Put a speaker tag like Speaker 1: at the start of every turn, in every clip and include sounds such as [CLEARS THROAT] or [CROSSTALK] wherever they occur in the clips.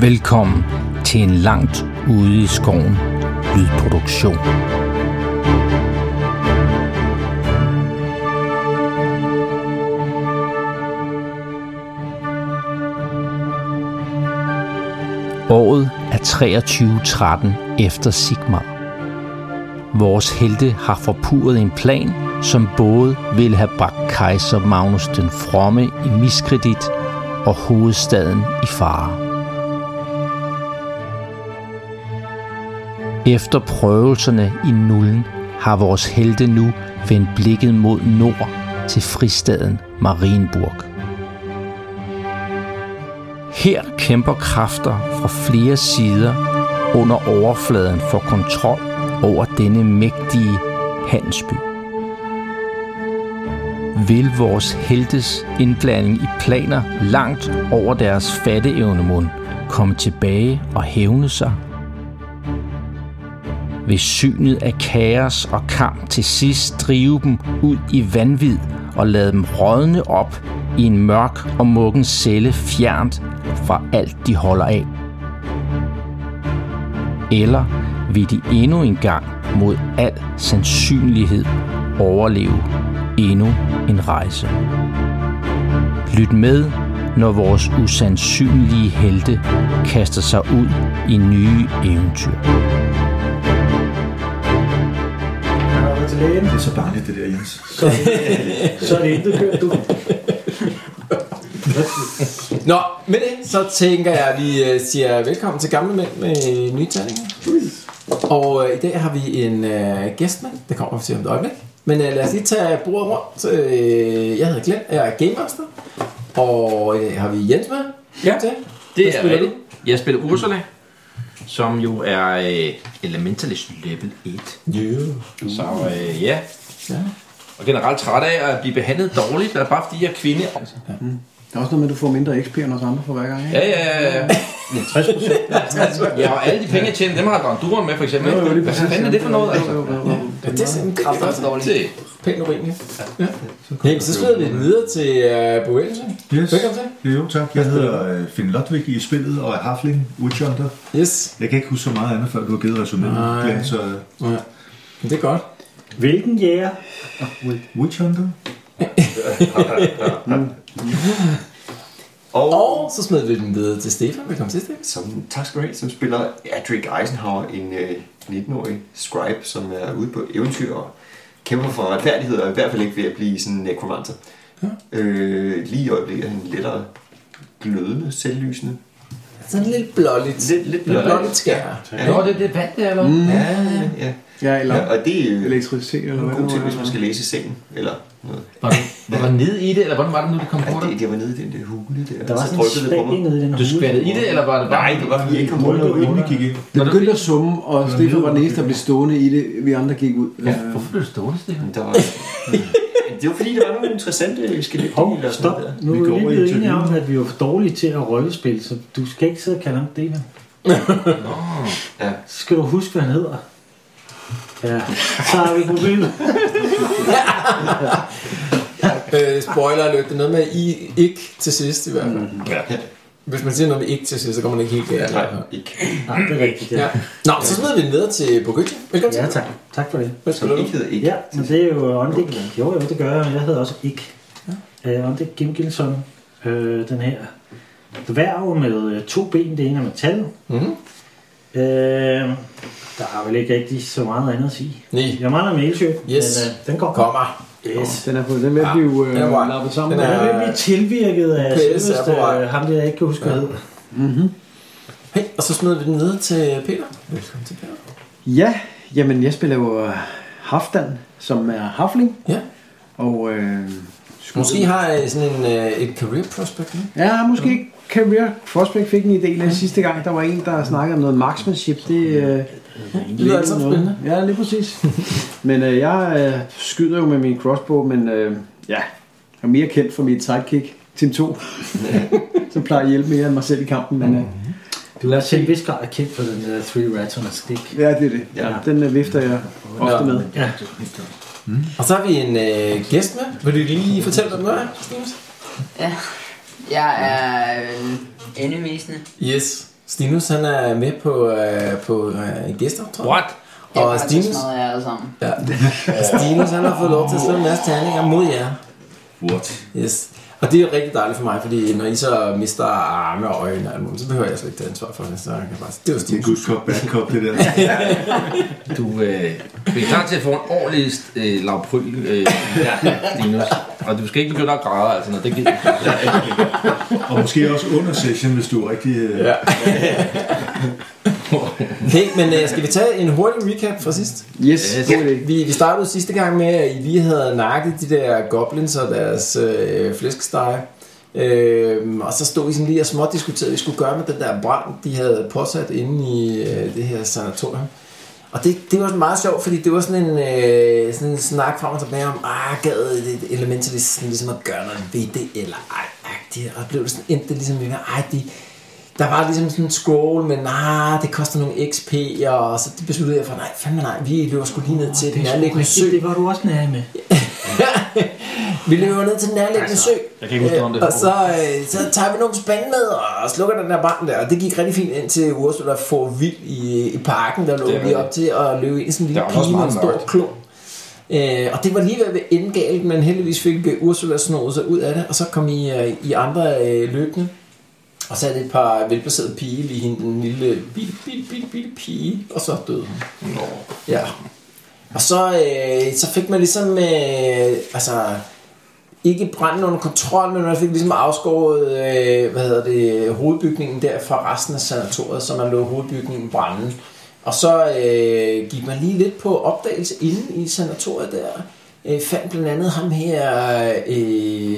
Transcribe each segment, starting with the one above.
Speaker 1: Velkommen til en langt ude i skoven lydproduktion. Året er 2313 efter Sigmar. Vores helte har forpurret en plan, som både ville have bragt kejser Magnus den Fromme i miskredit og hovedstaden i fare. Efter prøvelserne i nullen har vores helte nu vendt blikket mod nord til fristaden Marienburg. Her kæmper kræfter fra flere sider under overfladen for kontrol over denne mægtige handelsby. Vil vores heltes indblanding i planer langt over deres fatteevnemund komme tilbage og hævne sig? Vil synet af kaos og kamp til sidst drive dem ud i vanvid og lade dem rådne op i en mørk og mukken celle fjernt fra alt de holder af? Eller vil de endnu en gang mod al sandsynlighed overleve endnu en rejse? Lyt med, når vores usandsynlige helte kaster sig ud i nye eventyr.
Speaker 2: Jeg har været til lægen.
Speaker 3: Det er så barnligt, det der, Jens.
Speaker 2: Så er det intet kørt, du.
Speaker 4: Nå, med det, så tænker jeg, at vi øh, siger velkommen til Gamle Mænd med nye terninger. Og øh, i dag har vi en øh, gæst med, det kommer vi til om et øjeblik. Men øh, lad os lige tage bordet rundt. Øh, jeg hedder Glenn, jeg er Game Master. Og øh, har vi Jens med?
Speaker 5: Ja,
Speaker 4: til? Hvad
Speaker 5: det er
Speaker 4: spiller
Speaker 5: rigtigt. Jeg spiller Ursula, som jo er øh, Elementalist level 1.
Speaker 4: Jo.
Speaker 5: Så
Speaker 3: Mm.
Speaker 5: øh, ja,
Speaker 4: Ja.
Speaker 5: og generelt træt af at blive behandlet dårligt, men bare fordi jeg er kvinde. Altså.
Speaker 3: Der er også noget med, at du får mindre XP end os andre for hver gang, ikke?
Speaker 5: Ja, ja, ja, ja. 60 [LAUGHS] Ja, og alle de penge, jeg tjener, dem har jeg Granduren med, for eksempel.
Speaker 3: Jo, jo,
Speaker 5: ikke?
Speaker 3: lige
Speaker 5: Hvad
Speaker 3: præcis.
Speaker 5: fanden er det for noget,
Speaker 3: Jo,
Speaker 5: altså?
Speaker 3: jo, jo, jo.
Speaker 4: Ja, det er simpelthen det er også dårligt.
Speaker 5: Se,
Speaker 4: Pænt urimeligt. Ja. Jamen, så smider vi den videre til øh, Boel, så.
Speaker 6: Yes.
Speaker 4: Velkommen til.
Speaker 6: Jo, tak. Jeg hedder øh, Finn Lodvig i spillet og er Hafling Witchhunter.
Speaker 4: Yes.
Speaker 6: Jeg kan ikke huske så meget andet, før du har givet resuméet.
Speaker 4: Nej.
Speaker 6: Glenn, så øh,
Speaker 4: Ja. Men Det er godt.
Speaker 2: Hvilken jæger?
Speaker 6: Witchhunter?
Speaker 4: Og så smider vi den videre til Stefan. Velkommen til, Stefan.
Speaker 7: som tak skal du have, som spiller Adric Eisenhower, en øh, 19-årig scribe, som er ude på eventyr og kæmper for retfærdighed, og i hvert fald ikke ved at blive sådan en nekromanter. Ja. Øh, lige i øjeblikket er han lettere glødende, selvlysende.
Speaker 4: Sådan lidt blåligt.
Speaker 7: Lidt- lidt blåligt.
Speaker 4: blåligt skær.
Speaker 5: Nå, det er det vand, det er, eller? Mm.
Speaker 7: Ja, ja.
Speaker 3: Ja, eller
Speaker 7: ja og det er øh,
Speaker 3: elektricitet, eller
Speaker 7: en
Speaker 3: hvad
Speaker 7: god
Speaker 3: det
Speaker 7: ting,
Speaker 3: nu
Speaker 7: hvis man
Speaker 3: er.
Speaker 7: skal læse i sengen, eller noget.
Speaker 5: Var, du, var du nede i det, eller hvordan var det nu, det kom på
Speaker 7: Ja,
Speaker 5: dig?
Speaker 7: det, det var nede i den der hule der,
Speaker 2: Der var
Speaker 7: og
Speaker 2: sådan
Speaker 7: så
Speaker 2: en
Speaker 7: dryppede det på
Speaker 2: spag
Speaker 7: mig.
Speaker 2: nede i den
Speaker 5: Du skvattede i det, eller var det bare...
Speaker 7: Nej, det var fordi jeg ikke kom
Speaker 6: Hvor
Speaker 7: rundt
Speaker 6: du inden vi gik ind?
Speaker 3: Det begyndte at summe, og Stefan var den eneste, der blev stående i det. Vi andre gik ud.
Speaker 5: Ja,
Speaker 3: Øh,
Speaker 5: hvorfor blev du stående, Stefan?
Speaker 7: Der var, det var fordi, der var nogle interessante skeletbiler. og sådan
Speaker 2: Stop.
Speaker 7: noget der.
Speaker 2: Nu
Speaker 6: Vi
Speaker 2: er
Speaker 6: går
Speaker 2: vi lige
Speaker 6: over i
Speaker 2: blevet enige om,
Speaker 6: interviewet.
Speaker 2: at vi var for dårlige til at rollespille, så du skal ikke sidde og kalde ham David. [LAUGHS]
Speaker 7: Ja.
Speaker 2: Så skal du huske, hvad han hedder. Ja, så har vi problemet.
Speaker 4: Øh, spoiler alert, det er noget med I ikke til sidst i hvert fald.
Speaker 6: Ja.
Speaker 4: Hvis man siger noget med ikke til sidst, så kommer man ikke helt galt.
Speaker 7: Nej, ikke.
Speaker 2: Nej, det er rigtigt, ja.
Speaker 4: Ja. Nå, så smider vi den videre til Bogøtje. Velkommen
Speaker 2: Ja,
Speaker 4: til.
Speaker 2: tak. Tak for det.
Speaker 4: Hvad
Speaker 7: Som
Speaker 4: spiller du?
Speaker 7: ikke hedder ikke.
Speaker 2: Ja, men det er jo Ondik. Jo, jo, det gør jeg, men jeg hedder også Ikke. Ja. Uh, Ondik Gimgilson, øh, den her dværg med øh, to ben, det ene er metal.
Speaker 4: Mhm.
Speaker 2: Øh, der er vel ikke rigtig så meget andet at sige.
Speaker 4: Nej.
Speaker 2: Jeg mangler mailsø, yes. men
Speaker 4: Yes.
Speaker 2: øh, den går
Speaker 4: Kommer.
Speaker 2: Yes.
Speaker 3: Den er på den er ved at blive øh,
Speaker 4: Den er rørt.
Speaker 3: lappet sammen.
Speaker 4: Den
Speaker 2: Den
Speaker 4: er-
Speaker 2: er ved at blive tilvirket af
Speaker 4: PS er
Speaker 2: selveste,
Speaker 4: på vej.
Speaker 2: øh, ham der jeg ikke kan huske, hvad
Speaker 4: Ja.
Speaker 2: hed.
Speaker 4: Hey, og så smider vi den videre til Peter. Velkommen til Peter.
Speaker 3: Ja, jamen jeg spiller jo øh, Hafdan, som er Hafling.
Speaker 4: Ja.
Speaker 3: Og øh,
Speaker 4: Måske har I sådan en, øh, et career prospect nu.
Speaker 3: Ja, måske Career Prospect fik en idé af sidste gang. Der var en, der snakkede om noget marksmanship. Det øh,
Speaker 4: lyder altså
Speaker 3: noget.
Speaker 4: spændende.
Speaker 3: Ja, lige præcis. men øh, jeg øh, skyder jo med min crossbow, men øh, ja, jeg er mere kendt for mit sidekick, Tim 2. som plejer at hjælpe mere end mig selv i kampen. Men, øh,
Speaker 2: Du er til en vis grad kendt for den der Three Rats on a Stick.
Speaker 3: ja, det er det.
Speaker 7: Ja.
Speaker 3: Ja. Den øh, vifter jeg ofte med.
Speaker 2: Ja,
Speaker 4: Og så har vi en øh, gæst med. Vil du lige fortælle, hvad den er, Stines?
Speaker 8: Ja. Jeg er øh, animesne.
Speaker 4: Yes. Stinus han er med på, øh, på øh, en gæsteoptræden.
Speaker 1: What?
Speaker 8: Jeg
Speaker 4: Og
Speaker 8: har faktisk
Speaker 4: Stinus,
Speaker 8: smadret jer alle sammen.
Speaker 4: ja. [LAUGHS] Stinus han har fået lov til at slå en masse terninger mod jer.
Speaker 6: What?
Speaker 4: Yes. Og det er rigtig dejligt for mig, fordi når I så mister arme og øjne og alt muligt, så behøver jeg slet ikke tage ansvar for det. Så jeg kan bare sige, det var
Speaker 6: Det er
Speaker 4: Stinus.
Speaker 6: good cop, bad cop, det der.
Speaker 5: [LAUGHS] Du øh, er klar til at få en ordentlig øh, lavpryl, øh, Linus. Og du skal ikke begynde at græde, altså, når det gider.
Speaker 6: Og måske også under session, hvis du er rigtig... Øh,
Speaker 4: Ja. Okay, men øh, skal vi tage en hurtig recap fra sidst?
Speaker 3: Yes,
Speaker 5: Yes.
Speaker 3: god idé.
Speaker 4: Vi, vi startede sidste gang med, at I lige havde nakket de der goblins og deres øh, flæskesteg. Øhm, og så stod I sådan lige og småt diskuterede, hvad vi skulle gøre med den der brand, de havde påsat inde i øh, det her sanatorium. Og det, det var sådan meget sjovt, fordi det var sådan en, øh, sådan en snak frem og tilbage om, ah, gad det elementalist sådan ligesom at gøre noget ved det, eller ej, agtigt. Og blev det sådan, endte det ligesom, med, ej, de, der var ligesom sådan en scroll, men nej, det koster nogle XP, og så det besluttede jeg for, nej, fandme nej, vi løber sgu lige ned til den nærliggende sø.
Speaker 2: Det var du også nær med.
Speaker 4: [LAUGHS] Vi løber ned til den nærliggende
Speaker 5: Altså,
Speaker 4: sø.
Speaker 1: jeg kan ikke huske, om det
Speaker 4: Øh, Og så, øh, så tager vi nogle spande med og slukker den der brand der. Og det gik rigtig fint ind til Ursula, der får vild i, i parken, der lå
Speaker 5: Det er
Speaker 4: lige
Speaker 5: det.
Speaker 4: op til at løbe ind i sådan en lille
Speaker 5: Der var også
Speaker 4: pige med en
Speaker 5: meget
Speaker 4: stor
Speaker 5: mørkt.
Speaker 4: klon. Øh, og det var lige ved at ende galt, men heldigvis fik øh, Ursula snodet sig ud af det, og så kom I, øh, I andre øh, løbende. Og så er det et par velplacerede pige, lige hende, den lille bitte, bitte, bitte, bitte pige, og så døde hun. Ja. Og så, øh, så fik man ligesom, øh, altså, ikke branden under kontrol, men man fik ligesom afskåret, øh, hvad hedder det, hovedbygningen der fra resten af sanatoriet, så man lå hovedbygningen brænde. Og så øh, gik man lige lidt på opdagelse inde i sanatoriet der, øh, fandt blandt andet ham her, øh,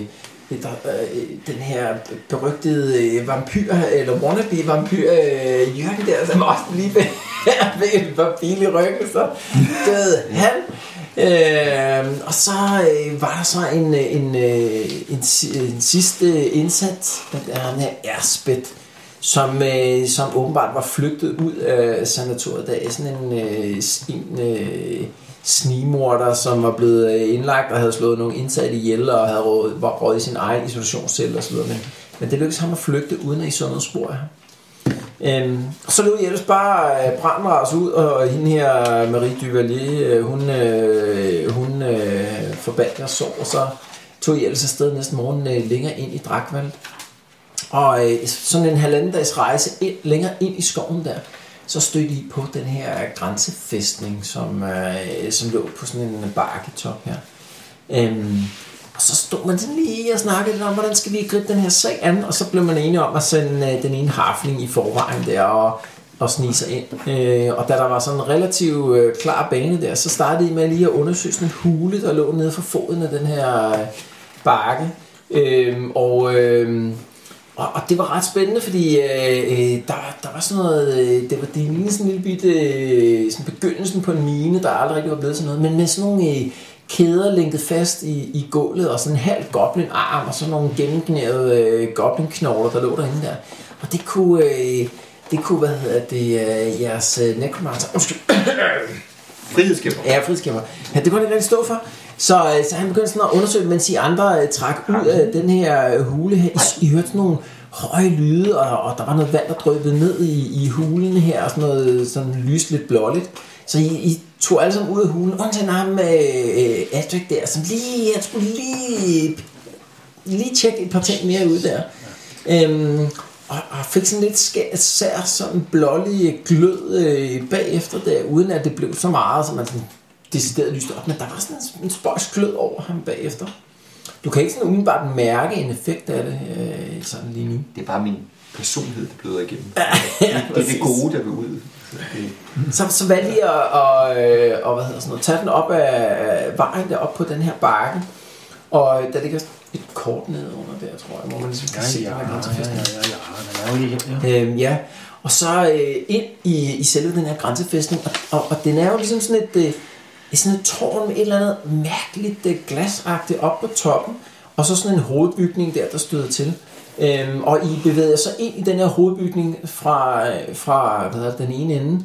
Speaker 4: der, øh, den her berygtede øh, vampyr, eller wannabe vampyr, øh, Jørgen der, som også lige ved, [LAUGHS] ved en vampil i ryggen, så døde han. Øh, og så øh, var der så en, øh, en, øh, en, si- en sidste indsat, den er han her Ersbeth, som, øh, som åbenbart var flygtet ud af sanatoriet. Der er sådan en, øh, s- en øh, snigmorder, som var blevet øh, indlagt og havde slået nogle indsatte ihjel og havde råd, var råd i sin egen isolationscelle osv. Men, men det lykkedes ham at flygte, uden at I så noget spor af ham. Øhm, og så lød I ellers bare øh, brandras ud, og hende her, Marie Duvalier, øh, hun, øh, hun øh, forbandt jer sov, og så tog I ellers afsted næste morgen øh, længere ind i Drakvald. Og øh, sådan en halvanden dags rejse ind, længere ind i skoven der, så stødte I på den her grænsefæstning, som, øh, som lå på sådan en bakketop her. Øhm, og så stod man sådan lige og snakkede lidt om, hvordan skal vi gribe den her sag an, og så blev man enige om at sende øh, den ene harfling i forvejen der og, og snige sig ind. Øh, og da der var sådan en relativt øh, klar bane der, så startede I med lige at undersøge sådan en hule, der lå nede for foden af den her øh, bakke. Øh, og... Øh, og, og det var ret spændende, fordi øh, øh, der, var- der var sådan noget, øh, det var det lignede sådan en lille bitte øh, sådan begyndelsen på en mine, der aldrig rigtig var blevet til noget, men med sådan nogle øh, kæder lænket fast i, i gulvet, og sådan en halv goblinarm, og sådan nogle gennemknærede øh, goblinknogler, der lå derinde der. Og det kunne, øh, det kunne hvad hedder det, øh, jeres øh, necromancer, undskyld,
Speaker 7: Frihedskæmper.
Speaker 4: Ja, fridskæmper. Ja, det kunne han ikke rigtig stå for. Så, øh, så han begyndte sådan at undersøge, mens I andre øh, trak ud af den her øh, hule her. I, I hørte sådan nogle høje lyde, og, og der var noget vand, der drøbede ned i, i hulen her, og sådan noget sådan lyst lidt blåligt. Så I, I tog alle sammen ud af hulen, undtagen ham med øh, Adric der, som lige, jeg skulle lige lige tjekke et par ting mere ud der. Øhm, og, og fik sådan lidt skær, sær, sådan blålig glød øh, bagefter der, uden at det blev så meget, som man sådan decideret lyste op. Men der var sådan en, en spøjs glød over ham bagefter. Du kan ikke sådan umiddelbart mærke en effekt af det øh, sådan lige nu.
Speaker 7: Det er bare min personlighed, der bløder igennem. det er det gode, der vil ud. Så det,
Speaker 4: Så, så valgte I at, og, øh, og, hvad hedder sådan noget, tage den op af af vejen der op på den her bakke. Og øh, der ligger et kort nede under der, tror jeg, hvor man ligesom kan se, ja, ja, ja, ja. Øhm, ja, og så øh, ind i, i selve den her grænsefæstning, og, og, og den er jo ligesom sådan et, øh, et sådan et tårn med et eller andet mærkeligt øh, glasagtigt op på toppen, og så sådan en hovedbygning der, der støder til. Øhm, og I bevæger jer så ind i den her hovedbygning fra, øh, fra hvad hedder, det, den ene ende,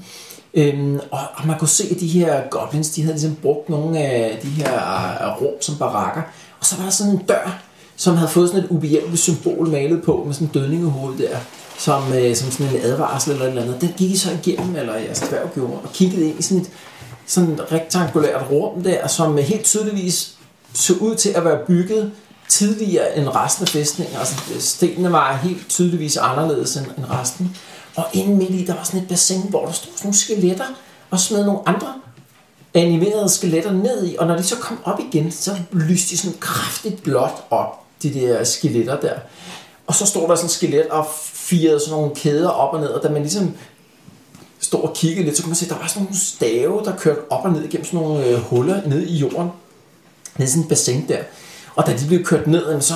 Speaker 4: Øhm, og, og man kunne se, at de her goblins, de havde ligesom brugt nogle af de her øh, rum som barakker. Og så var der sådan en dør, som havde fået sådan et ubehjælpeligt symbol malet på med sådan en dødningehoved der. som, øh, som sådan en advarsel eller et eller andet. Den gik I så igennem, eller jeres dværg gjorde, og kiggede ind i sådan et sådan et rektangulært rum der, som øh, helt tydeligvis så ud til at være bygget tidligere end resten af fæstningen. Altså øh, stenene var helt tydeligvis anderledes end, end resten. Og inde midt i, der var sådan et bassin, hvor der stod sådan nogle skeletter og smed nogle andre animerede skeletter ned i, og når de så kom op igen, så lyste de sådan kraftigt blåt op, de der skeletter der. Og så stod der sådan et skelet og firede sådan nogle kæder op og ned, og da man ligesom stod og kiggede lidt, så kunne man se, at der var sådan nogle stave, der kørte op og ned gennem sådan nogle øh, huller ned i jorden. Ned i sådan et bassin der. Og da de blev kørt ned, jamen, så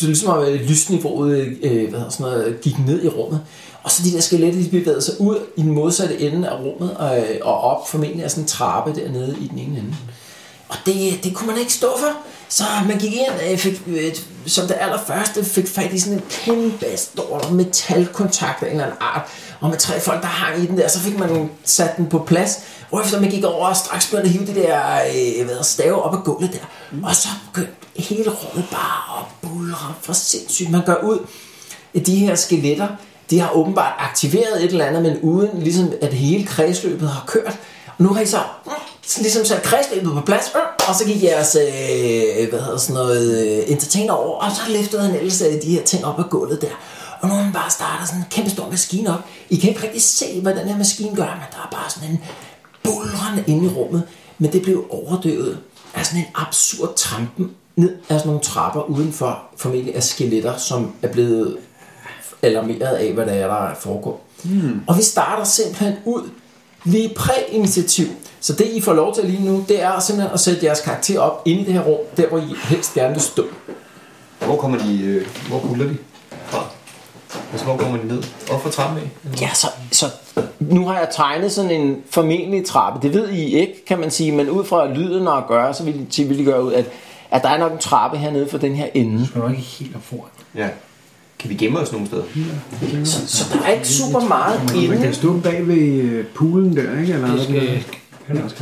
Speaker 4: det er ligesom at øh, lysniveauet øh, hvad hedder sådan noget, gik ned i rummet. Og så de der skeletter, de bevægede sig ud i den modsatte ende af rummet og, øh, og op formentlig af sådan en trappe dernede i den ene ende. Og det, det kunne man ikke stå for. Så man gik ind, øh, fik, øh, som det allerførste, fik fat i sådan en kæmpe stor metalkontakt af en eller anden art. Og med tre folk, der hang i den der, så fik man sat den på plads. Hvorefter man gik over og straks begyndte at hive det der øh, hvad hedder, stave op ad gulvet der. Og så begyndte hele rummet bare at bulre for sindssygt. Man gør ud at de her skeletter, de har åbenbart aktiveret et eller andet, men uden ligesom at hele kredsløbet har kørt. Nu har I så mm, ligesom sat kredsløbet på plads, mm, og så gik jeres øh, hvad hedder sådan noget, øh, entertainer over, og så løftede han ellers øh, de her ting op af gulvet der. Og nu har man bare startet sådan en kæmpe stor maskine op. I kan ikke rigtig se, hvad den her maskine gør, men der er bare sådan en bulrende inde i rummet. Men det blev overdøvet af sådan en absurd trampen ned af sådan nogle trapper udenfor formentlig af skeletter, som er blevet alarmeret af, hvad der er, der foregår. Mm. Og vi starter simpelthen ud lige præinitiativ. Så det, I får lov til lige nu, det er simpelthen at sætte jeres karakter op inde i det her rum, der hvor I helst gerne vil stå.
Speaker 7: Hvor kommer de, øh, hvor buller de fra? Altså, hvor kommer de ned? Op fra trappen af?
Speaker 4: Ja, så, så nu har jeg tegnet sådan en formentlig trappe. Det ved I ikke, kan man sige, men ud fra lyden og at gøre, så vil, I- vil I gøre ud, at, at der er nok en trappe hernede for den her ende.
Speaker 2: Du er nok ikke helt op foran.
Speaker 7: Ja. Kan vi gemme os nogen steder?
Speaker 4: Så, så der er ikke super meget
Speaker 3: Man
Speaker 4: inde.
Speaker 3: kan stå bag ved øh, poolen der, ikke? Eller noget,
Speaker 5: skal-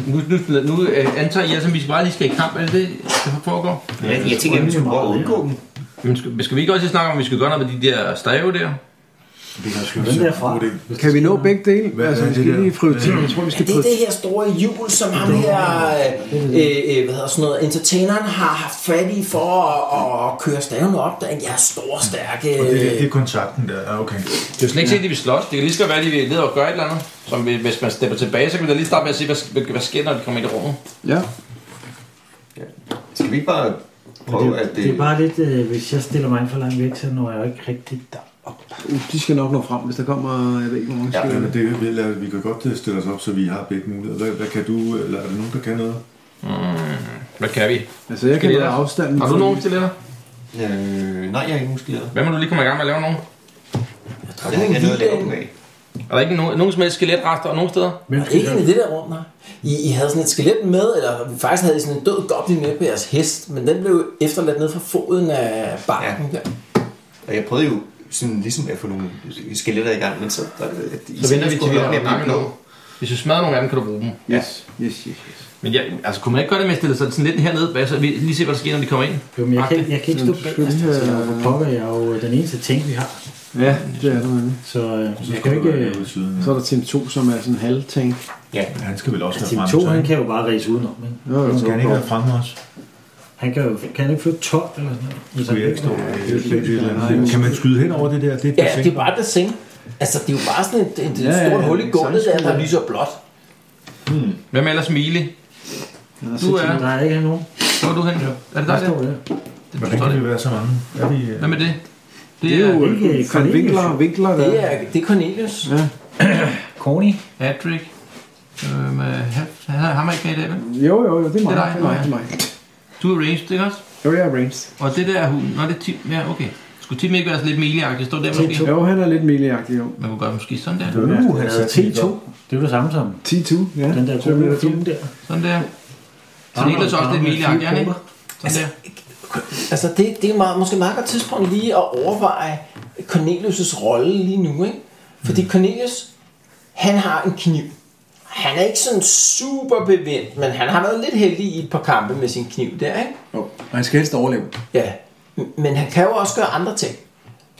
Speaker 5: Nu, nu, spiller- nu øh, antager jeg, som vi bare lige skal i kamp, er det det, der foregår?
Speaker 7: Ja, jeg tænker, at vi skulle prøve at undgå dem.
Speaker 5: Men skal, skal vi ikke også lige snakke om, at vi skal gøre noget med de der stave der?
Speaker 6: Det kan sgu
Speaker 2: Hvem derfra?
Speaker 3: Kan vi nå begge dele?
Speaker 6: Hvad
Speaker 3: Hvad, altså,
Speaker 6: er
Speaker 3: vi
Speaker 6: det
Speaker 3: skal
Speaker 6: der?
Speaker 3: lige prioritere. Jeg tror, vi skal
Speaker 4: Det er
Speaker 3: prioritere.
Speaker 4: det her store hjul, som ham her, øh, øh, hvad hedder sådan noget, entertaineren har haft fat i for at, at køre staven op, der er jeres store, stærke...
Speaker 6: Det,
Speaker 4: Øh,
Speaker 6: det er kontakten der. Ja, okay.
Speaker 5: Det er jo slet ikke set, at de vil slås. Det kan lige så godt være, at de vil ned og gøre et eller andet. Som vi- hvis man stepper tilbage, så kan vi da lige starte med at se, hvad, hvad, hvad sker, når de kommer ind i rummet.
Speaker 3: Ja.
Speaker 7: Skal vi ikke bare prøve at...
Speaker 2: Det er
Speaker 7: øh,
Speaker 2: bare lidt, øh, hvis jeg stiller mig for langt væk, så når jeg jo ikke rigtig der.
Speaker 3: De skal nok nå frem, hvis der kommer, jeg ved ikke, hvor mange
Speaker 7: Ja,
Speaker 3: skal.
Speaker 6: Men det vil jeg, vi kan godt øh, stille os op, så vi har begge muligheder. Hvad, hvad kan du, eller er der nogen, der kan noget?
Speaker 5: Hvad kan vi?
Speaker 3: Altså, jeg kan
Speaker 5: Skeletter.
Speaker 3: være afstanden.
Speaker 5: Har du nogen stilletter?
Speaker 7: Øh, nej, jeg er ikke nogen skilder.
Speaker 5: Hvad må du lige komme i gang med at lave nogen?
Speaker 7: Jeg har ikke noget at lave dem af.
Speaker 5: Er der ikke nogen, nogen som helst skeletrester og nogen steder?
Speaker 2: Hvem
Speaker 4: Og ikke ind i det der rum, nej. I, I havde sådan et skelet med, eller faktisk havde I sådan en død goblin med på jeres hest, men den blev efterladt ned fra foden af barken ja. der.
Speaker 7: Og jeg prøvede jo sådan ligesom at få nogle skeletter i gang, men så... Der, at I
Speaker 5: Så venter vi til, vi
Speaker 7: skulle
Speaker 5: har
Speaker 7: holde op med at
Speaker 5: gang i
Speaker 7: blive
Speaker 5: noget. Hvis du smadrer nogle af dem, kan du bruge dem.
Speaker 3: Yes, yes, yes. yes.
Speaker 5: Men jeg, altså, kunne man ikke gøre det med at stille sig sådan lidt hernede, hvad, så vi lige se, hvad der sker, når de kommer ind?
Speaker 2: Jo, men jeg kan, jeg kan ikke stå bag,
Speaker 3: Skal vi
Speaker 2: altså,
Speaker 3: have-
Speaker 2: jeg er jo for pokker, jeg er jo øh, den eneste ting, vi har.
Speaker 3: Ja, det er der nemlig.
Speaker 2: Så øh,
Speaker 6: Så
Speaker 2: jeg
Speaker 6: skal
Speaker 2: kan jo
Speaker 6: du
Speaker 2: ikke...
Speaker 6: være
Speaker 2: øh,
Speaker 6: ude i siden.
Speaker 3: Så er der Team 2, som er sådan en halvtank.
Speaker 6: Han skal vel også være
Speaker 2: Team
Speaker 6: fremme.
Speaker 2: 2,
Speaker 6: så,
Speaker 2: han
Speaker 6: ikke?
Speaker 2: kan jo bare ræse udenom, ikke?
Speaker 3: Jo, jo,
Speaker 6: Skal han ikke være fremme også?
Speaker 2: Han kan jo kan han ikke flytte 12 eller sådan noget. Altså,
Speaker 6: Skulle jeg ikke stå? Kan man skyde hen over det der? Det er
Speaker 4: Ja, det er bare det seng. Altså, det er jo bare sådan et, et, et
Speaker 3: Ja, ja,
Speaker 4: stort
Speaker 3: ja,
Speaker 4: hul i
Speaker 3: en
Speaker 4: gulvet der, der
Speaker 3: sangskuler.
Speaker 4: lyser blåt.
Speaker 5: Hvem er ellers Mili? Du er,
Speaker 2: Der er ikke nogen.
Speaker 5: hvor er du hen? Er det
Speaker 2: Der
Speaker 5: dig der?
Speaker 2: står det.
Speaker 5: Det
Speaker 6: Hvordan
Speaker 5: forstår
Speaker 6: kan vi
Speaker 5: det.
Speaker 6: være så mange? Er vi, øh,
Speaker 5: Hvem er det? Det
Speaker 3: Det er
Speaker 5: er
Speaker 3: jo
Speaker 2: ikke
Speaker 3: øh, Van
Speaker 2: Cornelius.
Speaker 3: Winkler, Winkler der.
Speaker 4: Det er, det er Cornelius.
Speaker 3: Ja.
Speaker 2: Corny.
Speaker 5: Patrick. Øhm, øh, han- ham er ikke med i dag, vel?
Speaker 3: Jo, jo, jo, det er mig.
Speaker 5: Det er dig,
Speaker 3: det er mig,
Speaker 5: nå,
Speaker 3: det er mig.
Speaker 5: Du er ranged, ikke også?
Speaker 3: Jo, jeg er Ranged.
Speaker 5: Og det der er hun. Nå, det er Tim. Ja, okay. Skulle Tim ikke være sådan lidt meleagtig? Stå der måske?
Speaker 3: Jo, han er lidt melee-agtig, jo.
Speaker 5: Man kunne gøre det måske sådan der.
Speaker 2: Uh, han havde T2. Det er jo det samme som
Speaker 3: 10-2, ja.
Speaker 2: den der
Speaker 3: Svømmer
Speaker 2: gode
Speaker 3: der
Speaker 2: film der.
Speaker 5: Sådan der. Så Niklas er også lidt meleagtig, er han ikke? Sådan der.
Speaker 4: Altså, det, det er meget, måske et meget godt tidspunkt lige at overveje Cornelius' rolle lige nu, ikke?
Speaker 3: Mm.
Speaker 4: Fordi Cornelius, han har en kniv. Han er ikke sådan super bevendt, men han har været lidt heldig i et par kampe med sin kniv der, ikke?
Speaker 3: Jo, og han skal helst overleve.
Speaker 4: Ja, m- men han kan jo også gøre andre ting.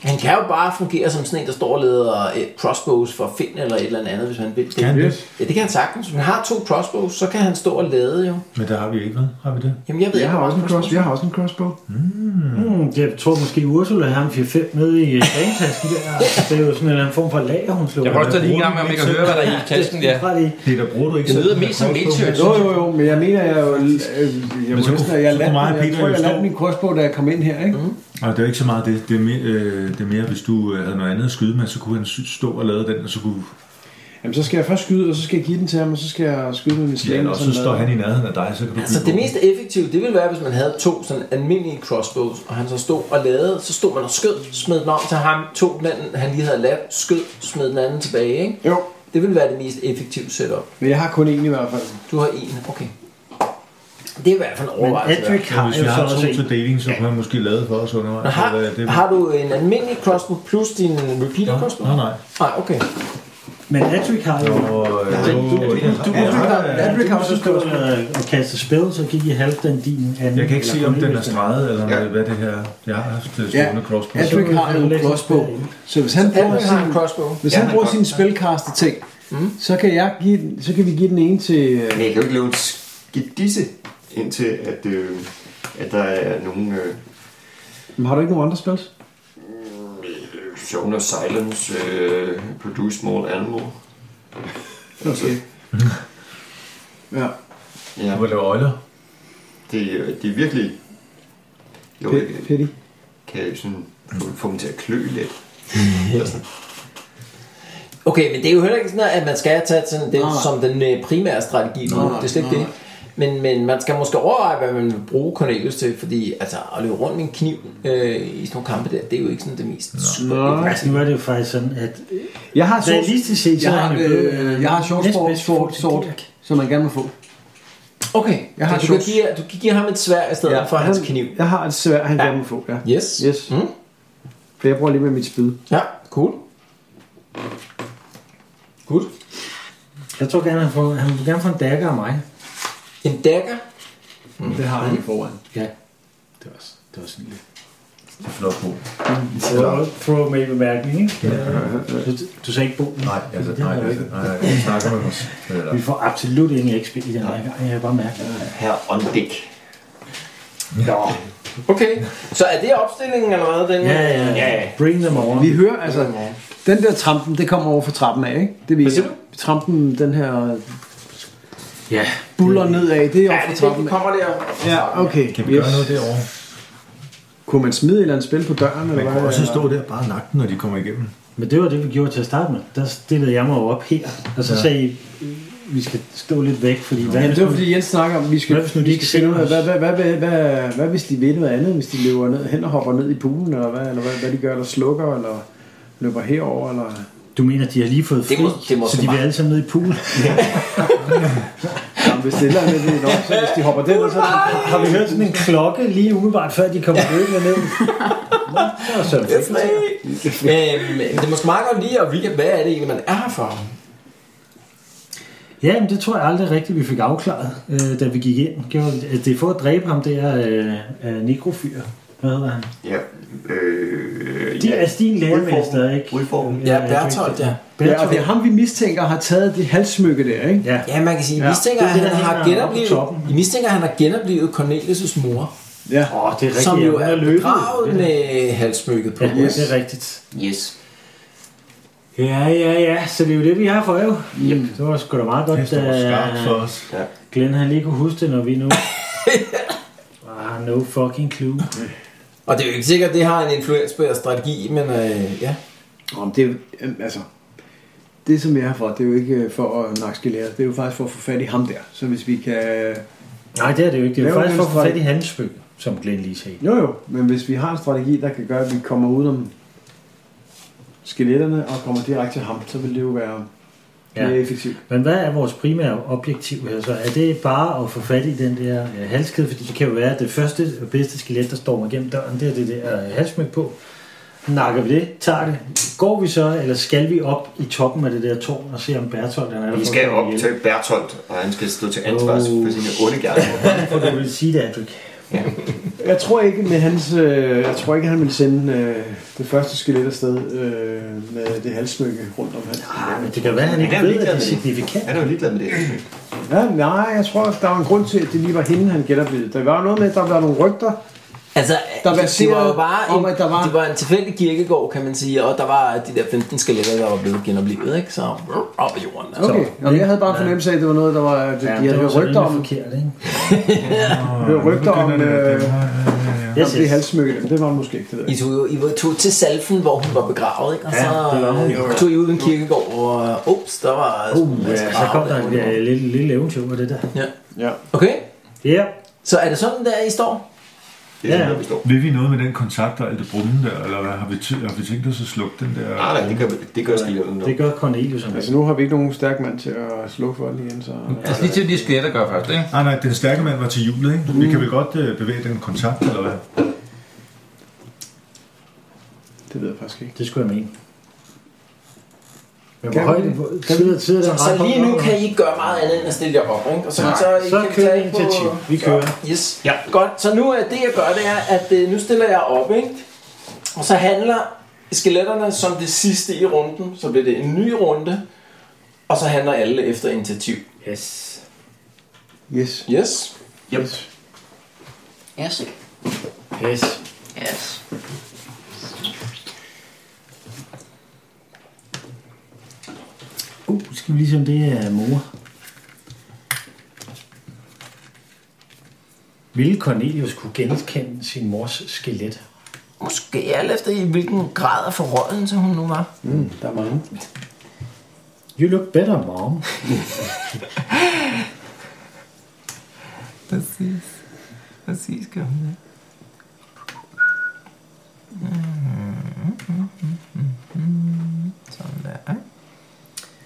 Speaker 4: Han kan jo bare fungere som sådan en, der står og leder øh, crossbows for Finn eller et eller andet, hvis han vil.
Speaker 6: Kan det?
Speaker 4: Ja, det kan han sagtens. Hvis han har to crossbows, så kan han stå og lade jo.
Speaker 6: Men der har vi ikke, hvad? Har vi det?
Speaker 4: Jamen, jeg ved
Speaker 3: Jeg
Speaker 4: ikke,
Speaker 3: har
Speaker 4: hvor
Speaker 3: også en
Speaker 4: mange
Speaker 3: cross, jeg har også en crossbow.
Speaker 2: Mm, jeg tror måske Ursula har en 4-5 nede i øh, bagetasken der. Altså, det er jo sådan en eller anden form for lager, hun slår.
Speaker 1: Jeg ryster lige en gang med, om jeg kan høre, hvad der er i tasken der.
Speaker 2: Bare lige.
Speaker 6: Det der bruger du ikke
Speaker 1: Det lyder
Speaker 6: selv,
Speaker 1: mest som
Speaker 6: den her
Speaker 1: Matrix.
Speaker 3: Jo, jo, jo, men jeg mener, jeg, er jo, øh, jeg,
Speaker 6: Men så
Speaker 3: må næsten-
Speaker 6: kunne-
Speaker 3: jeg,
Speaker 6: så
Speaker 3: landte,
Speaker 6: kunne mig og
Speaker 3: jeg
Speaker 6: Peter
Speaker 3: tror,
Speaker 6: jo
Speaker 3: jeg
Speaker 6: stå-
Speaker 3: landte min crossbow, da jeg kom ind her, ikke?
Speaker 6: Og det er jo ikke så meget det. Det er mere, øh, det er mere hvis du øh, havde noget andet at skyde med, så kunne han sy- stå og lade den, og så kunne...
Speaker 3: Jamen, så skal jeg først skyde, og så skal jeg give den til ham, og så skal jeg skyde med min
Speaker 6: Ja,
Speaker 3: slinge.
Speaker 6: og
Speaker 3: sådan
Speaker 6: så står
Speaker 3: noget.
Speaker 6: han i nærheden af dig, så kan du
Speaker 4: Altså
Speaker 6: bygge
Speaker 4: det
Speaker 6: på.
Speaker 4: mest effektive, det ville være, hvis man havde to sådan almindelige crossbows, og han så stod og lavede, så stod man og skød, smed den om til ham, tog den anden, han lige havde lavet, skød, smed den anden tilbage, ikke?
Speaker 3: Jo,
Speaker 4: Det ville være det mest effektive setup.
Speaker 3: men jeg har kun en i hvert fald.
Speaker 4: Du har en, okay. Det er i hvert fald en
Speaker 2: Men
Speaker 4: overvejelse. værd.
Speaker 2: Edric
Speaker 6: Men
Speaker 2: har
Speaker 6: Hvis
Speaker 2: jo
Speaker 6: vi
Speaker 2: så
Speaker 6: har
Speaker 2: også
Speaker 6: to
Speaker 2: en.
Speaker 6: til deling, så kunne han måske lade for os undervejs. eller hvad
Speaker 4: Har,
Speaker 6: det-
Speaker 4: har du en almindelig crossbow plus din repeater crossbow?
Speaker 6: Nej, nej.
Speaker 4: Nej, okay.
Speaker 2: Men Edric har jo...
Speaker 6: Og, øh,
Speaker 2: Du
Speaker 6: Ja,
Speaker 2: kan
Speaker 6: ja, ja.
Speaker 2: Adric har
Speaker 3: også
Speaker 2: også stået og kastet spil, så gik i halvdelen din anden.
Speaker 6: jeg kan ikke se, om den er streget, eller
Speaker 7: Ja.
Speaker 6: hvad- hvad det her... Jeg har haft øh,
Speaker 3: Ja,
Speaker 6: stående crossbow.
Speaker 3: Adric har jo en crossbow. Så hvis han bruger
Speaker 4: Edric har en
Speaker 3: sin,
Speaker 4: crossbow.
Speaker 3: hvis
Speaker 7: Ja,
Speaker 3: han
Speaker 7: han
Speaker 3: bruger
Speaker 7: kan
Speaker 3: sine spilkaste ting,
Speaker 2: Mm.
Speaker 3: så kan, jeg give, den- så kan vi give den ene til...
Speaker 7: Men
Speaker 3: øh,
Speaker 7: jeg kan jo ikke lave en skidisse, indtil at, øh, at der er nogen... Øh,
Speaker 3: Men har du ikke nogen andre spil?
Speaker 7: Zone of Silence, øh, Produce Small Animal.
Speaker 3: Okay. [LAUGHS] Ja.
Speaker 7: Ja,
Speaker 6: Du må lave øjler.
Speaker 7: det, øh, det er virkelig... Jo, jeg
Speaker 3: Pe- Petty.
Speaker 7: kan jo sådan få, få dem til at klø lidt.
Speaker 4: Okay, men det er jo heller ikke sådan, at man skal tage sådan det
Speaker 3: Nej.
Speaker 4: som den øh, primære strategi nu.
Speaker 3: Nej,
Speaker 4: Det er slet ikke
Speaker 3: nej.
Speaker 4: det. Men, men man skal måske overveje, hvad man vil bruge Cornelius til, fordi altså, at løbe rundt med en kniv øh, i sådan nogle kampe der, det er jo ikke sådan det mest super
Speaker 3: Nej.
Speaker 2: Altså, Nu er det jo faktisk sådan, at
Speaker 3: Jeg har sort,
Speaker 2: realistisk set, så
Speaker 3: jeg
Speaker 2: er
Speaker 3: har,
Speaker 2: han jo
Speaker 3: øh, jeg har short
Speaker 2: næstbedst
Speaker 3: sport,
Speaker 2: forhold
Speaker 3: sort,
Speaker 2: til
Speaker 3: sort,
Speaker 2: Dirk.
Speaker 3: som man gerne må få.
Speaker 4: Okay,
Speaker 3: Jeg har
Speaker 4: så du, kan
Speaker 3: shots.
Speaker 4: give, du kan give ham et svær i stedet ja, for hans kniv.
Speaker 3: Jeg har et svær, han gerne må få, ja.
Speaker 4: Yes.
Speaker 3: Yes.
Speaker 4: Mm.
Speaker 3: For jeg bruger lige med mit spyd.
Speaker 4: Ja, cool. Good.
Speaker 2: Jeg tror gerne, han, får, han vil gerne få en dagger af mig.
Speaker 4: En dagger.
Speaker 2: Mm.
Speaker 3: Det har han i forvejen.
Speaker 2: Ja.
Speaker 6: Det var, det var sådan lidt... Det er flot på.
Speaker 2: Throw, throw med i bemærkning, ikke? Du, du sagde ikke bo.
Speaker 6: Nej, altså, nej,
Speaker 2: Det er jo
Speaker 6: altså, nej, nej, jeg snakker med os. Eller,
Speaker 2: Vi får absolut ingen XP i den her gang. Jeg kan bare mærke det.
Speaker 7: Her on dick.
Speaker 2: Nå.
Speaker 4: Okay, så er det opstillingen eller hvad? Den
Speaker 2: Ja, ja, ja. Bring them on.
Speaker 3: Vi hører, altså, den der trampen, det kommer over fra trappen af, ikke? Det vi,
Speaker 4: siger du?
Speaker 3: Trampen, den her
Speaker 2: Ja.
Speaker 3: buller nedad, det er
Speaker 4: Ja,
Speaker 3: over fra
Speaker 4: det er det,
Speaker 3: trappen
Speaker 4: vi
Speaker 3: af.
Speaker 4: kommer der.
Speaker 3: Ja, okay.
Speaker 6: Kan vi gøre noget derovre?
Speaker 3: Kunne man smide et eller andet spil på døren, eller
Speaker 6: Man
Speaker 3: hvad?
Speaker 6: kan også stå der bare nakken, når de kommer igennem.
Speaker 2: Men det var det, vi gjorde til at starte med. Der stillede jeg mig jo op her. Og så
Speaker 6: Ja.
Speaker 2: sagde I, øh, vi skal stå lidt væk, fordi... Hvad,
Speaker 3: Jamen, det var fordi Jens snakker om, vi skal,
Speaker 2: Hvad hvis nu de
Speaker 3: vi
Speaker 2: ikke
Speaker 3: skal finde ud af,
Speaker 2: ser
Speaker 3: hvad,
Speaker 2: os?
Speaker 3: hvad, hvad, hvad, hvad, hvad, hvis de vil noget andet, hvis de løber ned, hen og hopper ned i poolen, eller hvad, eller hvad, hvad de gør, eller slukker, eller løber herover eller...
Speaker 2: Du mener, de har lige fået fri,
Speaker 4: Det må- det må
Speaker 2: så
Speaker 4: så
Speaker 2: de vil
Speaker 4: meget.
Speaker 2: alle sammen ned i pool.
Speaker 3: Jamen, hvis det er et eller andet, det er nok, så hvis de hopper den, så...
Speaker 2: har vi hørt sådan en klokke lige umiddelbart, før de kommer løbende
Speaker 4: [LAUGHS]
Speaker 2: ned? Det var sådan fedt.
Speaker 4: øhm, men det er måske meget godt lige at recap, hvad er det egentlig, man er her for?
Speaker 2: Ja, men det tror jeg aldrig rigtigt, vi fik afklaret, øh, da vi gik ind. Gjorde, vi det? Altså, det er for at dræbe ham, det er øh, øh, nekrofyr. Hvad hedder han?
Speaker 7: Ja, øh,
Speaker 2: De, ja, altså, din lærermester, ikke?
Speaker 7: Ulform.
Speaker 4: Ja, Bertolt, ja.
Speaker 3: Ja, og det er
Speaker 2: Bertolt.
Speaker 3: ham, vi mistænker, har taget det halssmykke der, ikke?
Speaker 2: Ja,
Speaker 4: Ja, man kan sige, I
Speaker 2: Ja,
Speaker 4: mistænker,
Speaker 2: det er
Speaker 4: at
Speaker 2: det,
Speaker 4: han
Speaker 2: der
Speaker 4: har
Speaker 2: hænger oppe på
Speaker 4: genoplevet,
Speaker 2: toppen.
Speaker 4: I mistænker, at han har genoplevet Cornelius' mor,
Speaker 3: Ja.
Speaker 2: Åh, det er rigtigt.
Speaker 4: som
Speaker 2: ja,
Speaker 4: jo
Speaker 2: hun
Speaker 4: er
Speaker 2: løbet.
Speaker 4: begravet med halsmykket på.
Speaker 2: Ja,
Speaker 3: Yes.
Speaker 2: yes. det er rigtigt.
Speaker 7: Yes.
Speaker 2: Ja, ja, ja. Så det er jo det, vi har for øje. Mm. Det var sgu da meget
Speaker 6: Det er
Speaker 2: godt,
Speaker 6: stort skarpt for
Speaker 2: da
Speaker 6: os.
Speaker 2: Glenn han lige kunne huske det, når [LAUGHS] vi nu... Ah, no fucking clue.
Speaker 4: Og det er jo ikke sikkert, at det har en influens på jeres strategi, men øh, ja.
Speaker 3: Om det, er jo- øhm, altså, det som jeg er for, det er jo ikke øh, for at nakskelere, det er jo faktisk for at få fat i ham der. Så hvis vi kan...
Speaker 2: Nej, det er det jo ikke. Det er jo
Speaker 3: Lav
Speaker 2: faktisk for at få
Speaker 3: venstre.
Speaker 2: fat i handelsbøger, som Glenn lige sagde.
Speaker 3: Jo jo, men hvis vi har en strategi, der kan gøre, at vi kommer ud om skeletterne og kommer direkte til ham, så vil det jo være
Speaker 2: Ja.
Speaker 3: mere effektivt.
Speaker 2: Men hvad er vores primære objektiv her så? Er det bare at få fat i den der øh, halskæde? Fordi det kan jo være, at det første og bedste skelet, der står mig gennem døren, det er det der øh, halsmyg på. Nakker vi det? Tager det? Går vi så, eller skal vi op i toppen af det der tårn og se om Bertolt er der?
Speaker 7: Vi
Speaker 2: for
Speaker 7: skal
Speaker 2: at komme
Speaker 7: op
Speaker 2: ihjel?
Speaker 7: til Bertolt, og han skal stå til ansvar
Speaker 2: Oh. [LAUGHS]
Speaker 7: for sine onde gerninger.
Speaker 2: For du vil sige det, Adric.
Speaker 3: Jeg tror ikke, men hans, øh, jeg tror ikke, han vil sende øh, det første skelet afsted øh, med det halssmykke rundt om halsen.
Speaker 2: Nej, Ah, men det kan være, at han ikke
Speaker 7: Han er jo
Speaker 2: ved, at det er
Speaker 7: ligeglad med det.
Speaker 2: signifikant.
Speaker 7: Han er jo ligeglad med det.
Speaker 3: Ja, nej, jeg tror, der var en grund til, at det lige var hende, han genopvede. Der var noget med, at der var nogle rygter.
Speaker 4: Altså,
Speaker 3: Der
Speaker 4: der det
Speaker 3: verserer
Speaker 4: var jo bare en,
Speaker 3: om, at der var-
Speaker 4: det var en tilfældig kirkegård, kan man sige, og der var de der 15 skeletter, der var blevet genoplevet, ikke? Så op af jorden. Altså.
Speaker 3: Okay, og jeg havde bare en fornemmelse af, at det var noget, der var, at de
Speaker 2: Ja,
Speaker 3: havde
Speaker 2: det var
Speaker 3: hørt
Speaker 2: så
Speaker 3: rygter
Speaker 2: rygter
Speaker 3: om,
Speaker 2: forkert, ikke?
Speaker 3: hørt rygter om, øh,
Speaker 2: Yes,
Speaker 3: om det
Speaker 2: yes.
Speaker 3: halssmykke. Men Det var det måske ikke, det ved jeg
Speaker 4: I tog, jo- I var- tog til Salfen, hvor hun var begravet, ikke? Og
Speaker 2: Ja,
Speaker 4: så
Speaker 2: det var hun.
Speaker 4: øh, tog I ud i en kirkegård, og øh, ups, der var...
Speaker 2: Uh, ja, så kom der en ja, lille, lille eventyr over det der.
Speaker 4: Ja.
Speaker 3: Ja.
Speaker 4: Okay,
Speaker 2: Ja,
Speaker 4: så er det sådan der, I står?
Speaker 7: Det er
Speaker 2: Ja,
Speaker 7: sådan,
Speaker 2: ja.
Speaker 7: ja. vi står.
Speaker 6: Vil vi noget med den kontakt og alt det brummen der, eller hvad? Har vi, tæ- har vi tænkt os at slukke den der?
Speaker 7: Nej, nej, det gør, det gør skeletterne nu.
Speaker 2: det gør Cornelius. Han.
Speaker 3: Altså nu har vi ikke nogen stærk mand til at slukke for den igen, så... øh,
Speaker 5: Altså lige til de skeletter gør først, ikke?
Speaker 6: Nej, nej, den stærke mand var til julet, ikke? Vi kan vel godt øh, bevæge den kontakt, eller hvad?
Speaker 3: Det ved jeg faktisk ikke.
Speaker 2: Det skulle jeg mene. Men hvor
Speaker 3: Kan
Speaker 2: højt
Speaker 3: vi-
Speaker 2: hvor- sidder sidder der en
Speaker 4: Så
Speaker 2: ret høj
Speaker 4: lige nu
Speaker 2: op?
Speaker 4: kan I ikke gøre meget andet end at stille jer op, ikke? Og så,
Speaker 2: Nej, så
Speaker 4: kan I
Speaker 2: kører
Speaker 4: klage på-
Speaker 2: initiativ. Vi kører.
Speaker 4: Yes. Ja. Godt, så nu er det jeg gør, det er, at øh, nu stiller jeg op, ikke? Og så handler skeletterne som det sidste i runden, så bliver det en ny runde, og så handler alle efter initiativ.
Speaker 2: Yes.
Speaker 3: Yes.
Speaker 4: Yes.
Speaker 3: Yes.
Speaker 8: Yes.
Speaker 2: Yes.
Speaker 8: Yes.
Speaker 2: Uh, skal vi lige se, om det øh, er mor. Ville Cornelius kunne genkende sin mors skelet?
Speaker 4: Måske alt efter i hvilken grad af forrådelse hun nu var.
Speaker 3: Mm, der er mange.
Speaker 2: You look better, mom.
Speaker 4: Præcis. Præcis, gør hun det. Sådan der, ikke?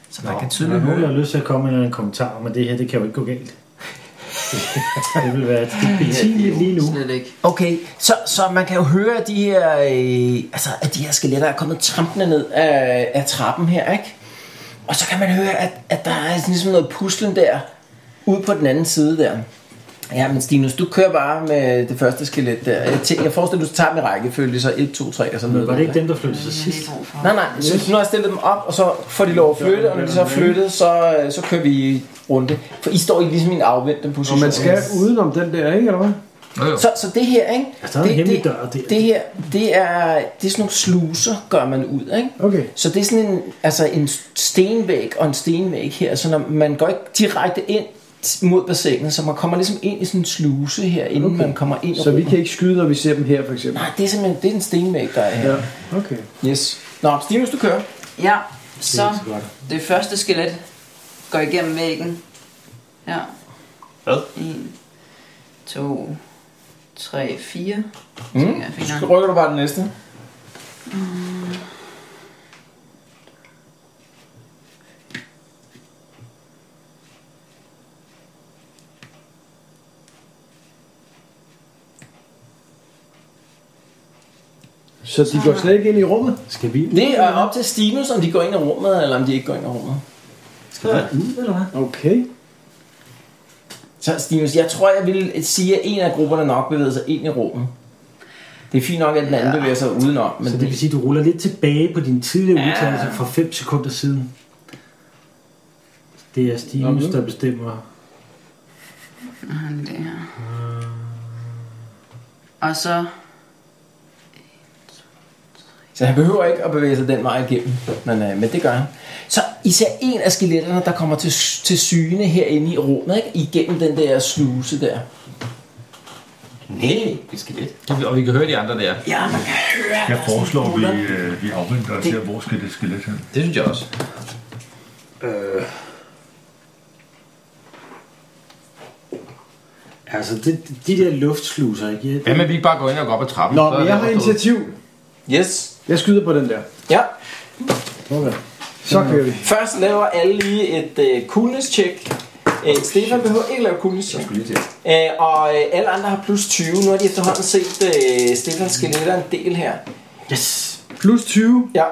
Speaker 4: Så man kan
Speaker 2: Jeg
Speaker 4: tydeligt
Speaker 2: har
Speaker 4: høre.
Speaker 2: nogen, lyst til at komme med en eller anden kommentar, men det her, det kan jo ikke gå galt. [LAUGHS] det vil være betimeligt lige nu.
Speaker 8: Slet ikke.
Speaker 4: Okay, så, så man kan jo høre, at de her, øh, altså, at de her skeletter er kommet trampende ned af, af trappen her, ikke? Og så kan man høre, at, at der er sådan ligesom noget puslen der, ude på den anden side der. Ja, men Stinus, du kører bare med det første skelet der. Jeg, tænker, jeg forestiller, at du tager med rækkefølge, så 1, 2, 3 og sådan
Speaker 2: Men
Speaker 4: noget.
Speaker 2: var det ikke dem, der flyttede sig
Speaker 8: Det er
Speaker 2: sidst?
Speaker 8: lige brug for.
Speaker 4: Nej, nej, så nu har jeg stillet dem op, og så får de lov at flytte, og når de så er flyttet, så, øh, så kører vi runde. For I står i ligesom i en afventende position.
Speaker 3: Og man skal udenom den der, ikke? Eller hvad?
Speaker 5: Jo, jo.
Speaker 4: Så, så det her, ikke?
Speaker 2: der er en
Speaker 4: det,
Speaker 2: hemmelig
Speaker 4: det,
Speaker 2: dør der.
Speaker 4: Det her, det er, det er sådan nogle sluser, gør man ud, ikke?
Speaker 3: Okay.
Speaker 4: Så det er sådan en, altså en stenvæg og en stenvæg her, så når man går ikke direkte ind mod bassinet, så man kommer ligesom ind i sådan en sluse her, inden okay. man kommer ind i
Speaker 3: Så vi
Speaker 4: rummet.
Speaker 3: kan ikke skyde, når vi ser dem her, for eksempel?
Speaker 4: Nej, det er simpelthen det er en stenvæg, der er her.
Speaker 3: Ja,
Speaker 4: Ja.
Speaker 3: okay.
Speaker 4: Yes. Nå, Stinus, du kører.
Speaker 8: Ja, så det første skelet går igennem væggen. Ja.
Speaker 7: Hvad?
Speaker 8: 1, 2, 3, 4.
Speaker 4: Mm.
Speaker 8: Jeg fik
Speaker 4: Så
Speaker 8: nok.
Speaker 4: rykker du bare den næste.
Speaker 3: Så de går slet ikke ind i rummet?
Speaker 2: Skal vi ud,
Speaker 4: Det er op til Stinus, om de går ind i rummet, eller om de ikke går ind i rummet.
Speaker 2: eller hvad?
Speaker 3: Okay.
Speaker 4: Så Stinus, jeg tror, jeg vil sige, at en af grupperne nok bevæger sig ind i rummet. Det er fint nok, at den anden bevæger sig udenom, men
Speaker 2: Så det
Speaker 4: det,
Speaker 2: vil sige, at du ruller lidt tilbage på dine tidligere udtalelser fra 5 sekunder siden. Det er Stinus, der bestemmer.
Speaker 8: Han det her. Og så...
Speaker 4: så han behøver ikke at bevæge sig den vej igennem, men, øh, men det gør han. Så især en af skeletterne, der kommer til, til syne herinde i rummet, ikke? igennem den der sluse der.
Speaker 7: Nej, et skelet.
Speaker 5: Og vi kan høre de andre der.
Speaker 4: Ja, man kan høre.
Speaker 6: Jeg foreslår, vi, øh, vi afventer og ser, hvor skal det skelet hen.
Speaker 5: Det synes jeg også.
Speaker 2: Altså, det, de der luftsluser, ikke?
Speaker 5: Hvad med, at vi ikke bare går ind og går op ad trappen?
Speaker 3: Nå,
Speaker 5: Så er
Speaker 3: men
Speaker 5: det
Speaker 3: jeg har
Speaker 5: overstået.
Speaker 3: initiativ.
Speaker 4: Yes.
Speaker 3: Jeg skyder på den der.
Speaker 4: Ja.
Speaker 2: Okay.
Speaker 3: Så kører vi.
Speaker 4: Først laver alle lige et øh, coolness check. Øh, Stefan behøver ikke lave coolness check.
Speaker 7: Skulle lige til.
Speaker 4: Øh, og øh, alle andre har plus 20. Nu har de efterhånden set øh, Stefans skeletter en del her.
Speaker 2: Yes!
Speaker 3: Plus 20.
Speaker 4: Ja.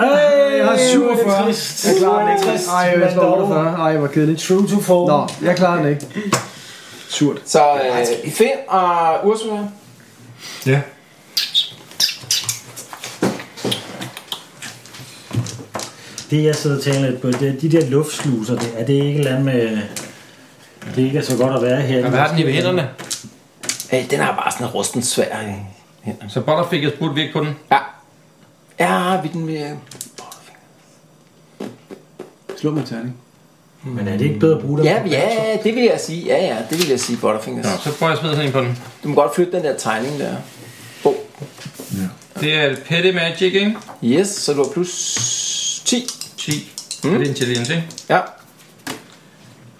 Speaker 2: Hey!
Speaker 3: jeg har 47.
Speaker 2: Øh, hvor er det trist.
Speaker 3: Jeg klarer den ikke. Ej, jeg
Speaker 2: Mand
Speaker 3: slår
Speaker 2: dog.
Speaker 3: 48. Ej, hvor kedeligt.
Speaker 2: True to form.
Speaker 3: Nå, jeg klarer den ikke. Surt.
Speaker 4: Så øh, Finn og Ursula.
Speaker 6: Ja.
Speaker 2: Det jeg sidder og tænker lidt på, det er de der luftsluser, det, er det ikke et eller andet med... Det ikke er så godt at være her.
Speaker 5: Hvad har den i ved hænderne?
Speaker 4: Øh, den har bare sådan en rusten svær i hænderne.
Speaker 5: Så bare der fik jeg spurgt væk på den.
Speaker 4: Ja. Ja, vi den vil...
Speaker 3: Slå mig terning.
Speaker 2: Men er det ikke bedre at bruge dem?
Speaker 4: Ja, ja, det vil jeg sige. Ja, ja, det vil jeg sige, Butterfingers.
Speaker 5: Nå,
Speaker 4: Ja.
Speaker 5: så prøver jeg at smide sådan en på den.
Speaker 4: Du må godt flytte den der tegning der. Oh.
Speaker 5: Det er et petty magic, ikke?
Speaker 4: Yes, så du har plus 10.
Speaker 5: 10. Mm. Det er intelligence, ikke?
Speaker 4: Ja.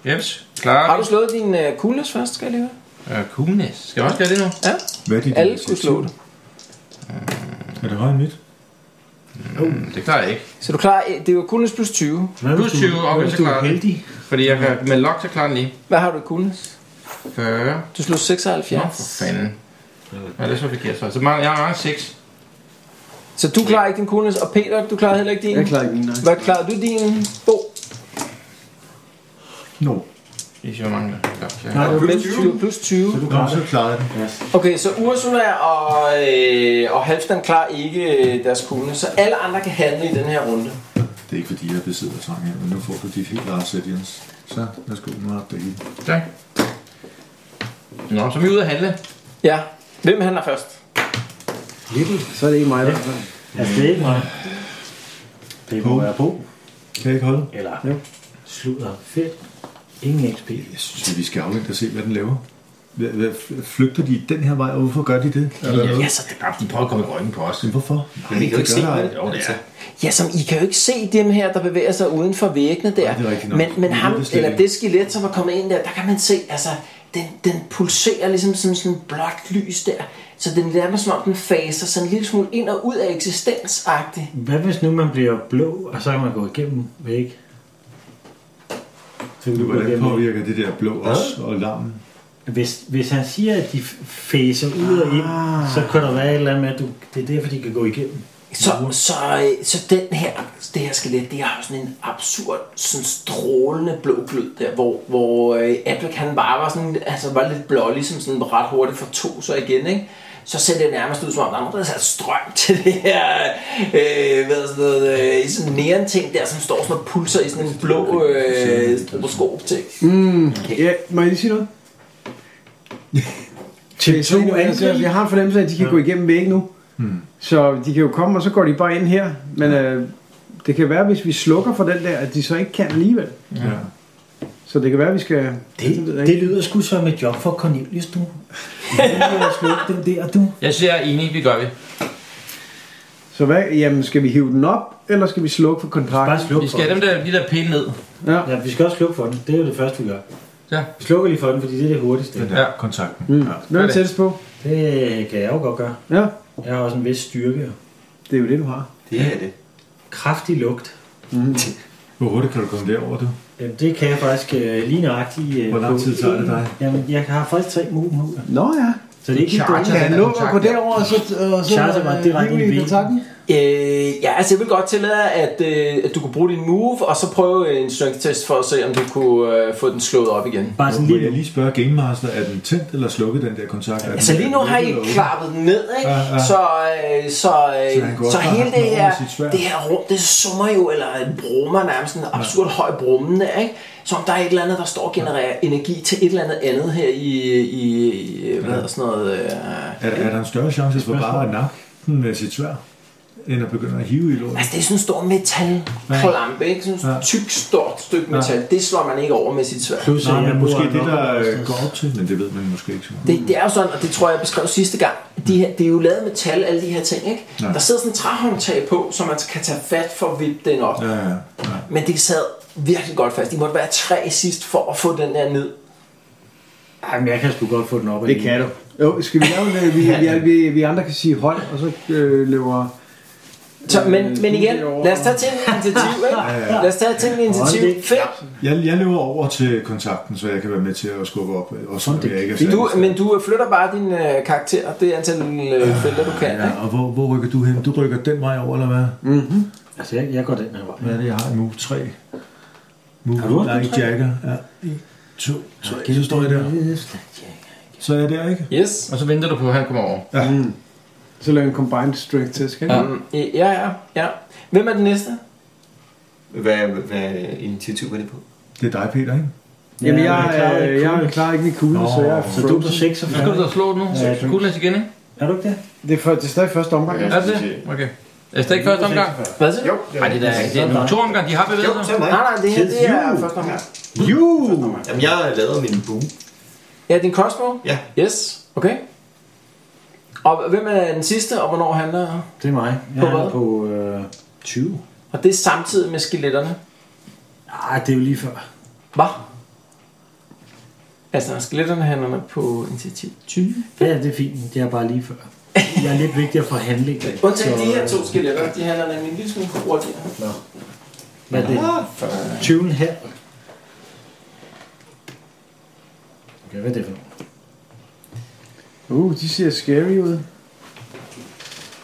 Speaker 5: Jeps. Klar.
Speaker 4: Har du slået din uh, coolness først, skal jeg lige høre?
Speaker 5: Øh, coolness. Skal jeg også gøre det nu?
Speaker 4: Ja,
Speaker 6: Hvad er dit
Speaker 4: alle
Speaker 6: initiativ?
Speaker 4: skulle slå det.
Speaker 6: Er det højere end mit?
Speaker 5: Mm, det klarer jeg ikke.
Speaker 4: Så du klarer, det er jo coolness plus 20.
Speaker 2: Hvad hvis
Speaker 5: Plus 20,
Speaker 2: du,
Speaker 5: okay,
Speaker 2: hvad hvis
Speaker 5: så
Speaker 2: du
Speaker 5: klarer
Speaker 2: er
Speaker 5: jeg det.
Speaker 2: heldig?
Speaker 5: Fordi jeg kan, med lock, så klarer den lige.
Speaker 4: Hvad har du i coolness?
Speaker 5: 40.
Speaker 4: Du slog
Speaker 5: Nå,
Speaker 4: 76.
Speaker 5: for fanden. Ja, det er så forkert så. Så mangler, jeg mangler 6.
Speaker 4: Så du klarer ikke din coolness, og Peter, du klarer heller ikke din.
Speaker 3: Jeg klarer ikke min, nej.
Speaker 4: Hvad klarer du din bog?
Speaker 6: No.
Speaker 5: Det er så mangler. Godt,
Speaker 2: Nej,
Speaker 5: ja.
Speaker 2: det var
Speaker 4: Plus 20. Plus 20.
Speaker 6: Nå, så klarede jeg den.
Speaker 4: Okay, så Ursula og, øh, og Halfdan klarer ikke øh, deres kugle, så alle andre kan handle i den her runde.
Speaker 6: Det er ikke fordi, jeg besidder trang her, men nu får du dit helt eget sæt, Jens. Så, værsgo, nu har det hele.
Speaker 5: Tak. Nå, så er vi ude at handle.
Speaker 4: Ja, hvem handler først?
Speaker 3: Så er det ikke mig, der.
Speaker 2: Altså, det er ikke mig. Det må være på.
Speaker 6: Kan jeg ikke holde?
Speaker 2: Eller
Speaker 3: Jo.
Speaker 2: sludder. Fedt. Ingen XP.
Speaker 6: Jeg synes, at vi skal afvente og se, hvad den laver. Hvad, hvad, flygter de den her vej, og hvorfor gør de det? Er der noget?
Speaker 5: Ja, så det er bare, de prøver at komme i ryggen på os.
Speaker 6: Men hvorfor?
Speaker 5: Men vi kan jo ikke se
Speaker 6: gør der
Speaker 5: det.
Speaker 6: ej.
Speaker 5: Jo, det er.
Speaker 4: Ja, som I kan jo ikke se dem her, der bevæger sig uden for væggene der.
Speaker 6: Nej, det er rigtigt nok.
Speaker 4: men, men
Speaker 6: Det er
Speaker 4: ham,
Speaker 6: det slet
Speaker 4: eller
Speaker 6: ikke.
Speaker 4: det skelet, som er kommet ind der, der kan man se, altså, den, den pulserer ligesom sådan sådan blåt lys der. Så den nærmest som om den faser sådan en lille smule ind og ud af eksistensagtigt.
Speaker 2: Hvad hvis nu man bliver blå, og så kan man gå igennem væk? Så kan du gå
Speaker 6: Hvordan
Speaker 2: igennem væg.
Speaker 6: påvirker det der blå os og larmen?
Speaker 2: Hvis, hvis han siger, at de f- fæser ud og ind, så kan der være et eller andet med, at du, det er derfor, de kan gå igennem.
Speaker 4: Så, så, øh, så den her, det her skelet, det har jo sådan en absurd, sådan strålende blå glød der, hvor, hvor øh, Adric, han bare var, sådan, altså var lidt blå, ligesom sådan ret hurtigt for to så igen, ikke? Så ser det nærmest ud som om, der er nogen, der har sat strøm [LAUGHS] til det her, øh, hvad er sådan noget, øh, i sådan en neon ting der, som står sådan og pulser i sådan en blå øh, stroboskop ting.
Speaker 3: Ja, må jeg lige sige [LAUGHS] noget?
Speaker 2: Til
Speaker 3: Så
Speaker 2: to
Speaker 3: er det jo, altså,
Speaker 2: angreb.
Speaker 3: Jeg har en fornemmelse af, at de kan gå igennem væggen nu. Så de kan jo komme, og så går de bare ind her. Men øh, det kan være, hvis vi slukker for den der, at de så ikke kan alligevel.
Speaker 6: Ja.
Speaker 3: Så det kan være, at vi skal... ved
Speaker 2: Det,
Speaker 3: jeg
Speaker 2: det
Speaker 3: ikke.
Speaker 2: lyder sgu som et job for Cornelius, [LAUGHS] du. Sluk den der, du.
Speaker 5: Jeg siger, jeg er enig. Vi gør vi.
Speaker 3: Så hvad, jamen, skal vi hive den op, eller skal vi slukke for
Speaker 2: Bare
Speaker 3: kontrakten?
Speaker 2: sluk
Speaker 5: Vi
Speaker 2: for
Speaker 5: skal have
Speaker 2: den.
Speaker 5: dem der, de der pæne ned.
Speaker 3: Ja.
Speaker 2: Ja, vi skal også slukke for den. Det er jo det første, vi gør.
Speaker 5: Ja.
Speaker 2: Vi slukker lige for den, fordi det er det hurtigste.
Speaker 6: Den der
Speaker 5: Ja.
Speaker 6: ja. kontakten.
Speaker 3: Mm. Hvem er
Speaker 5: det.
Speaker 3: tættest på?
Speaker 2: Det kan jeg jo godt gøre.
Speaker 3: Ja,
Speaker 2: Jeg har også en vis styrke.
Speaker 3: det er jo det, du har.
Speaker 7: Det er det.
Speaker 2: Kraftig lugt.
Speaker 6: Hvor hurtigt kan du komme derover, du?
Speaker 2: Jamen, det kan jeg faktisk øh, lige nøjagtigt... Øh,
Speaker 6: Hvor lang
Speaker 2: på
Speaker 6: tid tager det
Speaker 2: en-
Speaker 6: dig?
Speaker 2: Jamen, jeg har faktisk tre move nu.
Speaker 3: Nå ja.
Speaker 2: Så det er ikke helt
Speaker 5: Charger
Speaker 2: dårligt.
Speaker 5: den
Speaker 3: Ja,
Speaker 5: der
Speaker 3: nu at
Speaker 5: kontakt
Speaker 3: gå
Speaker 5: der.
Speaker 3: derover, og så... Og så
Speaker 2: Charter mig
Speaker 3: øh,
Speaker 2: direkte
Speaker 3: hive
Speaker 2: i
Speaker 3: i
Speaker 2: væggen.
Speaker 3: kontrakten.
Speaker 4: Øh, ja, altså jeg vil godt tillade, at, øh, at du kunne bruge din move, og så prøve en strength test for at se, om du kunne øh, få den slået op igen.
Speaker 2: Bare sådan
Speaker 6: Må
Speaker 2: Altså,
Speaker 6: jeg
Speaker 2: lige nu.
Speaker 6: lige spørge Game Master, er den tændt eller slukket, den der kontakt? Er den-
Speaker 4: Altså lige nu
Speaker 6: er den
Speaker 4: har I
Speaker 6: lukket eller
Speaker 4: klappet den ned, ikke?
Speaker 6: Ja, ja.
Speaker 4: Så, øh, så,
Speaker 6: Så
Speaker 4: øh,
Speaker 6: han kunne
Speaker 4: så,
Speaker 6: også bare
Speaker 4: hele
Speaker 6: have
Speaker 4: det
Speaker 6: den
Speaker 4: her,
Speaker 6: over sit sværd.
Speaker 4: det her rum, det summer jo, eller en brummer nærmest, en absurd høj brummen, der, ikke? Som om der er et eller andet, der står og genererer energi til et eller andet andet her i, i, i hvad hedder sådan noget... Øh,
Speaker 6: åben? Er, er der en større chance for bare at nakke den med sit svær, end at begynde at hive i låret?
Speaker 4: altså det er sådan en stor metalklampe, ikke? Sådan et
Speaker 6: Ja.
Speaker 4: tykt, stort stykke metal. Det slår man ikke over med sit sværd.
Speaker 2: Plus,
Speaker 6: Nej,
Speaker 2: at jeg
Speaker 6: men måske
Speaker 2: bruger
Speaker 6: det, der
Speaker 2: nok-
Speaker 6: øh, går op til, men det ved man måske ikke så meget.
Speaker 4: Det, det er jo sådan, og det tror jeg, jeg beskrev sidste gang, de her, det er jo lavet af metal, alle de her ting, ikke?
Speaker 6: Ja.
Speaker 4: Der sidder sådan en træhåndtag på, som man kan tage fat for at vippe den op.
Speaker 6: Ja, ja, ja.
Speaker 4: Men det sad virkelig godt fast. De måtte være tre sidst for at få den der ned.
Speaker 2: Jamen, jeg kan sgu godt få den op.
Speaker 3: Det kan du. Jo, skal vi lave det? Vi, vi, vi, vi andre kan sige hold, og så øh, lever...
Speaker 4: Så, men,
Speaker 3: Øh,
Speaker 4: men igen,
Speaker 3: det er over.
Speaker 4: lad os tage til en initiativ, ikke? Lad os tage til en initiativ.
Speaker 2: det-
Speaker 4: Fem.
Speaker 6: Jeg, jeg løber over til kontakten, så jeg kan være med til at skubbe op, og så jeg ikke er særlig
Speaker 4: Du,
Speaker 6: stærk.
Speaker 4: men du flytter bare din øh, karakter, det er antal øh, felter, du kan, ikke?
Speaker 6: Ja, og hvor, hvor rykker du hen? Du rykker den vej over, eller hvad? Mm-hmm.
Speaker 2: Altså, jeg, jeg går den her vej.
Speaker 6: Hvad er det, jeg har i move 3? Move
Speaker 2: Har du også move
Speaker 6: like
Speaker 2: tre?
Speaker 6: Jagger. Ja. 1, 2, 3. Så står jeg der. Så er jeg der, ikke?
Speaker 4: Yes.
Speaker 5: Og så venter du på, at han kommer over.
Speaker 6: Ja.
Speaker 3: Så laver jeg en combined strength test, kan
Speaker 4: Ja.
Speaker 3: jeg?
Speaker 4: Um, ja, ja, ja. Hvem er den næste?
Speaker 7: Hvad, hvad initiativ var det på?
Speaker 6: Det er dig, Peter, ikke?
Speaker 3: Jamen, jeg,
Speaker 2: men
Speaker 3: jeg,
Speaker 2: klarer
Speaker 3: jeg,
Speaker 2: ikke
Speaker 3: jeg
Speaker 2: kuglen.
Speaker 3: klarer ikke min kugle, så jeg er
Speaker 2: Så du er på
Speaker 3: frozen.
Speaker 2: 6 og
Speaker 5: Nu skal du da slå nu.
Speaker 2: Ja, jeg
Speaker 5: Ja, Kuglas igen, ikke?
Speaker 2: Er du ikke det?
Speaker 3: Det er, for, det er stadig første omgang.
Speaker 5: Er det det? Okay. Er det ikke første omgang?
Speaker 4: Hvad siger
Speaker 7: Jo,
Speaker 4: du?
Speaker 5: Nej, det er, da- det er nu to omgang. De har
Speaker 7: Jo,
Speaker 5: bevæget
Speaker 7: så
Speaker 5: sig.
Speaker 7: er mig. Uh.
Speaker 4: Nej, nej, det her det er første omgang.
Speaker 3: You!
Speaker 7: Jamen, jeg lavede min bue.
Speaker 4: Ja, din crossbow?
Speaker 7: Ja.
Speaker 4: Yes, okay. Og hvem er den sidste, og hvornår handler
Speaker 2: Det er mig. Jeg
Speaker 4: På
Speaker 2: er
Speaker 4: hvad?
Speaker 2: på øh, 20.
Speaker 4: Og det er samtidig med skeletterne.
Speaker 2: Nej, det er jo lige før.
Speaker 4: Hvad? Altså, skeletterne handler på initiativ 20.
Speaker 2: Ja, det er fint. Det er bare lige før. Jeg er lidt vigtigere for handling.
Speaker 4: Undtagen
Speaker 2: Så,
Speaker 4: de her to skeletter, de handler nemlig en lille smule hurtigere.
Speaker 2: Hvad er det? 20 her. Okay, hvad er det for noget?
Speaker 3: Uh, de ser scary ud.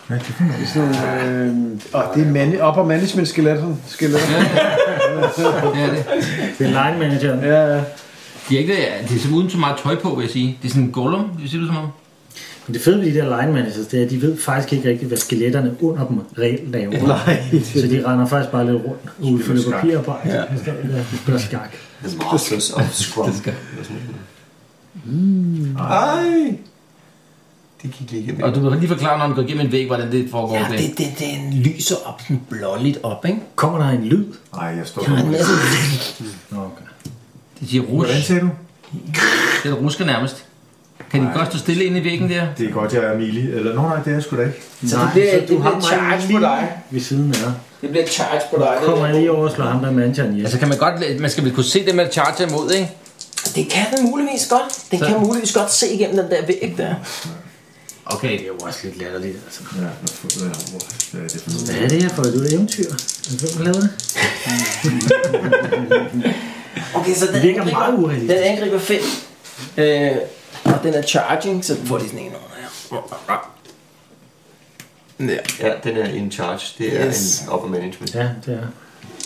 Speaker 6: Hvad er det for
Speaker 3: Det er sådan nogle... Øh, åh, det er man, upper management skeletter. skeletter.
Speaker 5: Ja, det.
Speaker 2: Det er line manageren.
Speaker 3: Ja, ja.
Speaker 5: De er ikke det, det er som uden så meget tøj på, vil jeg sige. Det er sådan en golem, det ser du som om.
Speaker 2: Men det fede ved de der line managers, det er, at de ved faktisk ikke rigtigt, hvad skeletterne under dem reelt laver.
Speaker 3: Nej.
Speaker 2: Så de render faktisk bare lidt rundt og udfylder papirarbejde. Ja. De spiller skak.
Speaker 7: The Masters of Scrum. det skal. Ej. Det gik lige igennem.
Speaker 5: Og du kan lige forklare, når han går igennem en væg, hvordan det foregår. Ja, det.
Speaker 4: det, den lyser op, sådan blåligt op, ikke?
Speaker 2: Kommer der en lyd?
Speaker 6: Nej, jeg står
Speaker 2: altså,
Speaker 5: det siger rus.
Speaker 6: Hvordan sagde du?
Speaker 5: Det er rusker nærmest. Kan de godt stå stille inde i væggen der?
Speaker 6: Det er godt, jeg er Mili. Eller, nå nej, det er jeg sgu da ikke.
Speaker 4: Så det bliver, det bliver et charge på dig.
Speaker 2: ved siden af dig.
Speaker 4: Det bliver et charge på dig.
Speaker 2: Kommer jeg
Speaker 4: Det,
Speaker 2: lige over og slår ham der manageren ihjel.
Speaker 5: Altså kan man godt, man skal vel kunne se det med at charge imod, ikke?
Speaker 4: det kan den muligvis godt. Den kan muligvis godt se igennem den der væg der.
Speaker 5: Okay.
Speaker 2: Det er jo også lidt latterligt, altså.
Speaker 6: Ja, hvad for- hvad er- hvor- hvad er det for noget?
Speaker 2: Hvad er det her for et lille eventyr? Hvem har lavet det?
Speaker 4: Okay, så den
Speaker 2: Det virker meget urealistisk.
Speaker 4: Den angriber 5. Øh, og den er charging, så får de sådan en under her. Ja.
Speaker 7: Ja, den er in charge. Det er
Speaker 4: Yes.
Speaker 7: yes. en upper management.
Speaker 2: Ja, det er.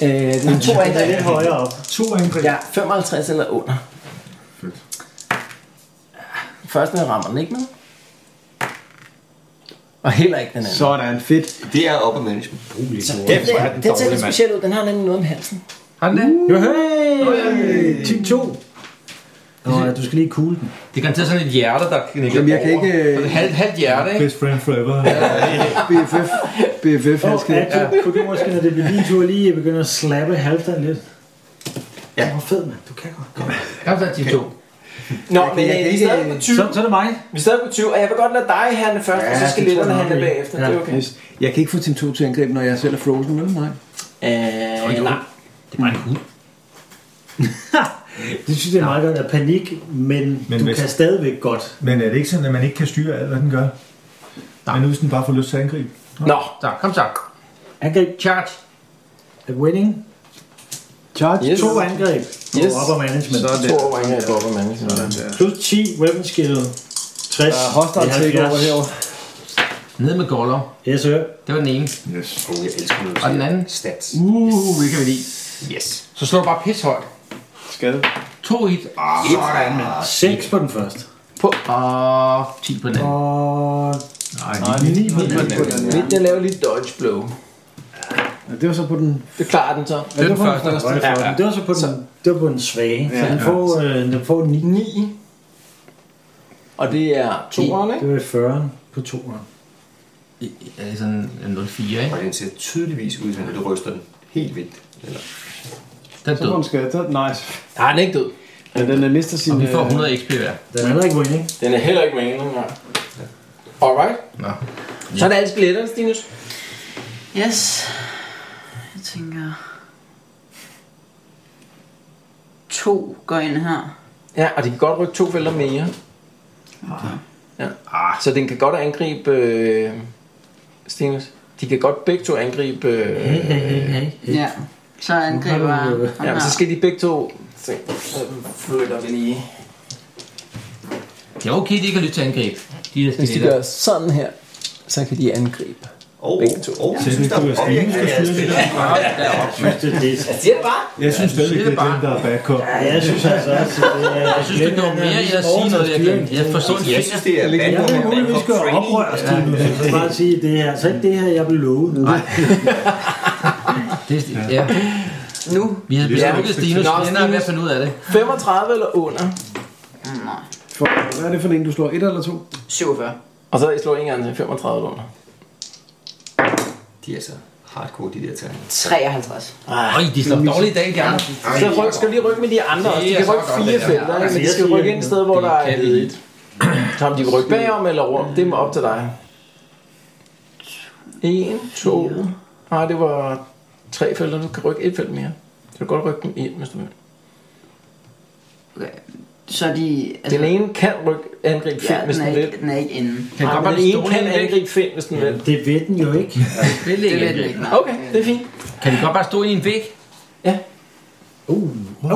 Speaker 4: Øh, den er to angreb.
Speaker 2: Lidt højere op.
Speaker 6: To angreb.
Speaker 4: Ja, 55 eller under.
Speaker 6: Fedt.
Speaker 4: Først den rammer den ikke med. Og heller ikke den anden. Så
Speaker 3: Sådan, fedt.
Speaker 7: Det er upper management.
Speaker 4: den, der, den ser lidt speciel ud. Den har nemlig noget om halsen.
Speaker 5: Har den det?
Speaker 2: Jo, hey! Team 2. Nå, ja, du skal lige kugle den.
Speaker 5: Det er garanteret sådan et hjerte, der knækker
Speaker 3: Jamen, jeg kan
Speaker 5: over.
Speaker 3: ikke-
Speaker 5: Sådan et halvt, halvt hjerte, ikke?
Speaker 6: Best friend forever.
Speaker 3: BFF. BFF,
Speaker 2: Åh,
Speaker 3: han
Speaker 2: oh,
Speaker 3: skal...
Speaker 2: ja. kunne du måske, når det bliver din tur, lige begynde at slappe halvdagen lidt? Ja. Hvor fed, mand. Du kan godt. Kom.
Speaker 5: Kom så, team 2.
Speaker 4: Nå, men øh, vi er stadig på 20.
Speaker 2: Så, så er det mig.
Speaker 4: Vi er stadig på 20, og jeg vil godt lade dig handle først, ja, og så skal
Speaker 2: det tror
Speaker 4: letterne
Speaker 2: jeg nok,
Speaker 4: handle
Speaker 2: det er.
Speaker 4: bagefter. Ja. Det er okay.
Speaker 3: Yes. Jeg kan ikke få Team 2 til angreb, når jeg selv er frozen, vel? Nej.
Speaker 4: Øh, nej.
Speaker 5: Det er bare en hund.
Speaker 2: Det synes jeg er meget godt af panik, men, men
Speaker 6: Men
Speaker 2: du
Speaker 6: hvis-
Speaker 2: kan stadigvæk godt.
Speaker 6: Men er det ikke sådan, at man ikke kan styre alt, hvad den gør? Men nu hvis den bare får lyst til at angribe.
Speaker 4: Nå,
Speaker 5: Så, kom så.
Speaker 2: Angreb
Speaker 5: Charge.
Speaker 2: er winning.
Speaker 3: Charge.
Speaker 4: yes.
Speaker 2: To angreb. Yes.
Speaker 4: Yes.
Speaker 2: Og upper management.
Speaker 4: To overringer i Bobber Manning.
Speaker 2: Plus 10 weapon skill. 60. Der
Speaker 3: Uh, hostile take over herovre.
Speaker 5: Ned med goller.
Speaker 2: Yes, sir.
Speaker 5: Det var den ene.
Speaker 6: Yes.
Speaker 7: Oh, jeg elsker noget.
Speaker 5: Og den anden.
Speaker 7: Stats.
Speaker 5: Uh, det kan vi lide. Yes. Så slår du bare pishøjt.
Speaker 3: Skade.
Speaker 5: To hit. Ah, sådan, mand.
Speaker 2: 6 på den første.
Speaker 5: På. Og 10 på den anden.
Speaker 2: Og
Speaker 6: Nej,
Speaker 2: ni på den anden.
Speaker 4: Lidt, jeg laver lige dodge blow.
Speaker 3: Ja, det var så på den...
Speaker 4: Det klarer den så.
Speaker 5: Det er den første.
Speaker 2: Ja, ja. Det var så på den, det var på den svage. Ja, så den får, øh, den får 9.
Speaker 4: 9. Og det er 2 ikke?
Speaker 2: Det var 40 på 2'eren.
Speaker 5: Er det sådan en 0,4, ikke?
Speaker 7: Og den ser tydeligvis ud, som om det ryster den helt vildt. Eller,
Speaker 5: Den er
Speaker 3: Så
Speaker 5: død.
Speaker 3: på den skade. Det er nice.
Speaker 4: Nej, den er ikke død.
Speaker 3: Ja, den øh, mister sin...
Speaker 5: Og vi får
Speaker 3: øh,
Speaker 5: 100 XP hver.
Speaker 2: Den er heller ikke winning.
Speaker 4: Den er heller ikke med endnu, nej. Alright.
Speaker 5: Nå.
Speaker 4: Så er der alle skeletterne, Stinus.
Speaker 8: Yes. Jeg tænker... To går ind her.
Speaker 4: Ja, og de kan godt rykke to felter mere. Ah. Ja. Så den kan godt angribe... Øh, Stinus. De kan godt begge to angribe... Øh,
Speaker 8: Ja. Så angriber
Speaker 2: Nu har du, øh,
Speaker 8: ham
Speaker 4: ja, men så
Speaker 8: her.
Speaker 4: skal de begge to... Se, så flytter vi lige.
Speaker 5: Det er okay, de ikke har lyst til at angribe. De er
Speaker 4: Hvis de
Speaker 5: stille.
Speaker 4: gør sådan her, så kan de angribe.
Speaker 7: Og
Speaker 4: Begge to.
Speaker 7: og-
Speaker 6: Så
Speaker 7: jeg synes,
Speaker 6: det
Speaker 7: der
Speaker 6: kunne være
Speaker 7: er
Speaker 6: stemning
Speaker 7: påvirkning
Speaker 6: for
Speaker 7: af
Speaker 6: styrelsen.
Speaker 7: spillet.
Speaker 2: Jeg synes, det, det,
Speaker 4: Jeg siger det bare.
Speaker 6: Jeg synes stadig,
Speaker 5: det
Speaker 6: det er
Speaker 5: bare.
Speaker 6: den, der er backup.
Speaker 2: ja, jeg synes altså også, at det er...
Speaker 1: Jeg synes, det var mere, jeg siger noget, jeg glemte. Jeg forstår ikke.
Speaker 7: Jeg synes, det er
Speaker 2: Jeg
Speaker 7: vandrum.
Speaker 2: vil muligvis gøre oprør, Stine. Jeg vil bare sige det her. Så ikke det her, jeg blev lovet. Nej.
Speaker 1: Det, ja.
Speaker 8: Nu?
Speaker 1: Vi har
Speaker 6: Ligesom
Speaker 1: besluttet Stinus.
Speaker 4: Nå,
Speaker 1: Vi ender med at
Speaker 4: Stinus.
Speaker 1: finde ud af det.
Speaker 4: 35 eller under.
Speaker 8: Nej.
Speaker 3: For, hvad er det for en, du slår? Et eller to?
Speaker 8: 47.
Speaker 4: Og så slår ingen anden 35 eller under.
Speaker 7: De er så hardcore, de der tal.
Speaker 8: 53.
Speaker 1: Øj, de slår dårligt i dag, de andre.
Speaker 4: Så ryk, skal vi lige rykke med de andre også. De
Speaker 1: Det er
Speaker 4: kan rykke
Speaker 1: så godt,
Speaker 4: fire
Speaker 1: det der.
Speaker 4: felter, ikke?
Speaker 2: Altså,
Speaker 4: men de
Speaker 2: jeg
Speaker 4: skal
Speaker 2: siger,
Speaker 4: rykke ind et sted, hvor
Speaker 1: det
Speaker 4: der er
Speaker 1: kan vi
Speaker 4: ledigt. Tom, de vil rykke bagom eller rundt. Det er op til dig. En, to. Nej, det var tre felter. Du kan rykke et felt mere. Så du kan godt rykke dem ind, hvis du vil.
Speaker 8: Okay. Så er de...
Speaker 4: Den ene kan rykke angribe fem,
Speaker 8: ja,
Speaker 4: hvis
Speaker 8: den, er
Speaker 4: den
Speaker 8: ikke,
Speaker 4: vil.
Speaker 8: den er ikke inde.
Speaker 1: Kan
Speaker 4: Nej,
Speaker 1: godt
Speaker 4: men
Speaker 1: være
Speaker 4: den
Speaker 1: lidt
Speaker 4: ene kan
Speaker 1: stående
Speaker 4: angribe fem, hvis den vil.
Speaker 2: Det ved den jo ikke.
Speaker 1: Det
Speaker 8: Det ved
Speaker 1: ligger
Speaker 8: den
Speaker 1: ikke.
Speaker 8: ikke, nej.
Speaker 4: Okay, det er fint.
Speaker 1: Kan de godt bare stå i en væg?
Speaker 2: [LAUGHS] Uh,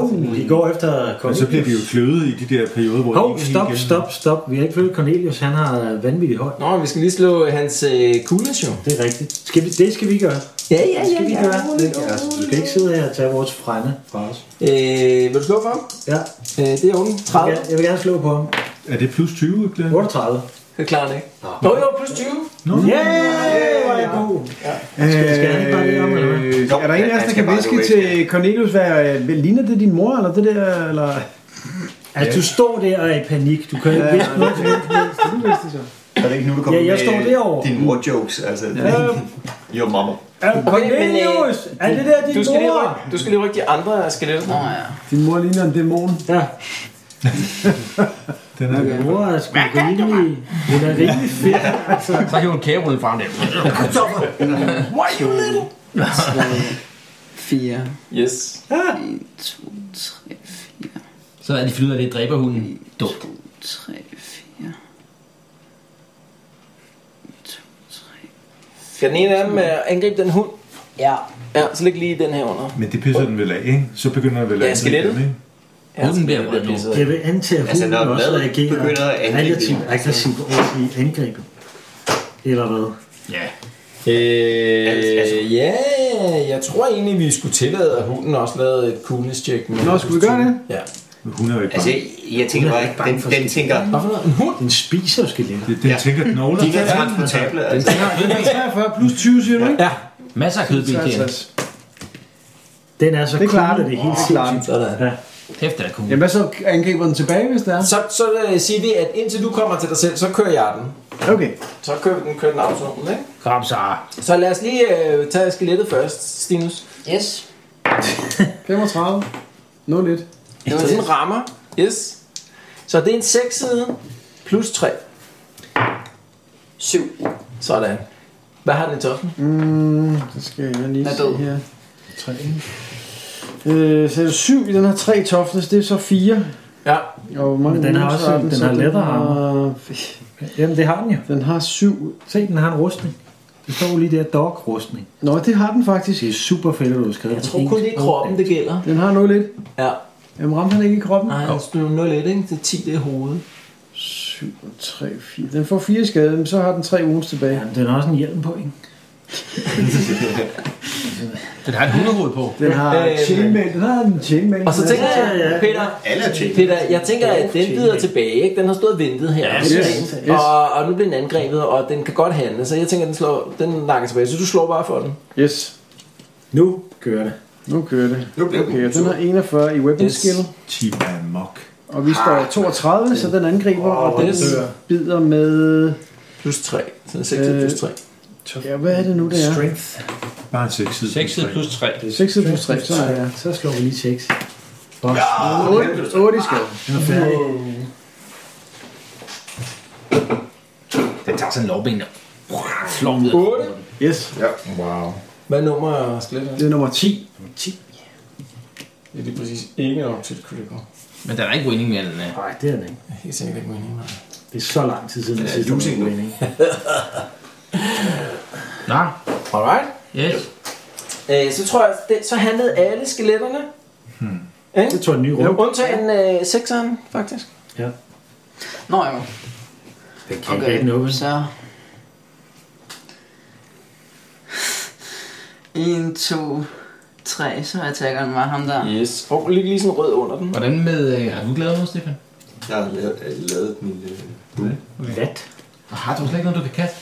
Speaker 2: uh, de går efter
Speaker 6: Men så bliver de jo
Speaker 2: Cornelius.
Speaker 6: kløde i de der perioder, hvor
Speaker 2: Hov,
Speaker 6: de ikke
Speaker 2: stop,
Speaker 6: igen-
Speaker 2: stop, stop. Vi har ikke følt Cornelius. Han har vanvittig højt.
Speaker 4: Nå, vi skal lige slå hans øh, coolness jo.
Speaker 2: Det er rigtigt. Skal vi, det skal vi gøre.
Speaker 4: Ja, ja,
Speaker 2: Det
Speaker 4: ja.
Speaker 2: skal vi
Speaker 4: ja.
Speaker 2: gøre. Det, altså, du skal ikke sidde her og tage vores frænde fra os.
Speaker 4: Øh, vil du slå for ham?
Speaker 2: Ja,
Speaker 4: Øh, det er under 30.
Speaker 2: jeg, jeg vil gerne slå på ham.
Speaker 6: Er det plus 20, Glenn?
Speaker 2: 38.
Speaker 4: Det klarer han ikke. Nå, jo, plus 20.
Speaker 2: Yeah, hvor er jeg god. Skal- skal han ikke bare lige om, eller hvad?
Speaker 3: Øh,
Speaker 7: Jo,
Speaker 3: er der en af
Speaker 7: han
Speaker 3: os, der
Speaker 7: skal
Speaker 3: kan
Speaker 7: bare
Speaker 3: viske
Speaker 7: nu
Speaker 3: til Cornelius, hvad, øh, ligner det din mor, eller det der, eller...
Speaker 2: Altså, du står der og er i panik. Du kan ikke vidste noget.
Speaker 3: det er det så.
Speaker 7: Er det ikke nu, du kommer
Speaker 2: Ja, jeg står derovre.
Speaker 7: dine mor-jokes? Altså, jo, mamma.
Speaker 2: Øh, Cornelius, er det der
Speaker 4: Du
Speaker 2: din
Speaker 4: skal, lige rykke,
Speaker 2: mor?
Speaker 4: du skal lige rykke de andre skeletter.
Speaker 8: Nå ja.
Speaker 3: Din mor ligner en dæmon. [LAUGHS]
Speaker 2: Ja,
Speaker 6: Den er
Speaker 2: min mor er sgu rimelig, hun er rimelig fedt.
Speaker 1: Så kan hun kæberullen frem der.
Speaker 8: 4,
Speaker 4: Yes.
Speaker 8: 1, 2, 3, 4,
Speaker 1: Så er de fundet ud af, at det dræber hunden. Dumt.
Speaker 8: 3, 4. 2, 3.
Speaker 4: Skal den ene af dem øh, angribe den hund?
Speaker 8: Ja.
Speaker 4: Ja, så læg lige den her under.
Speaker 6: Men det pisser den vel af, ikke? Så begynder den vel
Speaker 4: Ja,
Speaker 6: at
Speaker 4: skelettet.
Speaker 6: den, ikke?
Speaker 4: Ja,
Speaker 1: Hunden bliver rød nu.
Speaker 4: pisset.
Speaker 2: Jeg vil antage, at
Speaker 7: Altså,
Speaker 2: hunden altså,
Speaker 7: når
Speaker 2: også
Speaker 7: maden
Speaker 2: reagerer
Speaker 7: begynder at angribe
Speaker 2: relativt
Speaker 7: den.
Speaker 2: aggressivt over i angrebet. Eller hvad?
Speaker 1: Ja.
Speaker 4: Øh, ja, jeg tror egentlig, vi skulle tillade, at hunden også lavede et coolness check. med
Speaker 3: Nå, skulle vi
Speaker 4: plus
Speaker 3: gøre
Speaker 4: 20.
Speaker 3: det?
Speaker 4: Ja.
Speaker 6: Men Hun er jo ikke
Speaker 7: Altså,
Speaker 6: bange.
Speaker 7: jeg tænker bare, ikke, den, den tænker,
Speaker 4: Hvorfor noget? En hund?
Speaker 2: Den spiser jo skeletter.
Speaker 6: Det- Den
Speaker 7: Ja.
Speaker 6: tænker den over.
Speaker 7: de er transportable. Altså,
Speaker 3: 43 plus 20, siger du, ikke?
Speaker 4: Ja,
Speaker 1: Masser af kødben til hende.
Speaker 3: 53.
Speaker 2: Den er så
Speaker 3: Det klarer
Speaker 2: cool, at
Speaker 3: den.
Speaker 2: det er helt
Speaker 3: Det klarer
Speaker 2: sindssygt.
Speaker 4: sådan.
Speaker 2: Ja.
Speaker 1: Kæft, der er cool.
Speaker 3: Jamen, hvad så angriber den tilbage, hvis det er?
Speaker 4: Så, så øh, siger vi, at indtil du kommer til dig selv, så kører jeg den.
Speaker 3: Okay.
Speaker 4: Så kører den, kører den autonomen, ikke?
Speaker 1: Kom så.
Speaker 4: Så lad os lige øh, tage skelettet først, Stinus.
Speaker 8: Yes.
Speaker 3: 35. 0 1.
Speaker 4: Det var sådan en rammer. Yes. Så det er en 6 side plus 3.
Speaker 8: 7.
Speaker 4: Sådan. Hvad har den i toppen?
Speaker 3: Mm, så skal jeg lige
Speaker 8: Hvad
Speaker 3: se
Speaker 8: død?
Speaker 3: her. 3. Øh, så er det 7 i den her 3 toughness, det er så 4.
Speaker 4: Ja.
Speaker 3: Og hvor mange
Speaker 2: Men den har
Speaker 3: uger
Speaker 2: også-
Speaker 3: så er
Speaker 2: den
Speaker 3: så
Speaker 2: har lettere armor. Jamen, det har den jo.
Speaker 3: Den har 7.
Speaker 2: Se, den har en rustning. Det står jo lige der, dog-rustning.
Speaker 3: Nå, det har den faktisk.
Speaker 2: Det er super fedt, at du har skrevet.
Speaker 4: Jeg
Speaker 2: på
Speaker 4: tror kun
Speaker 2: engelsk.
Speaker 4: det er kroppen, det gælder.
Speaker 3: Den har 0 1.
Speaker 4: Ja.
Speaker 3: Jamen, ramte han ikke i kroppen?
Speaker 4: Nej, han stod 0 1, ikke? Det er 10, det er hovedet.
Speaker 3: 7, 3, 4. Den får 4 skade, men så har den 3 uger tilbage.
Speaker 2: Jamen, den har også en hjelm på, ikke?
Speaker 1: Den har et hundehoved på.
Speaker 3: Den har
Speaker 4: Øh,
Speaker 3: chainmail. Den har en chainmail.
Speaker 4: Og så tænker
Speaker 2: Ja,
Speaker 4: jeg,
Speaker 2: ja.
Speaker 4: Peter,
Speaker 7: alle er tjekket.
Speaker 4: Peter, jeg tænker, at den bider tilbage, ikke? Den har stået og ventet her.
Speaker 1: Ja,
Speaker 4: Yes,
Speaker 3: yes, yes.
Speaker 4: Og, og nu bliver den angrebet, og den kan godt handle, så jeg tænker, at den, slår, den nakker tilbage. Så du slår bare for den.
Speaker 3: Yes.
Speaker 2: Nu kører det.
Speaker 3: Nu kører det.
Speaker 7: Nu bliver
Speaker 3: Okay, og den har 41 i weapon
Speaker 4: Yes.
Speaker 3: skill.
Speaker 6: Team er mok.
Speaker 3: Og vi står 32, så Ah, den angriber, og den
Speaker 4: yes.
Speaker 3: bider med...
Speaker 4: Plus 3. Så det er 6 øh,
Speaker 3: Øh,
Speaker 4: plus 3.
Speaker 3: Ja, hvad er det nu, det er?
Speaker 2: Strength.
Speaker 6: Bare en 6 side.
Speaker 1: 6 plus 3.
Speaker 3: 6 plus 3, så er det.
Speaker 2: Så slår vi lige 6. Boss. Ja.
Speaker 3: 8, 8 i skade.
Speaker 2: Den er færdig.
Speaker 1: Den tager sådan en lovben der. Slår ud.
Speaker 4: 8.
Speaker 3: Yes,
Speaker 4: Hvad nummer er skelettet?
Speaker 3: det er nummer 10.
Speaker 4: Det er lige præcis ikke nok til et critical.
Speaker 1: Men der er ikke winning mere,
Speaker 5: øh,
Speaker 1: den er.
Speaker 2: Nej, det er den ikke.
Speaker 4: Jeg er helt sikkert ikke meningen.
Speaker 2: Det er så lang tid siden, vi sidste
Speaker 7: losing
Speaker 2: har
Speaker 7: nu.
Speaker 2: været inde, ikke?
Speaker 1: Nå,
Speaker 4: Alright.
Speaker 1: yes.
Speaker 4: Øh, så tror jeg, det, så handlede alle skeletterne. Hmm.
Speaker 2: Det tror jeg er en ny
Speaker 4: Ja,
Speaker 2: runde.
Speaker 4: undtagen øh, sekseren, faktisk.
Speaker 2: Ja.
Speaker 8: Nå jo.
Speaker 2: Den kan okay. ikke nå, vel?
Speaker 8: Så En, to, tre, så er attackeren var ham der.
Speaker 4: Yes. Og oh, lige, lige sådan rød under den.
Speaker 5: Hvordan med... Øh, har du glædet mig, Stefan?
Speaker 7: Jeg har lavet, øh, lavet min... Øh,
Speaker 2: Lat.
Speaker 5: Og Har du slet ikke noget, du kan kaste?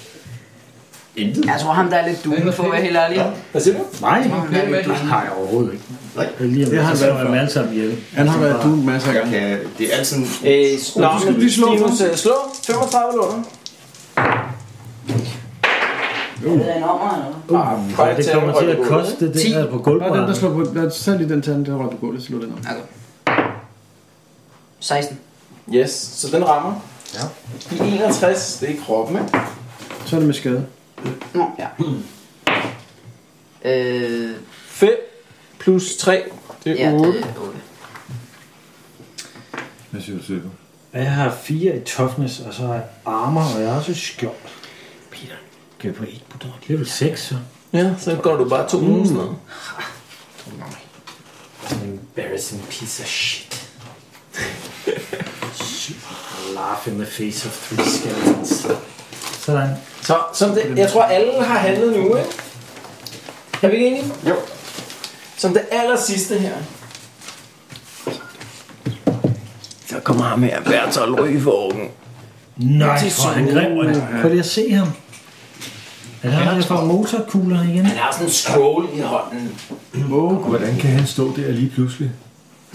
Speaker 7: intet.
Speaker 8: Jeg tror ham der er lidt duen for, at være helt ærlig.
Speaker 4: Hvad siger du?
Speaker 2: Nej,
Speaker 5: Hvad med
Speaker 2: det har jeg overhovedet ikke.
Speaker 7: Nej.
Speaker 2: Lige om
Speaker 3: Det
Speaker 2: det
Speaker 3: har
Speaker 2: har
Speaker 3: han
Speaker 2: så
Speaker 3: været
Speaker 2: er man alle sammen ihjel.
Speaker 3: Han har været
Speaker 2: du.
Speaker 3: du masser af
Speaker 7: Jeg
Speaker 3: gange.
Speaker 7: kan, det er altid...
Speaker 4: Øh, nå,
Speaker 3: du skal
Speaker 4: men
Speaker 3: lige slå
Speaker 4: Stinus,
Speaker 3: først.
Speaker 4: øh, slå 35 eller under.
Speaker 8: Det er en ommer, eller hvad?
Speaker 4: Uh,
Speaker 2: Ja, det kommer til at koste det
Speaker 8: Ti.
Speaker 2: der på
Speaker 3: Bare den, der
Speaker 2: gulvbrænden.
Speaker 3: slår på... Lad os tage lige den tand, der rører på gulvet, så slå den op.
Speaker 8: 16.
Speaker 4: Yes, så den rammer. Ja. I 61, det er kroppen, ikke?
Speaker 3: Så er det med skade.
Speaker 8: Nå, ja. Øh,
Speaker 4: 5 plus 3, det
Speaker 8: ja,
Speaker 4: er 8.
Speaker 8: det er 8.
Speaker 6: Hvad siger du, Silver?
Speaker 2: Jeg har fire i toughness, og så har jeg armor, og jeg har også skjold.
Speaker 5: Kan vi på et på døren?
Speaker 2: Det er vel seks, så.
Speaker 4: Ja, så går du bare to mm. uger sådan noget.
Speaker 2: Embarrassing piece of shit. Laugh in the face of three skeletons. Sådan.
Speaker 4: Så som det, jeg tror, alle har handlet nu, ikke? Er vi ikke enige?
Speaker 7: Jo.
Speaker 4: Som det aller sidste her.
Speaker 9: Så kommer ham her, Bertolt Rygeforken.
Speaker 2: Nej, hvor er han grim, mand. Prøv lige at se ham. Er det ham, der får motorkugler igen?
Speaker 4: Han har sådan en scroll i hånden.
Speaker 6: Og hvordan kan han stå der lige pludselig?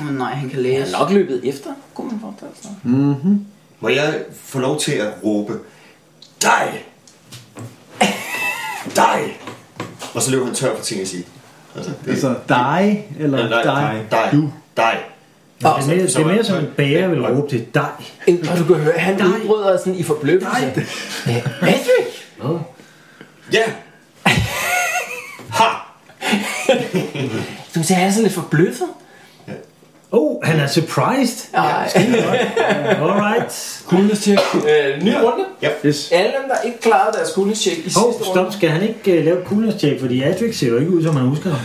Speaker 8: Åh nej, han kan
Speaker 4: Jeg
Speaker 8: læse.
Speaker 4: er nok løbet efter, kunne man forestille sig.
Speaker 7: Må jeg få lov til at råbe, dig! [LAUGHS] dig! Og så løber han tør for ting at sige. Altså, det,
Speaker 3: Altså dig, eller
Speaker 7: Ja, nej,
Speaker 3: dig.
Speaker 7: dig,
Speaker 6: Du.
Speaker 7: dig.
Speaker 2: Det er mere, det er mere som en bager vil råbe til dig.
Speaker 4: En, og du kan høre, han udbryder sådan i forbløffelse. Øh, Patrick!
Speaker 7: Ja! ha!
Speaker 4: Du ser, han er sådan lidt forbløffet.
Speaker 2: Oh, han er surprised.
Speaker 4: Ej.
Speaker 2: [LAUGHS] Alright.
Speaker 4: Coolness check. Øh, ny runde.
Speaker 3: Yes.
Speaker 4: Alle dem, der ikke klarede deres coolness check i sidste
Speaker 2: Hov,
Speaker 4: runde.
Speaker 2: stop. Skal han ikke uh, lave coolness check? Fordi Adric ser jo ikke ud, som han husker ham.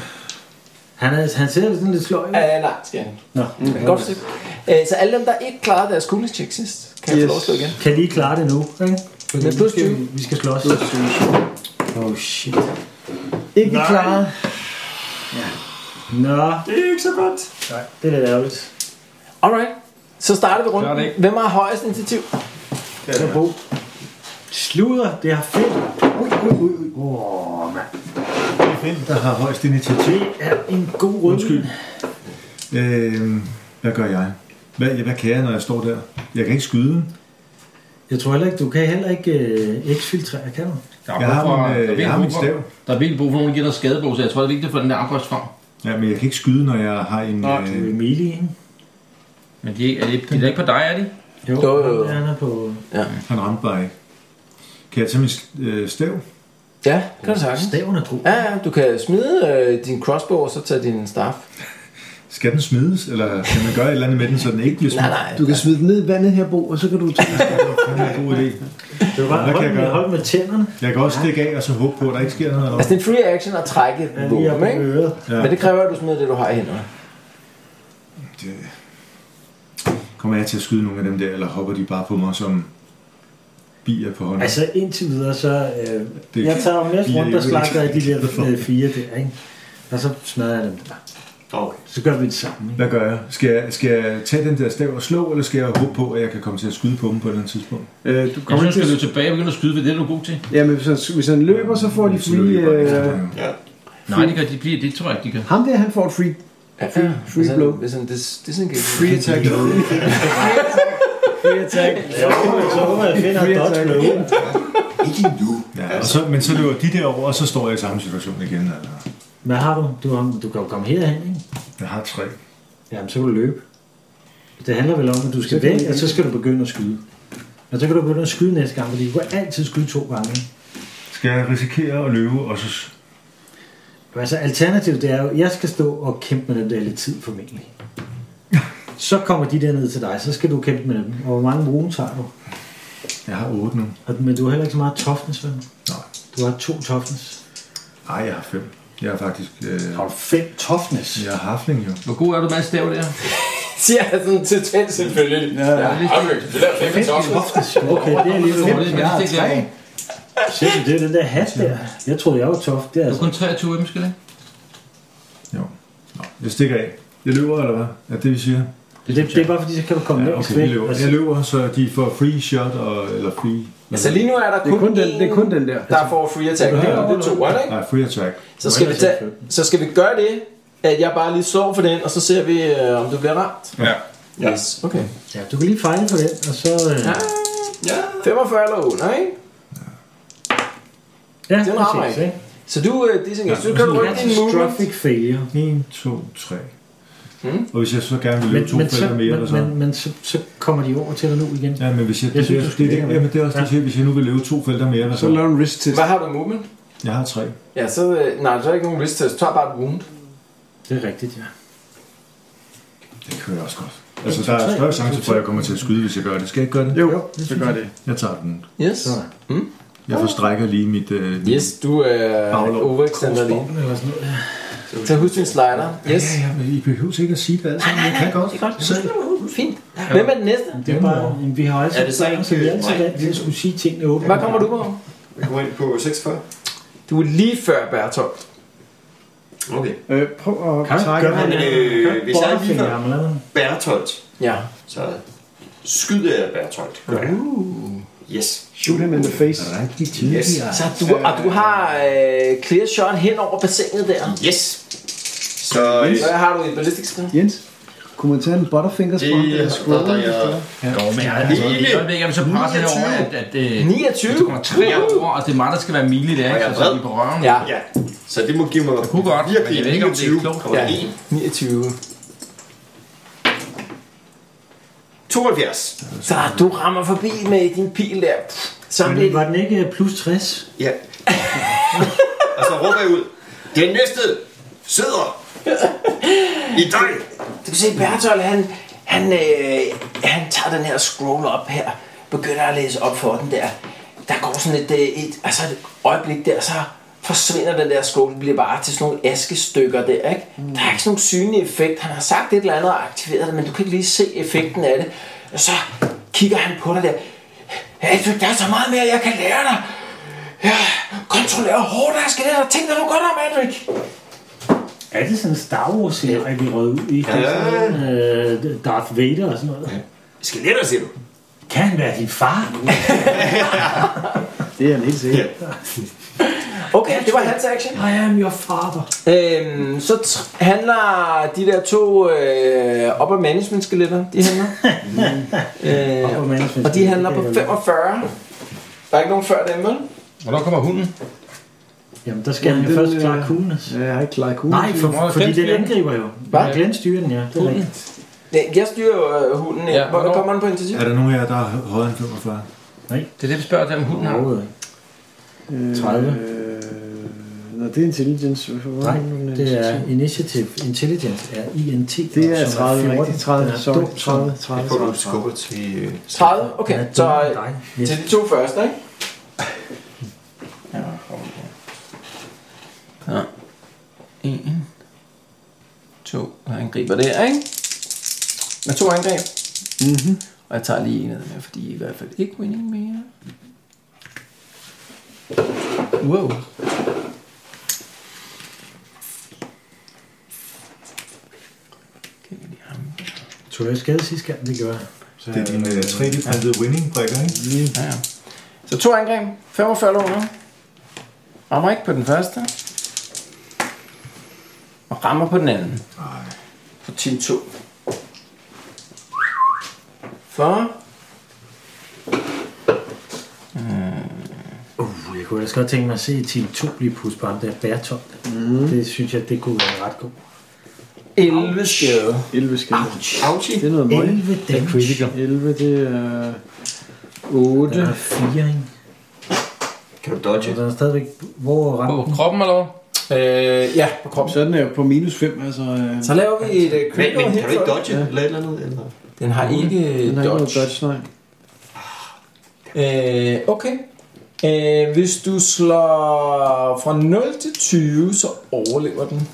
Speaker 2: Han, er, han ser sådan lidt sløj. ud.
Speaker 4: Øh, nej, skal han.
Speaker 2: Nå.
Speaker 4: Godt stykke. Øh, så alle dem, der ikke klarede deres coolness check sidst, kan yes. få
Speaker 3: Yes.
Speaker 4: lov at slå igen.
Speaker 2: Kan lige klare det nu, ikke? Fordi
Speaker 4: Men plus
Speaker 2: vi skal-
Speaker 4: 20.
Speaker 2: Vi skal slås. Oh shit.
Speaker 3: Ikke klare.
Speaker 2: Nå. Det er ikke så godt. Nej, det er lidt ærgerligt.
Speaker 4: Alright. Så starter vi
Speaker 5: Klar,
Speaker 4: runden.
Speaker 5: det.
Speaker 4: Hvem har højest initiativ?
Speaker 2: Så Bo. Sluder, det er fedt. Ui, ui, ui, ui. Åh, mand.
Speaker 6: Hvem der har højst initiativ?
Speaker 2: Det er en god rød.
Speaker 6: Undskyld. Øhm, hvad gør jeg? Hvad, hvad kan jeg, når jeg står der? Jeg kan ikke skyde.
Speaker 2: Jeg tror heller ikke, du kan heller ikke øh, exfiltrere, kan du?
Speaker 5: Der er
Speaker 6: Jeg
Speaker 5: brug
Speaker 6: har min,
Speaker 5: for-
Speaker 6: øh,
Speaker 5: der er
Speaker 6: jeg har
Speaker 5: virkelig
Speaker 6: min
Speaker 5: brug for-
Speaker 6: stav.
Speaker 5: Der er virkelig brug for, at nogen giver dig skadebog, så jeg tror, det er vigtigt at få den der armbrøst frem.
Speaker 6: Ja, men jeg kan ikke skyde, når jeg har en... øh,
Speaker 2: Du er Emilie, ikke?
Speaker 5: Men de, er ikke- er de, de er da ikke på dig, er de?
Speaker 2: Jo,
Speaker 4: Jo, jo, jo.
Speaker 2: Han er på
Speaker 6: han ramte bare ikke. Kan jeg tage min øh, stav?
Speaker 4: Ja, kan du sagtens.
Speaker 2: staven er god.
Speaker 4: Ja, ja, du kan smide øh, din crossbow og så tage din staff.
Speaker 6: Skal den smides, eller kan man gøre et eller andet med den, så den ikke bliver
Speaker 4: Nej,
Speaker 6: smidt?
Speaker 4: nej.
Speaker 3: Du kan smide den ned i vandet her, Bo, og så
Speaker 6: [LAUGHS]
Speaker 3: kan du tage
Speaker 6: Det er en god idé.
Speaker 2: Det var bare
Speaker 6: Hvad kan jeg
Speaker 2: hold med,
Speaker 6: gøre?
Speaker 2: hold med tænderne.
Speaker 6: Jeg kan også stikke af og så håbe på, at der ikke sker noget.
Speaker 4: Altså, det er en free action at trække et
Speaker 2: Ja, lige op
Speaker 4: våben,
Speaker 2: med
Speaker 4: ikke?
Speaker 2: øret.
Speaker 6: Ja.
Speaker 4: Men det kræver, at du smider det, du har i hænderne.
Speaker 6: Det- Kommer jeg til at skyde nogle af dem der, eller hopper de bare på mig som bier på hånden?
Speaker 2: Altså indtil videre, så... Øh,
Speaker 6: Det-
Speaker 2: jeg tager om næste
Speaker 6: Ja,
Speaker 2: runde,
Speaker 6: jeg
Speaker 2: der
Speaker 6: ved
Speaker 2: slagter jeg de
Speaker 6: ikke.
Speaker 2: der øh, fire der, ikke? Og så smadrer jeg dem der.
Speaker 7: Okay.
Speaker 2: Så gør vi det sammen, ikke?
Speaker 6: Hvad gør jeg? Skal, jeg? skal jeg tage den der stav og slå, eller skal jeg håbe på, at jeg kan komme til at skyde på dem på et eller andet tidspunkt?
Speaker 3: Øh, du
Speaker 5: Jeg
Speaker 3: kommer
Speaker 5: synes,
Speaker 3: ikke
Speaker 5: skal
Speaker 3: til
Speaker 5: du tilbage og begynde at skyde, for det er du god til.
Speaker 3: Ja, men hvis han, hvis han løber, så får de
Speaker 6: Så
Speaker 3: free...
Speaker 6: løber jeg bare
Speaker 3: Øh,
Speaker 6: efter dem, jo.
Speaker 7: Ja.
Speaker 5: Nej, det gør de bliver, det tror jeg ikke, de gør.
Speaker 3: ham der, han får et free,
Speaker 4: Ja,
Speaker 3: free, free
Speaker 4: Hvis han-
Speaker 3: blow.
Speaker 4: Hvis han, det, det er sådan en
Speaker 3: Free
Speaker 4: [LAUGHS]
Speaker 3: attack. free attack.
Speaker 2: Jeg håber, så håber jeg, jeg finder
Speaker 3: Free
Speaker 2: et dodge
Speaker 3: attack.
Speaker 2: med hovedet.
Speaker 7: Ikke nu.
Speaker 6: Ja, og så, men så løber de derover, og så står jeg i samme situation igen. altså. Eller?
Speaker 2: Hvad har du? Du, har, du kan jo komme herhen, ikke?
Speaker 6: Jeg har tre.
Speaker 2: Jamen, så kan du løbe. Det handler vel om, at du skal væk, og så skal du begynde at skyde. Og så kan du begynde at skyde næste gang, fordi du kan altid skyde to gange. ikke?
Speaker 6: Skal jeg risikere at løbe, og så...
Speaker 2: Men Altså, alternativet det er jo, at jeg skal stå og kæmpe med dem der lidt tid formentlig. Så kommer de der ned til dig, så skal du kæmpe med dem. Og hvor mange runes har du?
Speaker 6: Jeg har otte nu.
Speaker 2: Og- Men du har heller ikke så meget toughness, vel?
Speaker 6: Nej.
Speaker 2: Du har to toughness.
Speaker 6: Nej, jeg har fem. Jeg har faktisk... Øh,
Speaker 2: Har du fem toughness?
Speaker 6: jeg er hafling jo.
Speaker 5: Hvor god er du med at stave der?
Speaker 4: siger han sådan til tænd selvfølgelig. Ja, ja. Okay, det der fem er tosset.
Speaker 2: Toughness? Okay, det er alligevel
Speaker 5: Hvor er det, jeg har tre.
Speaker 2: Se, det er den der hat der. Jeg troede, jeg var tough. Det er altså...
Speaker 5: Du er kun 23 M, skal det? ikke?
Speaker 6: Jeg stikker af. Jeg løber, eller hvad? Er det, vi siger?
Speaker 2: Det, det, det er bare fordi, så kan du komme
Speaker 6: Ja,
Speaker 2: længst
Speaker 6: okay, jeg
Speaker 2: væk.
Speaker 6: løber.
Speaker 2: Altså,
Speaker 6: Jeg løber, så de får free shot, og, eller free...
Speaker 4: Altså lige nu er der
Speaker 3: Det er
Speaker 4: kun,
Speaker 3: kun den, det er kun den der.
Speaker 4: der får free attack. Det er det to, ikke?
Speaker 6: Nej, free attack.
Speaker 4: Så skal, vi tage, så skal vi gøre det, at jeg bare lige slår for den, og så ser vi, øh, om du bliver ramt.
Speaker 6: Ja.
Speaker 4: Ja. Yes. Okay.
Speaker 2: ja, du kan lige fejle på den, og så... Øh, ja,
Speaker 4: Ja. 45 eller under, ikke?
Speaker 2: ja
Speaker 4: den rammer
Speaker 2: præcis,
Speaker 4: ikke. Så du, øh, det er så du kan
Speaker 2: Ja,
Speaker 4: rykke din movement.
Speaker 2: catastrophic failure.
Speaker 6: 1, 2, 3.
Speaker 4: Mm.
Speaker 6: Og hvis jeg så gerne vil løbe to
Speaker 2: men, så,
Speaker 6: felter mere, eller
Speaker 2: men,
Speaker 6: så...
Speaker 2: men, men så, så kommer de over til dig nu igen.
Speaker 6: Ja, men hvis jeg,
Speaker 2: Jeg
Speaker 6: det,
Speaker 2: synes,
Speaker 6: det,
Speaker 2: du skal
Speaker 6: det,
Speaker 2: lære
Speaker 6: det,
Speaker 2: det.
Speaker 6: jamen, det er også det, jeg siger. hvis jeg nu vil løbe to felter mere, eller
Speaker 3: Så
Speaker 6: så...
Speaker 3: laver en wrist test.
Speaker 4: Hvad har du movement?
Speaker 6: Jeg har tre.
Speaker 4: Ja, så... øh, Nej, så er der ikke nogen wrist test. Tag bare et wound.
Speaker 2: Det er rigtigt, ja.
Speaker 6: Det kører også godt. Altså, der er større chance for, at jeg kommer til at skyde, hvis jeg gør det. Skal jeg ikke gøre det?
Speaker 3: Jo, så gør det.
Speaker 6: Jeg tager den.
Speaker 4: Yes.
Speaker 6: Jeg forstrækker lige mit... Øh, mit-
Speaker 4: Yes, du er
Speaker 6: Baglov.
Speaker 4: overextender lige.
Speaker 2: Eller sådan noget.
Speaker 4: Så husk din slider.
Speaker 6: Ja,
Speaker 4: Yes.
Speaker 6: ja, men I behøver ikke at sige det alt sammen. Jeg kan godt.
Speaker 8: Det er godt.
Speaker 6: Selv.
Speaker 4: Fint. Hvem er den næste?
Speaker 2: Det er bare, vi har altså
Speaker 7: Er det så ikke-
Speaker 2: så vi er altid
Speaker 7: Nej.
Speaker 2: vant til at skulle sige tingene åbent.
Speaker 4: Hvad kommer du på?
Speaker 7: Jeg kommer ind på 46.
Speaker 4: Du er lige før Bertolt.
Speaker 7: Okay.
Speaker 3: Øh, prøv at
Speaker 2: Kan du
Speaker 3: trække.
Speaker 2: gøre
Speaker 7: Men, øh, hvis jeg lige
Speaker 2: finder
Speaker 7: var-
Speaker 2: ham eller noget?
Speaker 7: Bertolt.
Speaker 4: Ja.
Speaker 7: Så skyder jeg Bertolt. Yes.
Speaker 3: Shoot him in the face.
Speaker 6: Rigtig
Speaker 7: Yes.
Speaker 6: tidligere.
Speaker 4: Så du, og du har øh, clear shot hen over bassinet der.
Speaker 7: Yes. Så øh,
Speaker 4: Så har du en ballistic skill.
Speaker 3: Jens, kunne man tage en butterfingers fra ham,
Speaker 7: det
Speaker 3: der er scroll?
Speaker 7: er jeg...
Speaker 5: Jo, men jeg, altså,
Speaker 7: Mile.
Speaker 5: i øjeblikket er så presset over, at, at, at
Speaker 4: 29.
Speaker 5: du kommer tre over, og det er mig, der skal være mile i dag,
Speaker 7: Og jeg er
Speaker 5: altså
Speaker 7: vred.
Speaker 5: lige på røven.
Speaker 4: Ja,
Speaker 7: Ja, så det må give mig
Speaker 5: Det kunne godt, men jeg ved ikke, om det er klogt.
Speaker 4: Ja.
Speaker 7: 21,1.
Speaker 4: 29.
Speaker 7: 72.
Speaker 4: Så du rammer forbi med din pil der. Så
Speaker 2: Men
Speaker 4: bliver
Speaker 2: Var den ikke øh, plus 60?
Speaker 7: Ja. og så råber jeg ud. Den næste sidder i dig.
Speaker 4: Du kan se, Bertolt, han, han, øh, han tager den her scroll op her, begynder at læse op for den der. Der går sådan et, øh, et, altså et øjeblik der, så forsvinder den der scroll, den bliver bare til sådan nogle askestykker der, ikke? Der er ikke sådan nogen synlig effekt. Han har sagt et eller andet og aktiveret det, men du kan ikke lige se effekten af det. Og så kigger han på dig der. Hey, du, der er så meget mere, jeg kan lære dig. Ja, kontrollere hårdt, jeg skal lære dig. Tænk dig nu godt om, Adric.
Speaker 2: Er det sådan en Star wars serie vi rød ud i? Ja. Sådan, øh, Darth Vader og sådan noget.
Speaker 7: Skeletter, siger du.
Speaker 2: Kan han være din far?
Speaker 3: Det er han helt sikkert.
Speaker 4: Okay, det var hans action.
Speaker 2: I am your father.
Speaker 4: Øhm, så tr- handler de der to øh, upper management skeletter, de handler. øh,
Speaker 2: Upper management
Speaker 4: og de handler på 45. Der er ikke nogen før dem, vel?
Speaker 5: Hvornår kommer hunden?
Speaker 2: Jamen, der skal han jo
Speaker 3: Den,
Speaker 2: først
Speaker 3: øh,
Speaker 2: klare kuglen.
Speaker 3: Ja, jeg har ikke klaret kuglen.
Speaker 2: Nej, for,
Speaker 5: Nå,
Speaker 2: fordi
Speaker 5: Glenn
Speaker 2: den
Speaker 5: styrer den.
Speaker 2: angriber jo.
Speaker 4: Hvad?
Speaker 2: Glenn styrer den, ja. Det er rigtigt.
Speaker 4: Ja, Jeg styrer jo øh, hunden.
Speaker 5: Ja,
Speaker 4: Ja, Hvor
Speaker 5: hvornår?
Speaker 4: kommer den på initiativ?
Speaker 6: Er der nogen af jer, der er højere end 45?
Speaker 5: Det er det, vi spørger dem, om hunden har.
Speaker 2: Overhovedet ikke. 30.
Speaker 3: Øh, Nå, det er intelligence. Hvorfor
Speaker 2: Nej,
Speaker 3: var det nu, den
Speaker 2: det er
Speaker 3: intelligence?
Speaker 2: Initiative Intelligence, er INT.
Speaker 3: Det er
Speaker 2: som
Speaker 3: 30,
Speaker 2: 14.
Speaker 3: rigtigt. 30,
Speaker 2: Den er
Speaker 3: sorry.
Speaker 2: dum, som-
Speaker 3: 30, 30,
Speaker 7: Det får du
Speaker 3: 30.
Speaker 7: skubber til... øh,
Speaker 4: 30? Okay,
Speaker 2: Ja,
Speaker 4: så
Speaker 2: dum
Speaker 4: øh,
Speaker 2: dig.
Speaker 4: til de to første, ikke? Ja. En. To. Og han griber der, ikke? Med to angreb.
Speaker 3: Mhm.
Speaker 4: Og jeg tager lige en af dem her, fordi I er i hvert fald ikke winning mere. Wow. Okay, lige ham.
Speaker 2: Tog jeg skade sidste gang, det gjorde jeg. Så
Speaker 6: Det er dine øh, 3D-printede winning-brikker, ikke?
Speaker 4: Ja, ja. Så to angreb. 45 låner. Rammer ikke på den første. Og rammer på den anden. Nej. På team 2. For...
Speaker 2: Uh, jeg kunne ellers godt tænke mig at se team 2 blive pusset på ham der bærtomt. Mm. Det synes jeg, det kunne være ret godt.
Speaker 4: 11 skade.
Speaker 3: 11 skade.
Speaker 7: Ouchie.
Speaker 3: Det er noget møg.
Speaker 2: 11 damage.
Speaker 3: 11, det er 8.
Speaker 2: Den er 4, ikke?
Speaker 7: Kan du dodge?
Speaker 2: Så den er stadigvæk... Hvor er
Speaker 5: På
Speaker 2: rampen?
Speaker 5: kroppen eller hvad?
Speaker 4: Øh, ja, på kroppen.
Speaker 3: Så er den jo på minus 5, altså... øh,
Speaker 4: Så laver vi et øh,
Speaker 7: Men,
Speaker 4: critical
Speaker 7: men kan
Speaker 4: hit
Speaker 7: du ikke
Speaker 4: for-
Speaker 7: dodge Mm. eller et eller andet? Eller?
Speaker 4: Den har ikke øh,
Speaker 3: Den har ikke noget
Speaker 4: dodge.
Speaker 3: dodge,
Speaker 4: Øh,
Speaker 3: nej.
Speaker 4: okay. Øh, hvis du slår fra 0 til 20, så overlever den.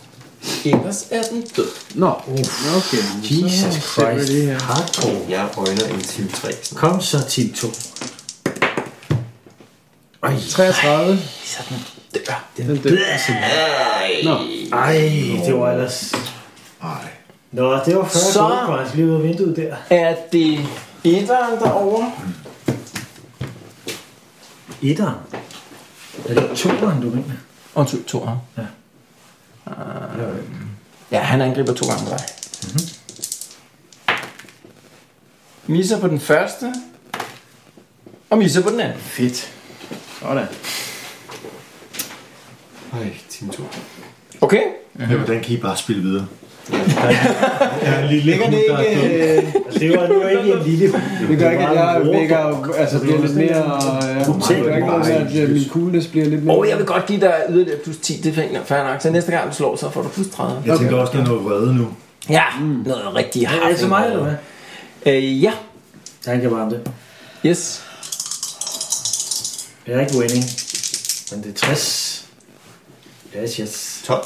Speaker 4: Ellers er den død.
Speaker 3: Nå, okay.
Speaker 2: Jesus Christ.
Speaker 3: Det her.
Speaker 2: Hardcore.
Speaker 7: Jeg øjner en til 3.
Speaker 2: Kom så, team 2. Ej,
Speaker 3: 33.
Speaker 4: Så den dør.
Speaker 2: den
Speaker 3: Den dør.
Speaker 2: dør simpelthen.
Speaker 7: Ej.
Speaker 3: Nå.
Speaker 2: Ej, det var ellers... Nå, det var 40
Speaker 4: Så-
Speaker 2: så... gode, for han skal lige ud af vinduet der.
Speaker 4: Er det etteren derovre?
Speaker 2: Etteren. Er det toeren, du mener?
Speaker 4: Undskyld, toeren.
Speaker 2: Ja.
Speaker 4: Øh, ja, han angriber to gange med dig. Mm-hmm. Misser på den første. Og misser på den anden.
Speaker 3: Fedt. Sådan.
Speaker 7: Ej, team 2.
Speaker 4: Okay.
Speaker 6: Ja, hvordan kan I bare spille videre?
Speaker 2: Ja, en lille
Speaker 4: Ligger det ikke... Øh,
Speaker 2: Altså, Det var nu ikke en lille hund.
Speaker 3: Det gør ikke, at
Speaker 2: var
Speaker 3: jeg
Speaker 2: en
Speaker 3: vækker,
Speaker 2: råfugl.
Speaker 3: altså bliver lidt mere, ja, det gør ikke noget, med, at øh, min coolness bliver lidt mere.
Speaker 4: og jeg vil godt give dig yderligere plus 10. Det er fint, fair nok. Så næste gang du slår, så får du plus 30.
Speaker 6: Jeg tænker også, der er noget vrede nu.
Speaker 4: Ja, noget rigtig
Speaker 2: [LAUGHS]
Speaker 4: hardt.
Speaker 2: Er det til mig, eller hvad?
Speaker 4: Øh, ja.
Speaker 2: Ja, Han kan varme det.
Speaker 4: Yes.
Speaker 2: Jeg er ikke winning. Men det er 60. Yes, yes.
Speaker 7: 12.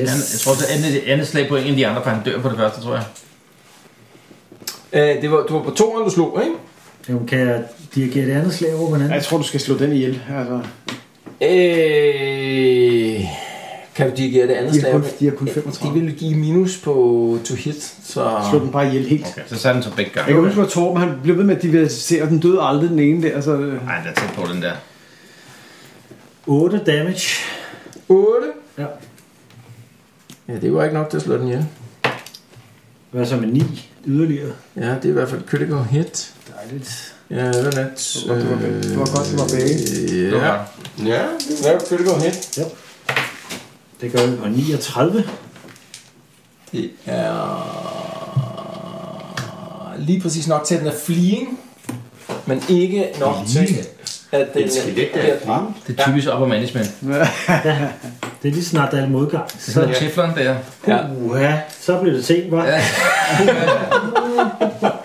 Speaker 2: Yes.
Speaker 5: Han, jeg tror, det andet, det andet slag på en af de andre, for han dør på det første, tror jeg.
Speaker 4: Øh, det var, du var på toeren, du slog, ikke?
Speaker 2: Jamen, kan jeg dirigere det andet slag over på den
Speaker 3: Ja,
Speaker 2: anden?
Speaker 3: Jeg tror, du skal slå den ihjel. Altså,
Speaker 4: Øh, kan du dirigere det andet
Speaker 3: de, har
Speaker 4: slag?
Speaker 3: kun, de har kun
Speaker 4: De
Speaker 3: 35.
Speaker 4: vil give minus på to hit, så...
Speaker 3: Slå den bare ihjel helt.
Speaker 5: Okay. Så satte han så begge gange.
Speaker 3: Jeg kan huske, hvor Torben han blev ved med at diversificere, og den døde aldrig den ene der. Så, øh,
Speaker 5: Ej, den er tæt på den der.
Speaker 2: 8 damage.
Speaker 4: 8.
Speaker 2: Ja.
Speaker 4: Ja, det var ikke nok til at slå den ihjel.
Speaker 2: Hvad så med 9 yderligere?
Speaker 4: Ja, det er i hvert fald critical hit.
Speaker 2: Dejligt.
Speaker 4: Ja, det var net.
Speaker 3: det var- det var godt, det var begge.
Speaker 4: øh,
Speaker 5: Det var
Speaker 4: Ja,
Speaker 5: godt.
Speaker 7: Ja,
Speaker 4: det var critical hit.
Speaker 2: Det gør vi på 39.
Speaker 4: Det er... Lige præcis nok til, at den er fleeing, men ikke nok til, at den
Speaker 7: Et skelet, der er
Speaker 4: bliver
Speaker 7: fleeing.
Speaker 4: ramt.
Speaker 5: Det er typisk op management.
Speaker 2: Det er lige snart, der er en modgang.
Speaker 5: Det er sådan noget teflon der.
Speaker 4: Ja.
Speaker 2: Uha, så blev det sent, var.
Speaker 5: Ja. Det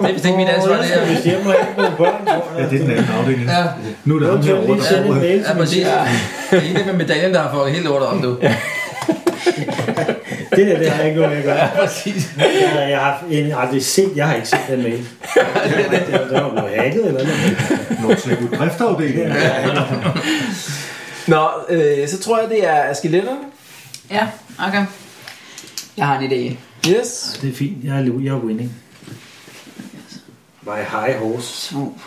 Speaker 5: er vist ikke mit ansvar, det her.
Speaker 2: Hvis jeg må have nogle børn,
Speaker 6: Ja, det er den anden afdeling.
Speaker 5: Ja,
Speaker 6: Nu er det ham
Speaker 2: så kan
Speaker 6: herovre,
Speaker 2: jeg lige
Speaker 6: der
Speaker 2: sende en
Speaker 6: over.
Speaker 2: mail
Speaker 5: ja
Speaker 2: til min
Speaker 5: præcis. Det er en med medaljen, der har fået helt lortet op nu.
Speaker 2: chef. Det der, det har jeg ikke noget med at gøre. Jeg, jeg har en, ej, det er sent, jeg har ikke set den mail. Det var blevet hacket eller noget.
Speaker 6: Nå, så er det driftafdelingen.
Speaker 4: Nå, øh, så tror jeg, det er skeletterne.
Speaker 8: Ja, okay. Jeg har en idé.
Speaker 4: Yes.
Speaker 2: Det er fint, jeg er, lo- jeg er winning. My high horse.
Speaker 8: To.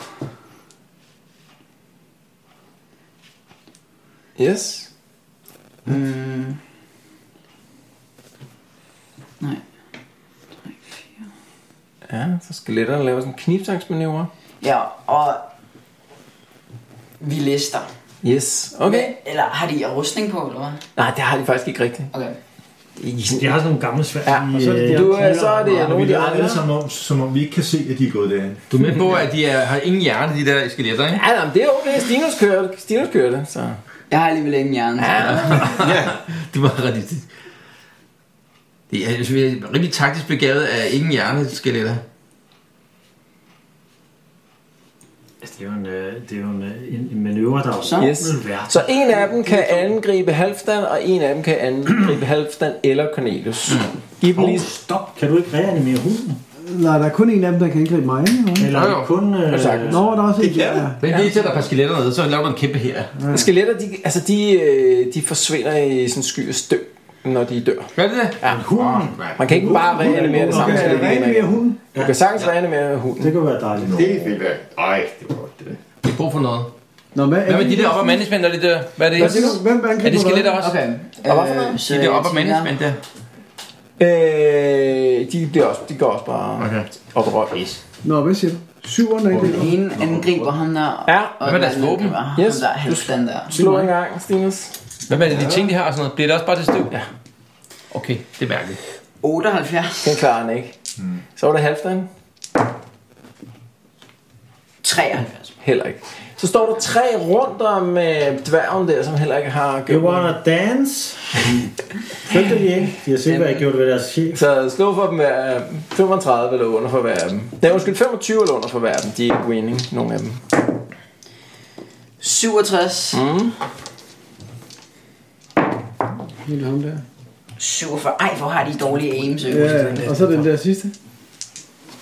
Speaker 4: Yes.
Speaker 8: Mm. Nej. Tre, fire.
Speaker 4: Ja, så skeletterne laver sådan en knibtangsmanøvre.
Speaker 8: Ja, og vi lister.
Speaker 4: Yes. Okay.
Speaker 8: Eller har de rustning på, eller hvad?
Speaker 4: Nej, det har de faktisk ikke rigtigt.
Speaker 8: Okay.
Speaker 2: De har sådan nogle gamle svær.
Speaker 4: Ja,
Speaker 2: i,
Speaker 4: og så er det
Speaker 2: øh,
Speaker 4: der- Du, øh, så er det
Speaker 2: kniver og-
Speaker 4: nogle
Speaker 6: Vi
Speaker 4: af de
Speaker 6: lader
Speaker 4: andre.
Speaker 6: alle sammen om, som om vi ikke kan se, at de er gået derhen.
Speaker 5: Du er med på, at de er, har ingen hjerne, de der skeletter, ikke?
Speaker 4: Ja, jamen, det er okay. Stinus kører det. Stinus kører det, så...
Speaker 8: Jeg har alligevel ingen hjerne. Øh, Ja.
Speaker 5: Det var rigtigt. Det er, jeg synes, vi er rimelig taktisk begavet af ingen hjerneskeletter.
Speaker 2: Altså, Det er jo en, øh, det er jo en, øh, en, en manøvre, der er
Speaker 8: Så.
Speaker 4: Yes. Så en af dem kan angribe Halfdan, og en af dem kan angribe Halfdan eller Cornelius. Giv dem lige...
Speaker 2: Stop. Kan du ikke reanimere hunden?
Speaker 3: nej, der er kun en af dem, der kan angribe mig. Ikke?
Speaker 2: Eller
Speaker 5: Jo, jo.
Speaker 2: kun... Øh,
Speaker 4: Sagtens.
Speaker 3: Nå, der er også en der.
Speaker 5: Men lige sætter et par skeletter ned, så laver du en kæmpe her.
Speaker 4: Skeletter, de, altså, de, øh, de forsvinder i sådan sky og støv, når de dør.
Speaker 5: Gør det det? Ja.
Speaker 2: hunden.
Speaker 4: Man kan ikke bare reanimere det samme
Speaker 3: Okay,
Speaker 4: skelet.
Speaker 3: rene
Speaker 4: igen og
Speaker 3: mere
Speaker 4: igen.
Speaker 3: hunden.
Speaker 4: Du kan sagtens reanimere
Speaker 2: Det
Speaker 4: hunden.
Speaker 2: kan være dejligt.
Speaker 7: det vil være... Ej, det var godt, det der.
Speaker 5: Det er brug for noget.
Speaker 3: Nå, hvad,
Speaker 5: Hvad med de der op management, når de dør? Hvad er det?
Speaker 3: Hvad siger du? Hvem angriber
Speaker 5: Er det skeletter også?
Speaker 8: Okay.
Speaker 4: Og hvad for noget?
Speaker 5: De der op management der.
Speaker 4: Øh, de, bliver også, de går også bare okay. op og røg.
Speaker 3: Nå, hvad siger du? Syveren er
Speaker 8: Den
Speaker 3: ikke
Speaker 8: ene angriber ham der.
Speaker 4: Ja,
Speaker 8: og
Speaker 5: hvad med deres
Speaker 8: den anden
Speaker 5: våben?
Speaker 8: angriber ham
Speaker 4: Yes.
Speaker 8: Der halvstand der.
Speaker 4: Slå en gang, Stinus.
Speaker 5: Hvad med det, de ting, de har og sådan noget? Bliver det også bare til støv? Ja. Okay, det er mærkeligt.
Speaker 8: 78.
Speaker 4: Den klarer han ikke. Mm. Så var det Halfdan.
Speaker 8: 73.
Speaker 4: Heller ikke. Så står der tre rundt om øh, dværgen der, som heller ikke har
Speaker 2: You
Speaker 4: gjort noget.
Speaker 2: wanna
Speaker 4: [LAUGHS]
Speaker 2: dance? Følte de ikke? De har set, hvad jeg gjorde ved deres chef.
Speaker 4: Så slå for dem hver, øh, 35 eller under for hver af dem. Nej, undskyld, 25 eller under for hver af dem. De er ikke winning, nogen af dem.
Speaker 8: 67.
Speaker 4: Mm.
Speaker 3: Hele ham der.
Speaker 8: 47. Ej, hvor har de dårlige aims. Ja.
Speaker 3: Ja, og så den der sidste.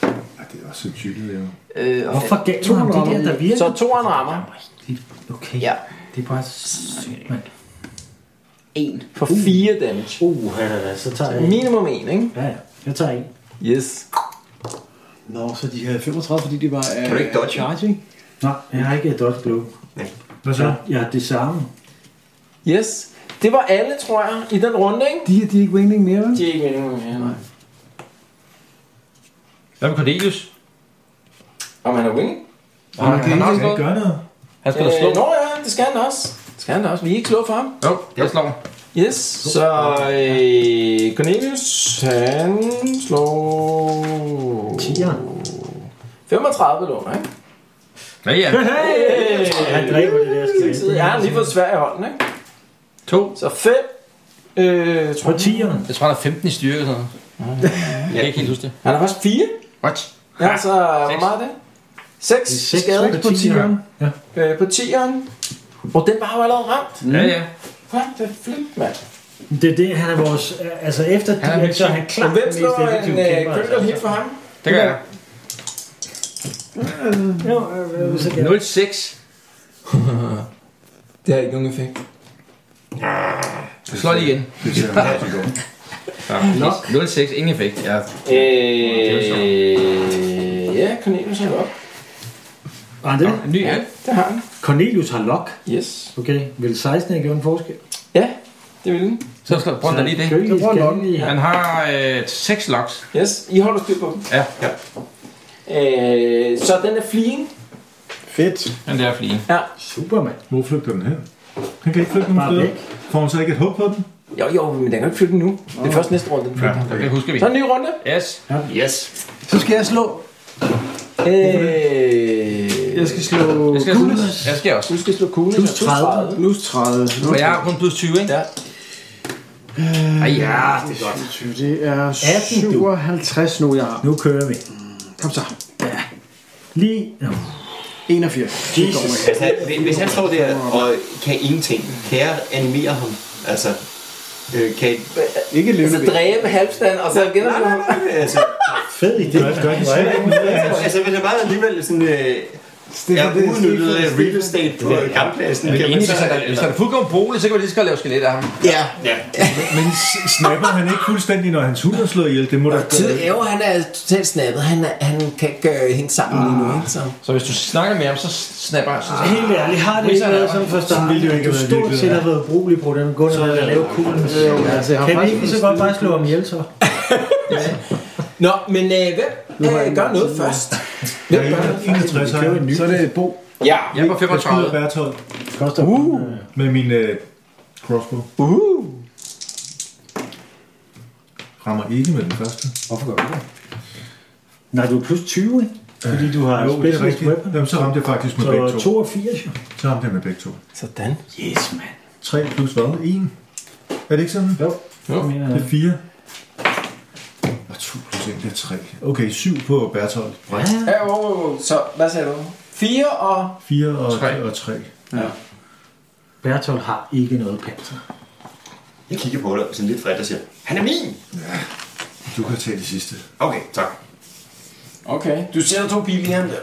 Speaker 6: Ja, det er også så tydeligt, det er jo.
Speaker 8: Øh, og
Speaker 2: Hvorfor gav du ham de der, der virker?
Speaker 4: Så toeren rammer.
Speaker 2: Okay,
Speaker 8: Ja.
Speaker 2: det er bare sygt, mand.
Speaker 8: En.
Speaker 4: For 4 damage.
Speaker 2: Uh, ja, ja, ja, så tager jeg en.
Speaker 4: Minimum 1, ikke?
Speaker 2: Ja, ja. Jeg tager en.
Speaker 4: Yes.
Speaker 3: Nå, så de havde 35, fordi de var... Øh,
Speaker 7: Kan du ikke dodge?
Speaker 3: Charging?
Speaker 2: Nej, jeg har ikke dodge blow.
Speaker 7: Nej.
Speaker 2: Hvad så? Jeg har det samme.
Speaker 4: Yes. Det var alle, tror jeg, i den runde, ikke?
Speaker 3: De, de er ikke wingling mere, vel?
Speaker 4: De er ikke meningen mere, nej.
Speaker 5: Hvad med Cornelius?
Speaker 4: Om han er wing?
Speaker 6: Og man kan
Speaker 5: han
Speaker 6: ikke
Speaker 5: har også
Speaker 6: ikke
Speaker 5: noget.
Speaker 6: gøre noget.
Speaker 5: Han skal da slå.
Speaker 4: Øh, nå ja, det skal han også. Det skal han også. Vi er ikke slå for ham.
Speaker 5: Jo, jeg slår.
Speaker 4: Yes, så øh, Cornelius, han slår...
Speaker 2: 10'eren.
Speaker 4: 35 låner, ikke?
Speaker 5: Ja, ja.
Speaker 4: Hey!
Speaker 2: Han dræber det der
Speaker 4: Så
Speaker 2: skade.
Speaker 4: jeg har lige fået svær i hånden, ikke?
Speaker 5: To.
Speaker 4: Så 5. Øh,
Speaker 2: På
Speaker 4: tror jeg.
Speaker 2: 10'eren.
Speaker 5: Jeg tror, han er 15 i styrke eller sådan noget. Jeg kan ikke helt huske det.
Speaker 4: Han har faktisk 4.
Speaker 5: What?
Speaker 4: Ja, så hvor
Speaker 5: seks.
Speaker 4: meget er det? 6
Speaker 2: seks
Speaker 4: skade
Speaker 2: på
Speaker 4: på 10'eren.
Speaker 2: Ja.
Speaker 4: Øh, på 10'eren. Og den var jo allerede ramt.
Speaker 5: Ja, ja.
Speaker 4: What the flip, mand.
Speaker 2: Det er det, han er vores... Altså efter
Speaker 5: er
Speaker 2: det,
Speaker 5: vildt
Speaker 2: så er han
Speaker 4: Og
Speaker 2: klart
Speaker 4: hvem slår en øh, critical hit
Speaker 2: altså.
Speaker 4: for ham?
Speaker 5: Det gør jeg.
Speaker 2: Jo, øh, øh, så kan jeg-
Speaker 5: 0-6.
Speaker 4: Det har ikke nogen effekt.
Speaker 5: Slå lige igen.
Speaker 6: Det ser man også i går.
Speaker 5: Ja, 0-6. Ingen effekt. Ja.
Speaker 4: Øh, ja, Cornelius har op.
Speaker 2: Har han det?
Speaker 5: En ny
Speaker 4: Ja,
Speaker 5: hand.
Speaker 4: det har han.
Speaker 2: Cornelius har lok.
Speaker 4: Yes.
Speaker 2: Okay, vil 16 ikke gøre en forskel?
Speaker 4: Ja, det vil den.
Speaker 5: Så slå. Prøv da lige det.
Speaker 2: Cornelius
Speaker 3: bruger han
Speaker 2: kan
Speaker 3: lokken.
Speaker 2: lige-
Speaker 5: Han har øh, 6 locks.
Speaker 4: Yes, I holder styr på den.
Speaker 5: Ja,
Speaker 4: Øh, så den er fleeing.
Speaker 3: Fedt.
Speaker 5: den der flie.
Speaker 4: Ja.
Speaker 2: Superman.
Speaker 6: Hvor flygter den hen? Han kan ikke flygte nogen
Speaker 2: Bare
Speaker 6: steder.
Speaker 2: væk.
Speaker 6: Får han så ikke et hug på den?
Speaker 4: Jo, jo, men den kan jo ikke flytte den nu. Det er først næste runde, den flytter.
Speaker 6: okay.
Speaker 5: Det husker vi.
Speaker 4: Så en ny runde.
Speaker 5: Yes.
Speaker 7: Yes.
Speaker 3: Så skal jeg slå.
Speaker 4: Øh,
Speaker 3: Jeg skal slå
Speaker 5: Jeg skal,
Speaker 3: Kulis.
Speaker 5: jeg skal også.
Speaker 4: du skal slå kuglen. Plus
Speaker 2: 30.
Speaker 3: Plus 30.
Speaker 5: For jeg har kun plus 20, ikke?
Speaker 4: Ja.
Speaker 5: Ej, ja, det er godt.
Speaker 3: 20. Det er
Speaker 2: 18, du.
Speaker 3: 57 nu, jeg har.
Speaker 2: Nu kører vi.
Speaker 3: Kom så.
Speaker 2: Lige... Nå,
Speaker 3: 81. Det går ikke.
Speaker 7: Hvis han, hvis han står der og kan ingenting, kan jeg animere ham? Altså, øh, kan jeg...
Speaker 3: Ikke
Speaker 4: Så
Speaker 3: levende væsen.
Speaker 4: Altså, dræbe halvstand, og så genopslå ham.
Speaker 7: Altså,
Speaker 2: Fed idé.
Speaker 7: altså hvis jeg bare alligevel sådan... Øh,
Speaker 3: Det
Speaker 7: jeg
Speaker 3: er
Speaker 7: har
Speaker 3: det,
Speaker 7: udnyttet
Speaker 3: det er
Speaker 7: real estate på kamppladsen. Kan man
Speaker 5: Enig,
Speaker 7: så,
Speaker 5: hvis han er- hvis han er fuldkommen bolig, så kan vi lige så godt lave skelet af ham.
Speaker 9: Ja.
Speaker 7: ja,
Speaker 6: Men s- snapper han ikke fuldstændig, når hans hund er slået ihjel? Det må da
Speaker 4: Tid Ærger, han er totalt snappet. Han, er, han kan ikke øh, hænge sammen lige
Speaker 8: Ah.
Speaker 4: nu, ikke? Så.
Speaker 5: Så hvis du snakker med ham, så snapper jeg. Så
Speaker 2: Helt ærligt, har det ikke
Speaker 5: Wizard er
Speaker 2: været sådan fra starten,
Speaker 6: ville det jo ikke
Speaker 2: du
Speaker 6: have været
Speaker 2: stort
Speaker 6: virkelig,
Speaker 2: set
Speaker 6: ja.
Speaker 2: har været brugelig på den grund, at lave kuglen.
Speaker 3: altså, jeg har
Speaker 2: Kan vi
Speaker 3: faktisk
Speaker 2: ikke så godt bare slå ham ihjel så?
Speaker 4: Nå, men øh, hvem øh, gør noget først? Hvem gør noget først?
Speaker 6: 61 har jeg.
Speaker 3: Så er det Bo.
Speaker 4: Ja,
Speaker 5: Jeg er på
Speaker 6: Jeg skyder
Speaker 5: 35.
Speaker 6: Bertolt
Speaker 2: Koster
Speaker 3: Uh.
Speaker 6: med min øh, crossbow.
Speaker 4: Uh.
Speaker 6: Rammer ikke med den første.
Speaker 2: Hvorfor gør du det? Nej, du er plus 20, ikke? Fordi du har
Speaker 6: Jo, det er
Speaker 2: specialist
Speaker 6: rigtigt.
Speaker 2: weapon.
Speaker 6: Jamen, så ramte jeg faktisk med begge
Speaker 2: Så
Speaker 6: to.
Speaker 2: 82, jo.
Speaker 6: Så ramte jeg med begge to.
Speaker 4: Sådan.
Speaker 6: 3 plus hvad? 1? Er det ikke sådan?
Speaker 2: Jo, jeg mener
Speaker 6: Det
Speaker 2: jeg.
Speaker 6: er 4. Og 2 plus 1, det er 3. Okay, 7 på Bertolt.
Speaker 4: Ja, wow, wow, wow. Så, hvad sagde du? 4 og...
Speaker 6: 4 og
Speaker 5: Tre.
Speaker 6: 3. Og 3.
Speaker 2: Bertolt har ikke noget panser.
Speaker 7: jeg kigger på dig sådan lidt frit og siger, han er min!
Speaker 6: Du kan tage det sidste.
Speaker 7: Okay, tak.
Speaker 4: Okay. Du sætter to biler i ham der.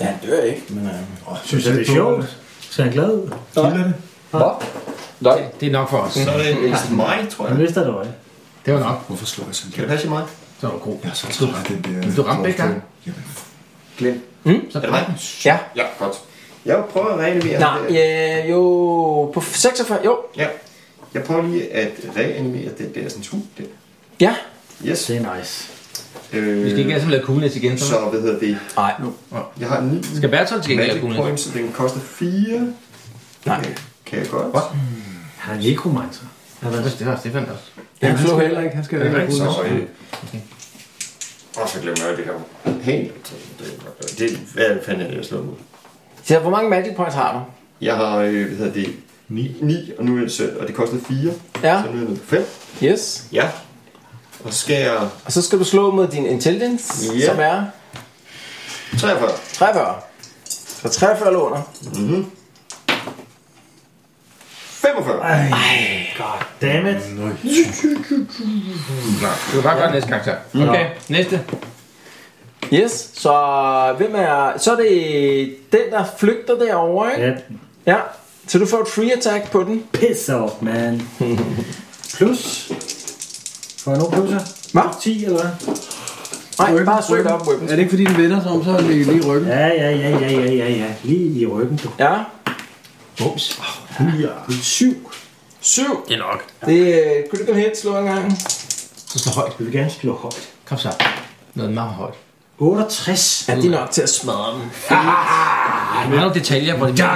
Speaker 4: Ja, han dør ikke, men... Øh...
Speaker 6: Oh,
Speaker 2: Synes jeg, det er sjovt? Ser han glad ud?
Speaker 6: Kilder det?
Speaker 5: Nej, det er nok for os.
Speaker 7: Så er det vist mig, tror
Speaker 2: Han
Speaker 7: jeg.
Speaker 2: mister et øje.
Speaker 5: Det var nok.
Speaker 6: Hvorfor slår jeg sådan
Speaker 7: Kan
Speaker 6: der?
Speaker 7: det passe i mig?
Speaker 5: Så var det god.
Speaker 6: Jeg er så træt af den der...
Speaker 5: Du ramte begge gange.
Speaker 6: Jamen,
Speaker 7: Glem.
Speaker 5: Så
Speaker 7: Er det mig?
Speaker 4: Ja.
Speaker 7: Ja, godt. Jeg prøver at reanimere.
Speaker 4: Nej, øh, jo... På 46... Jo.
Speaker 7: Ja. Jeg prøver lige at reanimere den der sådan hund der.
Speaker 4: Ja.
Speaker 7: Yes.
Speaker 2: Det er nice.
Speaker 7: Øh,
Speaker 5: Vi skal ikke alle sammen lave coolness igen. Så.
Speaker 7: Så hvad hedder det?
Speaker 4: Nej.
Speaker 7: Jeg har 9
Speaker 5: Skal Bertolt til gengæld lave
Speaker 7: magic
Speaker 5: coolness?
Speaker 7: points, så den koster 4.
Speaker 4: Nej.
Speaker 7: Kan jeg godt?
Speaker 2: Han er nekromancer. Han er
Speaker 5: Det har Stefan også.
Speaker 4: Han slog heller ikke.
Speaker 3: Han skal ikke have
Speaker 7: Så,
Speaker 3: Kulis.
Speaker 7: øh, og så glemmer jeg det her. Helt. Det, det, hvad fanden er det, jeg slår mod?
Speaker 4: Så hvor mange magic points har du?
Speaker 7: Jeg har, øh, hvad hedder det, 9, 9 og nu er det søn, og det kostede 4.
Speaker 4: Ja.
Speaker 7: Så nu er jeg nede på 5.
Speaker 4: Yes.
Speaker 7: Ja. Og så skal jeg
Speaker 4: Og så skal du slå mod din intelligence,
Speaker 7: Ja.
Speaker 4: som er
Speaker 7: 43.
Speaker 4: 43. Så 43 låner.
Speaker 7: 45.
Speaker 2: God damn it.
Speaker 5: Du kan bare gøre næste karakter. Okay, næste.
Speaker 4: Yes, så hvem er... Så er det den, der flygter derovre, ikke?
Speaker 2: Ja,
Speaker 4: Ja. Så du får et free attack på den.
Speaker 2: Piss off, man. Plus. Får jeg nogle plusser?
Speaker 4: Hvad?
Speaker 2: 10 eller hvad?
Speaker 4: Nej, bare søg dig op, Weapons.
Speaker 3: Er det ikke fordi, den vender sig om, så er den lige i ryggen?
Speaker 2: Ja, ja, ja, ja, ja, ja, ja. Lige i ryggen, du.
Speaker 4: Ja.
Speaker 5: Bums.
Speaker 2: Syv.
Speaker 4: Syv.
Speaker 9: Det er nok.
Speaker 4: Det øh, kunne du godt helt slå en gang.
Speaker 5: Så slå højt.
Speaker 2: Jeg vil gerne slå højt.
Speaker 5: Kom så. Noget meget højt.
Speaker 2: 68.
Speaker 4: Ja, det er nok til at smadre dem.
Speaker 5: Ej, der er nogle detaljer på det. Ja,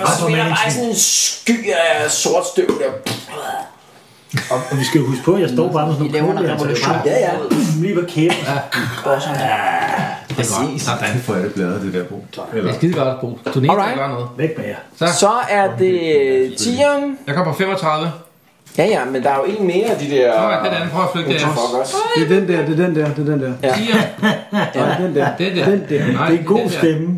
Speaker 4: Og så bliver der bare sådan en sky af sort støv der.
Speaker 2: Og, og vi skal jo huske på, at jeg står bare med sådan
Speaker 8: Vi laver en
Speaker 2: kugle, altså, det er
Speaker 8: revolution.
Speaker 4: Ja, ja.
Speaker 2: bare Lige ved kæben.
Speaker 5: præcis.
Speaker 6: Hvordan får jeg det bladet, det der bro?
Speaker 5: Det
Speaker 6: Eller,
Speaker 5: er skide godt, Bo. Du er den eneste, der
Speaker 4: Alright.
Speaker 5: gør noget.
Speaker 2: Væk med jer.
Speaker 4: Så er det tieren.
Speaker 5: Jeg kommer på 35.
Speaker 4: Ja, ja, men der er jo en mere af de der...
Speaker 5: Nå, ja, den anden prøver at flygte
Speaker 4: Det
Speaker 5: det
Speaker 4: er fuck os.
Speaker 3: Det er den der, det er den der, det er den der.
Speaker 4: Ja.
Speaker 3: Nej, den der.
Speaker 5: Det der.
Speaker 3: Den der.
Speaker 5: Nej,
Speaker 2: Det er en god
Speaker 5: den der.
Speaker 2: stemme.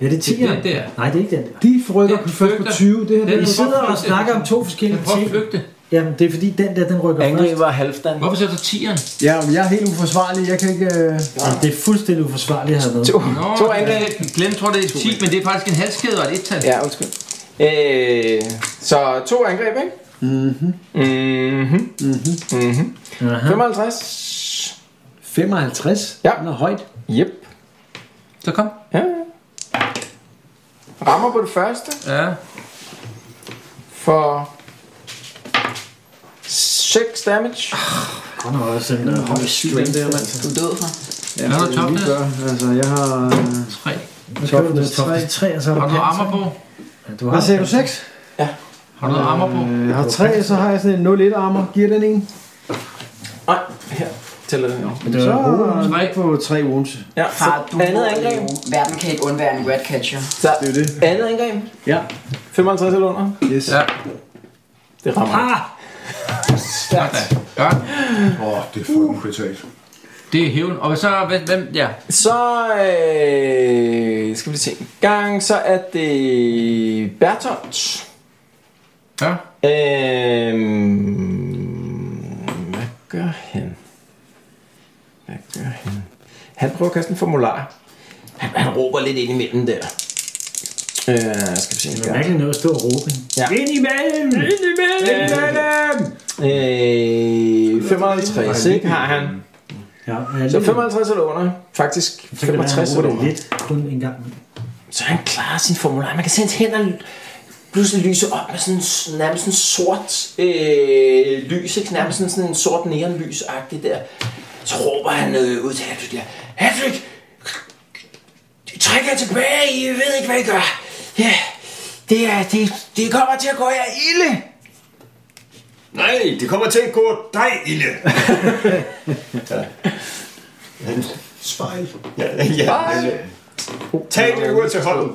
Speaker 2: Ja, det er 10.
Speaker 5: den der.
Speaker 2: Nej, det er ikke den der.
Speaker 3: De forrykker
Speaker 5: Den
Speaker 3: først på
Speaker 5: flygter.
Speaker 3: 20. Det her det
Speaker 5: Den
Speaker 2: I
Speaker 3: er
Speaker 2: sidder og
Speaker 5: flygte.
Speaker 2: snakker om to forskellige
Speaker 5: Den prøver
Speaker 2: ting.
Speaker 5: at flygte.
Speaker 2: Jamen, det er fordi, den der, den rykker først.
Speaker 9: Angriber halvdan.
Speaker 5: Hvorfor ser du 10'eren?
Speaker 3: Ja, men jeg er helt uforsvarlig. Jeg kan ikke... Øh...
Speaker 2: Jamen, det er fuldstændig uforsvarligt at have med.
Speaker 5: Nå,
Speaker 4: To
Speaker 5: jeg
Speaker 4: angreb.
Speaker 5: Glem, tror det er 10, men det er faktisk en halskæde og et ettal.
Speaker 4: Ja, undskyld. Øh, så to angreb, ikke? Mhm. Mhm. Mhm.
Speaker 2: Aha.
Speaker 4: 55.
Speaker 3: 55?
Speaker 4: Ja.
Speaker 3: Den er højt.
Speaker 4: Yep.
Speaker 5: Så kom.
Speaker 4: Ja. ja. Rammer på det første
Speaker 5: Ja.
Speaker 4: for 6 damage.
Speaker 2: Godt nok også en øh, høj strength.
Speaker 8: Du er død for.
Speaker 5: Hvad har du top
Speaker 3: lige
Speaker 5: der?
Speaker 3: gør. Altså, jeg har... øh,
Speaker 5: 3.
Speaker 2: Nu skal du til
Speaker 3: Toughness
Speaker 2: toughness 3, og så er der
Speaker 5: Har du noget armor på?
Speaker 2: Ja, du
Speaker 3: Hvad
Speaker 2: har
Speaker 3: sagde du? 6?
Speaker 5: Har du noget armor på?
Speaker 3: Jeg har 3, så har jeg sådan en 0-1 armor. Giver den en?
Speaker 4: Nej, her tæller den.
Speaker 2: Men det
Speaker 3: Så
Speaker 2: var
Speaker 3: er
Speaker 5: Tre.
Speaker 3: den på 3 wounds.
Speaker 4: Ja,
Speaker 8: Far, du
Speaker 4: så andet angreb.
Speaker 8: Verden kan ikke undvære en ratcatcher.
Speaker 4: Så
Speaker 3: Det er jo det.
Speaker 4: andet angreb.
Speaker 3: Ja.
Speaker 4: 55 eller under.
Speaker 3: Yes.
Speaker 5: Ja.
Speaker 4: Det rammer.
Speaker 2: Ah!
Speaker 5: Ja. Ja.
Speaker 6: Åh, oh, det er fucking brutalt.
Speaker 5: Det er hævn. Og så, hvem, hvem ja.
Speaker 4: Så øh, skal vi lige se en gang, så er det Bertolt.
Speaker 5: Ja.
Speaker 4: Øhm, hvad gør han? Hvad gør han? Han prøver at kaste en formular. Han, han råber lidt ind imellem der. Øh, skal vi se en
Speaker 2: Det er
Speaker 4: gang.
Speaker 2: virkelig noget at stå og råbe.
Speaker 4: Ja.
Speaker 2: Ind imellem!
Speaker 4: Ind imellem, imellem! Øh, 55, Øh, ikke har han.
Speaker 2: Ja, ja,
Speaker 4: Så
Speaker 2: lige-
Speaker 4: 55 eller under. Faktisk
Speaker 2: så kan det være, han
Speaker 4: 65
Speaker 2: råber
Speaker 4: eller
Speaker 2: det
Speaker 4: under.
Speaker 2: lidt kun en gang.
Speaker 4: Så han klarer sin formular. Man kan se hans hænder pludselig lyse op med sådan en- nærmest sådan sort øh, lys, ikke? nærmest sådan, sådan en sort neonlys agtig der. Så råber han øh, ud til Hedvig der. Hedvig! Træk jer tilbage, I ved ikke, hvad I gør. Ja, det, er, det, det kommer til at gå jer ilde.
Speaker 7: Nej, det kommer til at gå dig, [LAUGHS] Ille.
Speaker 6: Spejl.
Speaker 7: ja, ja. Tag det ud til hånden.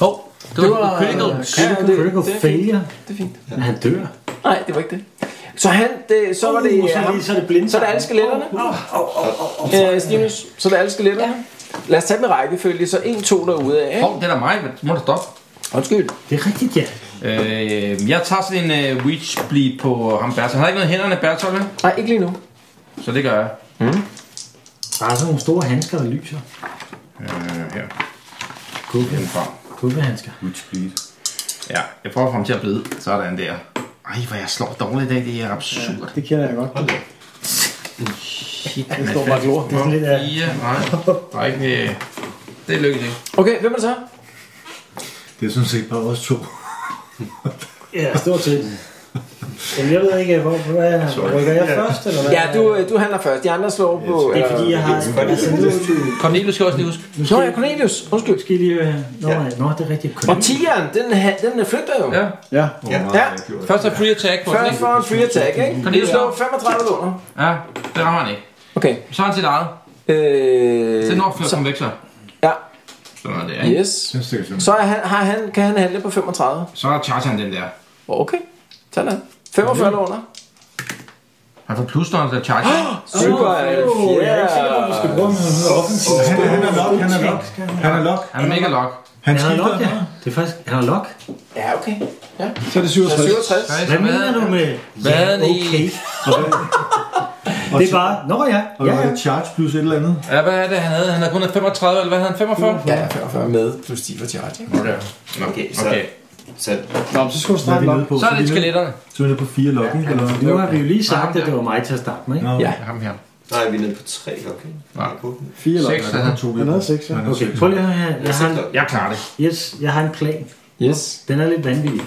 Speaker 5: Hov, det var, critical.
Speaker 2: Critical, critical failure.
Speaker 4: Det er fint.
Speaker 2: Men han dør.
Speaker 4: Nej, det var ikke det. Så, han, det, så var det
Speaker 2: Uh, så er
Speaker 4: ham.
Speaker 2: det- så er det blinde.
Speaker 4: Så er det alle skeletterne. Øh, Stinus, så er det alle skeletterne. Lad os tage dem i rækkefølge, så en, to derude af.
Speaker 5: Hov, det er da mig. men Må du stoppe?
Speaker 4: Undskyld.
Speaker 2: Det er rigtigt, ja.
Speaker 5: Øh, jeg tager sådan en uh, reach bleed på ham Bertolt. Han har ikke noget i hænderne, Bertolt, vel?
Speaker 4: Nej, ikke lige nu.
Speaker 5: så det gør jeg.
Speaker 2: Bare sådan nogle store handsker, der lyser.
Speaker 5: Øh, her.
Speaker 2: Kugge,
Speaker 5: Den frem.
Speaker 2: kuglehandsker.
Speaker 6: Good speed.
Speaker 5: Ja, jeg prøver at få ham til at blide. Sådan der. Ej, hvor jeg slår dårligt i dag. Det er absurd.
Speaker 3: Det kender jeg godt.
Speaker 5: Shit,
Speaker 3: Det står bare glor.
Speaker 2: Det er sådan lidt af...
Speaker 5: Fire, nej. Der er ikke... øh, Det lykkes ikke.
Speaker 4: Okay, hvem er det så?
Speaker 6: Det er sådan set bare os to.
Speaker 2: Ja, stort set. Jamen, jeg ved ikke, hvor, hvad rykker jeg først, eller hvad?
Speaker 4: Ja, du, øh, du handler først. De andre slår på... øh,
Speaker 2: Det er fordi, jeg har... Altså, nu,
Speaker 5: Cornelius skal også lige huske.
Speaker 4: Nå, ja, Cornelius. Undskyld.
Speaker 2: skal I lige... øh, Nå, ja. nå, det er rigtigt.
Speaker 4: Og tieren, den, ha- den flytter jo.
Speaker 5: Ja.
Speaker 3: Ja.
Speaker 6: Ja.
Speaker 4: Ja.
Speaker 5: Først er free attack på
Speaker 4: Først
Speaker 5: den,
Speaker 4: får han free attack, ikke? Kan de slå 35 låner?
Speaker 5: ikke? Ja, det rammer han ikke.
Speaker 4: Okay.
Speaker 5: Så har han sit eget.
Speaker 4: Øh,
Speaker 5: Det er nok før
Speaker 4: så,
Speaker 5: som veksler.
Speaker 4: Ja,
Speaker 5: Sådan er det, ikke?
Speaker 4: yes. Så er han, har han, kan han handle på 35.
Speaker 5: Så charger han den der.
Speaker 4: Okay, tag den. 45 eller under.
Speaker 5: Han får plus, når han skal charge.
Speaker 4: Super,
Speaker 2: Jeg er ikke sikker på, om vi skal bruge den offensivt.
Speaker 6: Han er, han er nok, han er nok. Han er nok.
Speaker 5: Han er mega lock.
Speaker 2: Han
Speaker 6: Han
Speaker 2: har
Speaker 6: skifter.
Speaker 2: lok, ja. Det er faktisk... Han har lok.
Speaker 4: Ja, okay. Ja.
Speaker 3: Så er
Speaker 4: Så
Speaker 3: det 67.
Speaker 4: 67.
Speaker 5: Altså,
Speaker 2: Hvad
Speaker 5: Hvad
Speaker 2: mener du med...
Speaker 5: Hvad er det i?
Speaker 2: Okay. Det er bare, nå ja,
Speaker 6: Og
Speaker 2: ja,
Speaker 6: der
Speaker 2: ja.
Speaker 6: er charge plus et eller andet.
Speaker 5: Ja, hvad er det, han havde? Han havde kun haft 35, eller hvad havde han? 45?
Speaker 4: Ja, 45 med plus 10 for charge. ikke?
Speaker 5: Okay. Nå,
Speaker 7: Okay, så-
Speaker 5: okay.
Speaker 7: Så
Speaker 3: Nå, så skal du
Speaker 6: Hvad er
Speaker 3: stramme
Speaker 6: vi
Speaker 3: op.
Speaker 6: nede på?
Speaker 5: Så er det
Speaker 6: vi nede-
Speaker 5: skeletterne.
Speaker 6: Så er vi nede på fire lokken, eller hvad?
Speaker 2: Nu har vi jo lige sagt, at det var mig til at starte med, ikke?
Speaker 6: Nå,
Speaker 4: Ja.
Speaker 5: Ham her.
Speaker 7: nej, vi er nede på tre, okay?
Speaker 5: Nej.
Speaker 3: Fire eller
Speaker 5: Seks, han
Speaker 6: tog vi.
Speaker 3: Han havde seks, ja.
Speaker 6: Han havde
Speaker 2: Okay,
Speaker 6: seks.
Speaker 2: prøv lige at høre her. Jeg har, en,
Speaker 5: Jeg klarer det.
Speaker 2: yes, jeg har en plan.
Speaker 4: Yes.
Speaker 2: Den er lidt vanvittig.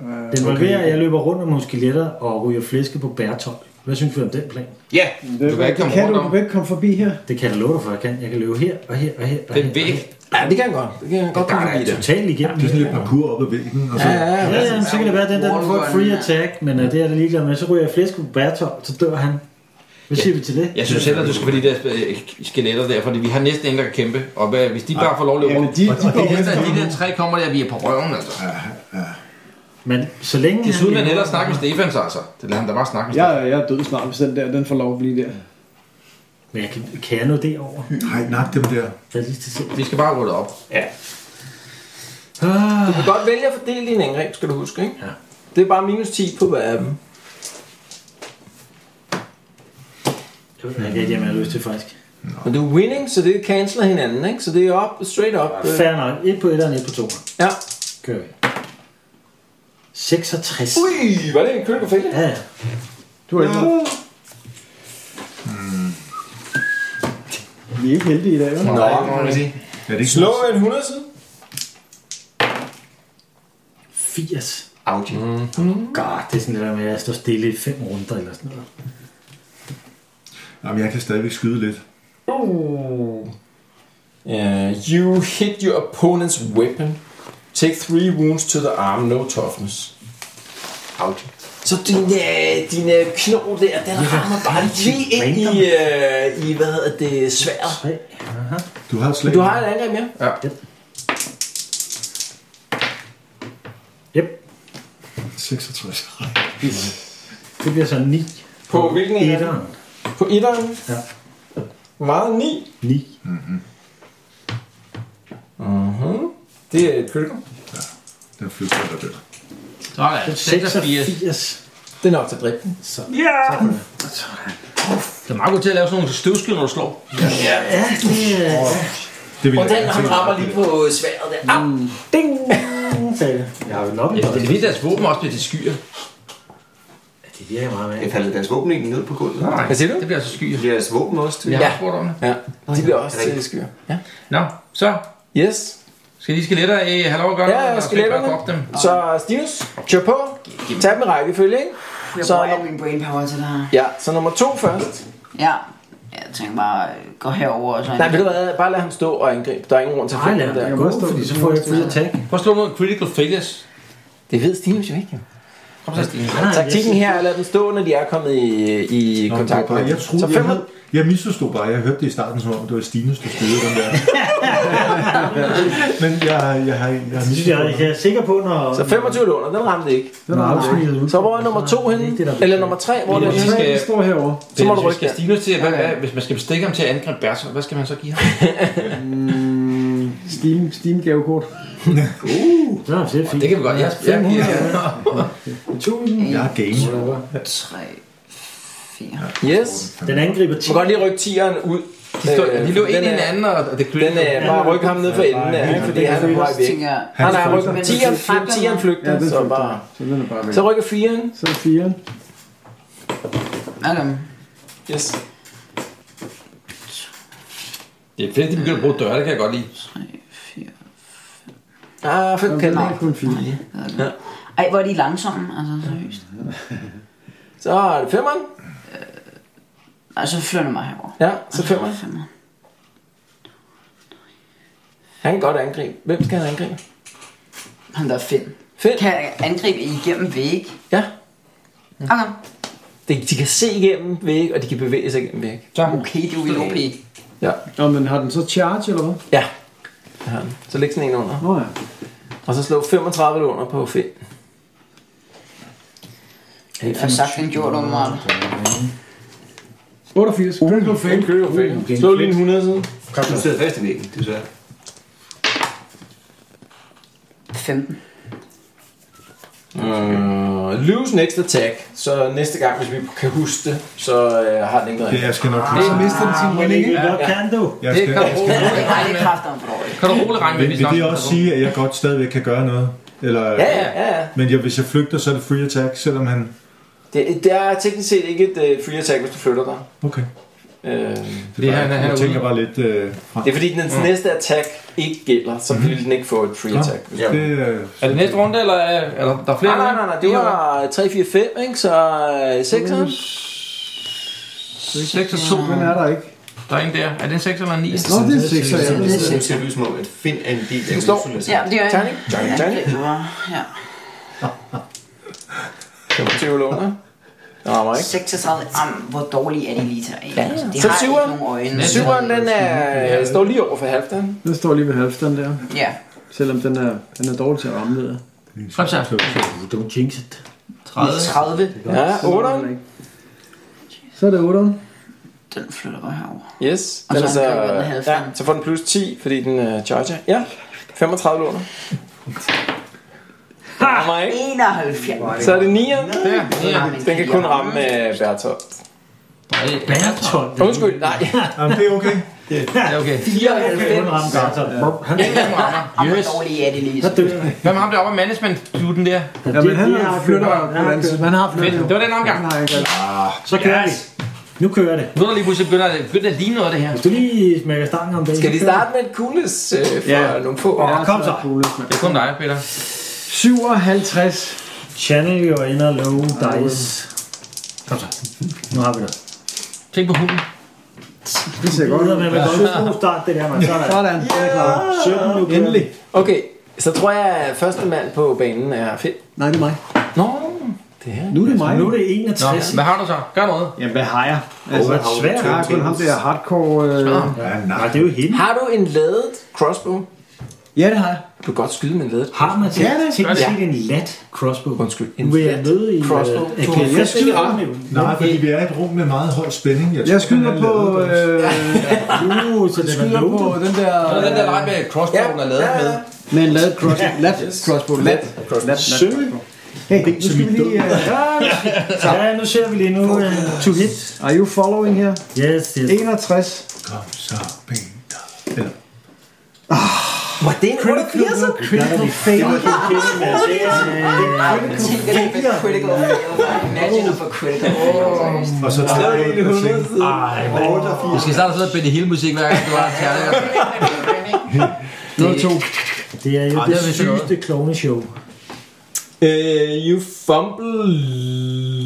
Speaker 2: Den involverer, at jeg løber rundt om nogle skeletter og ryger flæske på bærtop. Hvad synes du om den plan?
Speaker 5: Ja,
Speaker 3: Det,
Speaker 5: du kan ikke komme
Speaker 3: kan
Speaker 5: rundt
Speaker 3: du,
Speaker 5: om.
Speaker 3: du kan ikke komme forbi her.
Speaker 2: Det kan jeg da love dig for, jeg kan. Jeg kan løbe her og her og her. Og
Speaker 5: Den
Speaker 2: her, og
Speaker 5: væg.
Speaker 2: her.
Speaker 4: Ja, det kan han godt. Det kan han godt
Speaker 5: Det gør
Speaker 4: komme
Speaker 5: han
Speaker 4: i det.
Speaker 2: Totalt igennem.
Speaker 6: Det er sådan lidt parkour op ad væggen, og så...
Speaker 4: Ja, ja, ja.
Speaker 2: Ja, ja, men så kan det være, at den der den får et free attack, men øh, det er jeg da ligeglad med. Så ryger jeg flæske på bærtop, så dør han. Hvad siger vi til det?
Speaker 5: Jeg synes heller, du skal få de der øh, skeletter der, fordi vi har næsten ingen, der kan kæmpe. Og hvad, hvis de bare får lov at løbe
Speaker 3: Jamen,
Speaker 5: rundt.
Speaker 3: de, de,
Speaker 5: Det
Speaker 3: de,
Speaker 5: eneste, at de der tre kommer der, vi er på røven, altså.
Speaker 2: Men så længe
Speaker 5: Desuden vil
Speaker 2: han
Speaker 5: han hellere snakke med Stefans, altså. Det lader han da bare snakke med
Speaker 3: jeg,
Speaker 5: Stefan.
Speaker 3: jeg er død snart, hvis den der, den får lov at blive der.
Speaker 2: Men jeg kan, kan jeg nå det over?
Speaker 6: Nej, nak dem der.
Speaker 2: Jeg er lige til selv.
Speaker 5: Vi skal bare rulle op.
Speaker 4: Du kan godt vælge at fordele din angreb, skal du huske, ikke? Ja. Det er bare minus 10 på hver af dem.
Speaker 2: Jeg ved ikke, at jeg har lyst til faktisk.
Speaker 4: Men du er winning, så det canceler hinanden, ikke? Så det er op, straight up. øh,
Speaker 2: Fair nok. Et på et og et på to.
Speaker 4: Ja.
Speaker 2: Kører vi. 66.
Speaker 4: Ui, var det en critical failure?
Speaker 2: Ja,
Speaker 3: Du er ikke Vi er ikke heldige i dag, vel?
Speaker 4: Nå, må man sige.
Speaker 6: Er det ikke
Speaker 4: Slå en 100 side.
Speaker 2: 80.
Speaker 7: Audi. Mm.
Speaker 2: God, det er sådan det der med, at jeg står stille i fem runder eller sådan noget.
Speaker 6: Jamen, jeg kan stadigvæk skyde lidt.
Speaker 4: Uh. Uh, you hit your opponent's weapon. Take three wounds to the arm, no toughness.
Speaker 7: Audi.
Speaker 4: Så din, øh, din øh, knogle der, den rammer bare lige ind i, øh, i hvad hedder det, sværet.
Speaker 6: Du har et slag.
Speaker 4: Du har et angreb mere.
Speaker 2: Yep,
Speaker 6: 66.
Speaker 2: det bliver så 9.
Speaker 4: På hvilken en af dem?
Speaker 2: Etteren.
Speaker 4: På etteren?
Speaker 2: Ja.
Speaker 4: Hvor meget? Ni?
Speaker 2: 9.
Speaker 4: Mhm. Det er et critical.
Speaker 6: Den flygter der dør.
Speaker 5: Sådan, 86.
Speaker 2: 86.
Speaker 4: Det er nok til at dræbe den.
Speaker 5: Det er meget godt til at lave sådan nogle støvskyer, når du slår.
Speaker 2: Ja, det er...
Speaker 6: Det vil
Speaker 4: Og den
Speaker 6: gerne
Speaker 4: han
Speaker 6: se.
Speaker 4: rammer lige på sværet der. Au!
Speaker 2: Ding! sagde det. Jeg har vel nok i
Speaker 5: Ja, det er det
Speaker 2: det.
Speaker 5: vildt, at deres våben også bliver til skyer.
Speaker 2: Det virker meget med.
Speaker 7: Jeg faldt deres våben egentlig ned på gulvet.
Speaker 5: Nej,
Speaker 4: Hvad siger du?
Speaker 5: Det bliver så skyer.
Speaker 7: Bliver deres våben også til?
Speaker 5: Jeg
Speaker 7: Ja.
Speaker 5: har
Speaker 4: Ja.
Speaker 5: ja. spurgt om det.
Speaker 4: Ja, de bliver også til skyer. Ja.
Speaker 5: Nå, så
Speaker 4: Yes.
Speaker 5: skal de skeletter øh, have lov at gøre
Speaker 4: Ja, ja,
Speaker 5: og så ikke bare droppe dem.
Speaker 4: skeletterne. Så Stinus, kør på. Tag dem i rækkefølge, ikke?
Speaker 8: Jeg
Speaker 4: Så-
Speaker 8: bruger al min brain power til det her.
Speaker 4: Ja, så nummer to først.
Speaker 8: Ja. Jeg tænker bare, øh, gå herover og så...
Speaker 4: Nej, ved du hvad? Bare lad ham stå og angribe. Der er ingen grund til at
Speaker 2: Nej,
Speaker 4: finde
Speaker 2: lad
Speaker 4: ham der.
Speaker 2: det gå, fordi så får jeg free attack.
Speaker 5: Prøv at slå nogle critical failures.
Speaker 4: Det ved Stinus jo ikke. jo.
Speaker 5: Kom så, Stine.
Speaker 2: Nej,
Speaker 4: Taktikken her er at lade dem stå, når de er kommet i, i
Speaker 6: Nå, det var
Speaker 4: kontakt.
Speaker 6: bare, jeg troede,
Speaker 4: så
Speaker 6: jeg,
Speaker 4: fem
Speaker 6: havde, jeg misforstod bare. Jeg hørte det i starten, som om det var Stines, der skyder den der. Men jeg, jeg, har, jeg har
Speaker 2: Det synes jeg,
Speaker 6: misforstået.
Speaker 2: jeg er sikker på, når...
Speaker 4: Så 25 låner, den ramte ikke.
Speaker 2: Den er afsnittet ud.
Speaker 4: Så hvor er nummer to henne? Eller nummer tre? Hvor er
Speaker 5: Lige
Speaker 4: det
Speaker 5: præcis.
Speaker 4: henne?
Speaker 5: skal-
Speaker 3: Vi står herovre.
Speaker 5: Så må du
Speaker 4: rykke
Speaker 5: rykke
Speaker 4: der.
Speaker 5: Stinus til, hvad, hvad, hvis man skal bestikke ham til at angribe Berser, hvad skal man så give ham?
Speaker 3: Steam, Steam gavekort.
Speaker 2: Det er det fint.
Speaker 5: Det kan vi godt. Jeg, jeg, jeg, jeg,
Speaker 4: [LAUGHS]
Speaker 6: Jeg har game.
Speaker 8: Tre, fire.
Speaker 4: Yes.
Speaker 2: Den angriber
Speaker 4: Du
Speaker 2: 10.
Speaker 4: må godt lige rykke tieren ud.
Speaker 5: de, stod,
Speaker 4: Øh,
Speaker 5: de lå ind
Speaker 4: den
Speaker 5: i
Speaker 4: er-
Speaker 5: hinanden, og og det
Speaker 4: Den
Speaker 5: critical.
Speaker 4: er bare rykke ham ned for enden af, ikke? fordi han er på vej
Speaker 8: Så
Speaker 4: væk.
Speaker 8: tænker jeg,
Speaker 4: Nej, nej, rykker
Speaker 8: flygter.
Speaker 4: tieren frem, tieren flygter,
Speaker 3: Ja, den
Speaker 4: så
Speaker 3: flygter.
Speaker 4: bare...
Speaker 3: Så den er bare væk.
Speaker 4: Så rykker firen.
Speaker 3: Så er firen.
Speaker 8: okay.
Speaker 4: Yes.
Speaker 5: Det er fedt, at de begynder at bruge døre, det kan jeg godt lide.
Speaker 8: Tre, fire.
Speaker 4: Ah, fem kan
Speaker 3: Den
Speaker 4: den
Speaker 3: er
Speaker 4: ikke.
Speaker 3: kun fire.
Speaker 8: Ej, hvor er de langsomme, altså seriøst.
Speaker 4: Så er det femmeren.
Speaker 8: Ej, Altså, så flytter jeg mig herover.
Speaker 4: Ja, så femmeren.
Speaker 8: Femmer.
Speaker 4: Han kan godt angribe. Hvem skal han angribe?
Speaker 8: Han der er Finn.
Speaker 4: Finn?
Speaker 8: Kan jeg angribe igennem væg?
Speaker 4: Ja.
Speaker 8: Okay.
Speaker 4: De, de kan se igennem væg, og de kan bevæge sig igennem væg. Så.
Speaker 8: Okay, du vil OP.
Speaker 4: Ja.
Speaker 3: Nå, men har den så charge, eller hvad?
Speaker 4: Ja. Det har han. Så læg sådan en under.
Speaker 3: Nå ja.
Speaker 4: Og så slå 35 låner på Finn.
Speaker 8: Det er sagt, den gjorde du meget.
Speaker 3: 88. Critical fail.
Speaker 4: Slå lige Uh, en 100 siden.
Speaker 7: Du sidder fast i væggen, det er så.
Speaker 8: 15.
Speaker 4: Øh, lose next attack, så næste gang, hvis vi kan huske det, så øh, har den ikke noget.
Speaker 6: Det, jeg skal nok klare
Speaker 5: Det
Speaker 6: det.
Speaker 5: mister den sin
Speaker 2: Men
Speaker 5: winning,
Speaker 2: ikke
Speaker 5: ikke?
Speaker 2: nok kan du.
Speaker 6: Jeg
Speaker 5: Det
Speaker 6: skal,
Speaker 5: kan du
Speaker 6: jeg skal,
Speaker 5: roligt
Speaker 8: Jeg har lidt kræfter om
Speaker 5: kan du roligt regne
Speaker 6: vil,
Speaker 5: med, hvis
Speaker 6: vil
Speaker 5: nok
Speaker 6: det også
Speaker 5: er
Speaker 6: sige, at jeg godt stadigvæk kan gøre noget? Eller,
Speaker 4: Ja, ja, ja, ja.
Speaker 6: Men jeg, hvis jeg flygter, så er det free attack, selvom han...
Speaker 4: Det, det er teknisk set ikke et uh, free attack, hvis du flytter dig.
Speaker 6: Okay.
Speaker 4: Øh,
Speaker 6: Det er bare, han,
Speaker 5: han- han er
Speaker 6: jeg
Speaker 5: ude.
Speaker 6: tænker bare lidt... Øh, fra.
Speaker 4: det er fordi, den næste attack ikke gælder, så vil den ikke få et free
Speaker 6: Nå.
Speaker 4: attack.
Speaker 7: Ja.
Speaker 6: Det, øh,
Speaker 5: Er det næste runde, eller er, er der, der er flere?
Speaker 4: Nej, nej, nej, nej, det var 3, 4, 5, ikke? Så øh, 6
Speaker 8: Mm.
Speaker 5: 6 og 2.
Speaker 3: Den er der ikke.
Speaker 5: Der er en der. Er det en 6 eller en 9?
Speaker 3: Nå, det er seks, så
Speaker 7: Nu
Speaker 3: jeg
Speaker 7: ser det ser ud som om, at Finn altså. er en del af
Speaker 4: står-
Speaker 7: Ursula.
Speaker 8: Ja, det er
Speaker 4: Tegning, tegning, tegning.
Speaker 8: Ja.
Speaker 4: Teologer. Den rammer ikke.
Speaker 8: 36. Jamen, hvor dårlig er det lige til dig? Ja, altså, det
Speaker 4: Så
Speaker 8: har ikke
Speaker 4: syveren?
Speaker 8: nogen øjne.
Speaker 4: Syveren, den er, står lige over for halvdagen.
Speaker 3: Den står lige ved halvstand der.
Speaker 8: Ja,
Speaker 3: Selvom den er, den er dårlig til at ramme der.
Speaker 5: Kom så.
Speaker 2: Don't jinx it.
Speaker 5: 30.
Speaker 8: 30.
Speaker 4: Ja, 8.
Speaker 3: Så er det 8.
Speaker 8: Den flytter bare herover.
Speaker 4: Yes.
Speaker 8: Og
Speaker 4: Den
Speaker 8: så
Speaker 4: er så,
Speaker 8: angriber den halvdagen.
Speaker 4: ja, så får den plus 10, fordi den uh, charger. Ja, 35 låner. Den rammer ikke.
Speaker 8: 71.
Speaker 4: Så er det 9.
Speaker 5: Der. Ja.
Speaker 4: Den kan kun ramme uh, Bertolt.
Speaker 2: Bertolt.
Speaker 4: Undskyld,
Speaker 5: [LAUGHS]
Speaker 4: nej.
Speaker 6: jamen, det er okay.
Speaker 5: Ja, okay.
Speaker 8: 94.
Speaker 2: Han
Speaker 5: Hvem rammer?
Speaker 8: Jamen,
Speaker 5: Yes.
Speaker 8: hvor dårlig er det lige til dig?
Speaker 2: dør.
Speaker 5: Hvem har ham deroppe af management kluten der?
Speaker 3: Ja, men han
Speaker 2: de
Speaker 3: har
Speaker 2: har
Speaker 3: flytter
Speaker 2: flyttet-
Speaker 3: på den side. Han har
Speaker 5: Fedt.
Speaker 3: flyttet.
Speaker 5: Det var den omgang.
Speaker 3: Nej, ikke alt.
Speaker 2: Så kører vi. Nu kører det.
Speaker 5: Nu er der lige pludselig begynder, det- begynder det at ligne noget af det her.
Speaker 2: Hvis du lige smækker stangen om det.
Speaker 4: Skal vi starte med et coolness uh, for
Speaker 3: Ja.
Speaker 4: nogle få?
Speaker 3: Ja,
Speaker 2: kom så.
Speaker 3: er Coolest, mand.
Speaker 5: Det er kun dig, Peter.
Speaker 3: 57.
Speaker 2: Channel your inner low dice. Kom så. Nu har vi det.
Speaker 5: Tænk på hunden.
Speaker 3: Det ser godt
Speaker 2: Videre
Speaker 3: ud.
Speaker 2: med, med god start, det der, man. Sådan.
Speaker 3: Sådan, det er klart.
Speaker 2: 17 nu kører vi.
Speaker 3: Endelig.
Speaker 4: Okay, så tror jeg, at første mand på banen er Finn.
Speaker 3: Nej, det er mig.
Speaker 4: Nå, det er
Speaker 3: Nu er det mig.
Speaker 2: Nu er det
Speaker 5: Nå,
Speaker 2: 61.
Speaker 5: hvad har du så? Gør noget.
Speaker 3: Jamen, hvad har jeg? Altså,
Speaker 2: Åh, svært.
Speaker 3: jeg har kun ham der hardcore... Øh...
Speaker 6: Ja,
Speaker 2: Nej,
Speaker 6: nej.
Speaker 2: det er jo hende.
Speaker 4: Har du en ladet crossbow?
Speaker 3: Ja, det har jeg.
Speaker 4: Du kan godt skyde med en ladet
Speaker 2: Har man til
Speaker 3: Ja, det er
Speaker 2: teknisk
Speaker 4: godt.
Speaker 2: set en lat crossbow?
Speaker 4: Undskyld, en
Speaker 2: Nu er jeg
Speaker 4: lat
Speaker 2: nede i...
Speaker 4: crossbow.
Speaker 2: øh, Jeg
Speaker 4: Du
Speaker 2: kan
Speaker 4: har
Speaker 2: jeg skyde
Speaker 4: fuldstændig ret.
Speaker 2: aflevet.
Speaker 6: Nej, fordi vi er i et rum med meget høj spænding. Jeg,
Speaker 3: Jeg
Speaker 6: tror,
Speaker 3: skyder
Speaker 6: han er
Speaker 3: på...
Speaker 6: lavet det.
Speaker 3: Øh...
Speaker 2: Uh, så den er
Speaker 3: Skyder på
Speaker 2: lukket.
Speaker 3: den der...
Speaker 5: Og den der leg med crossbowen er lavet med.
Speaker 3: Med en ladet cross, lat crossbow. Lat crossbow. Hey, nu skal vi lige... Uh,
Speaker 2: Ja, nu ser vi lige nu. øh, to hit.
Speaker 3: are you following her?
Speaker 2: Yes, yes.
Speaker 3: 61.
Speaker 6: Kom så, Peter. Eller,
Speaker 4: Var det en critical?
Speaker 3: Critical fail.
Speaker 2: øh,
Speaker 3: Ah,
Speaker 8: Tænk, at det er critical fail. Imagine at få critical fail.
Speaker 6: og så tager jeg ud og tænker,
Speaker 5: Du skal starte sidde og spille hele musik, hver gang du har en kærlighed.
Speaker 2: Det er jo
Speaker 5: Ej, det
Speaker 2: det
Speaker 5: er vist
Speaker 2: sygeste kloneshow.
Speaker 4: Uh, you fumble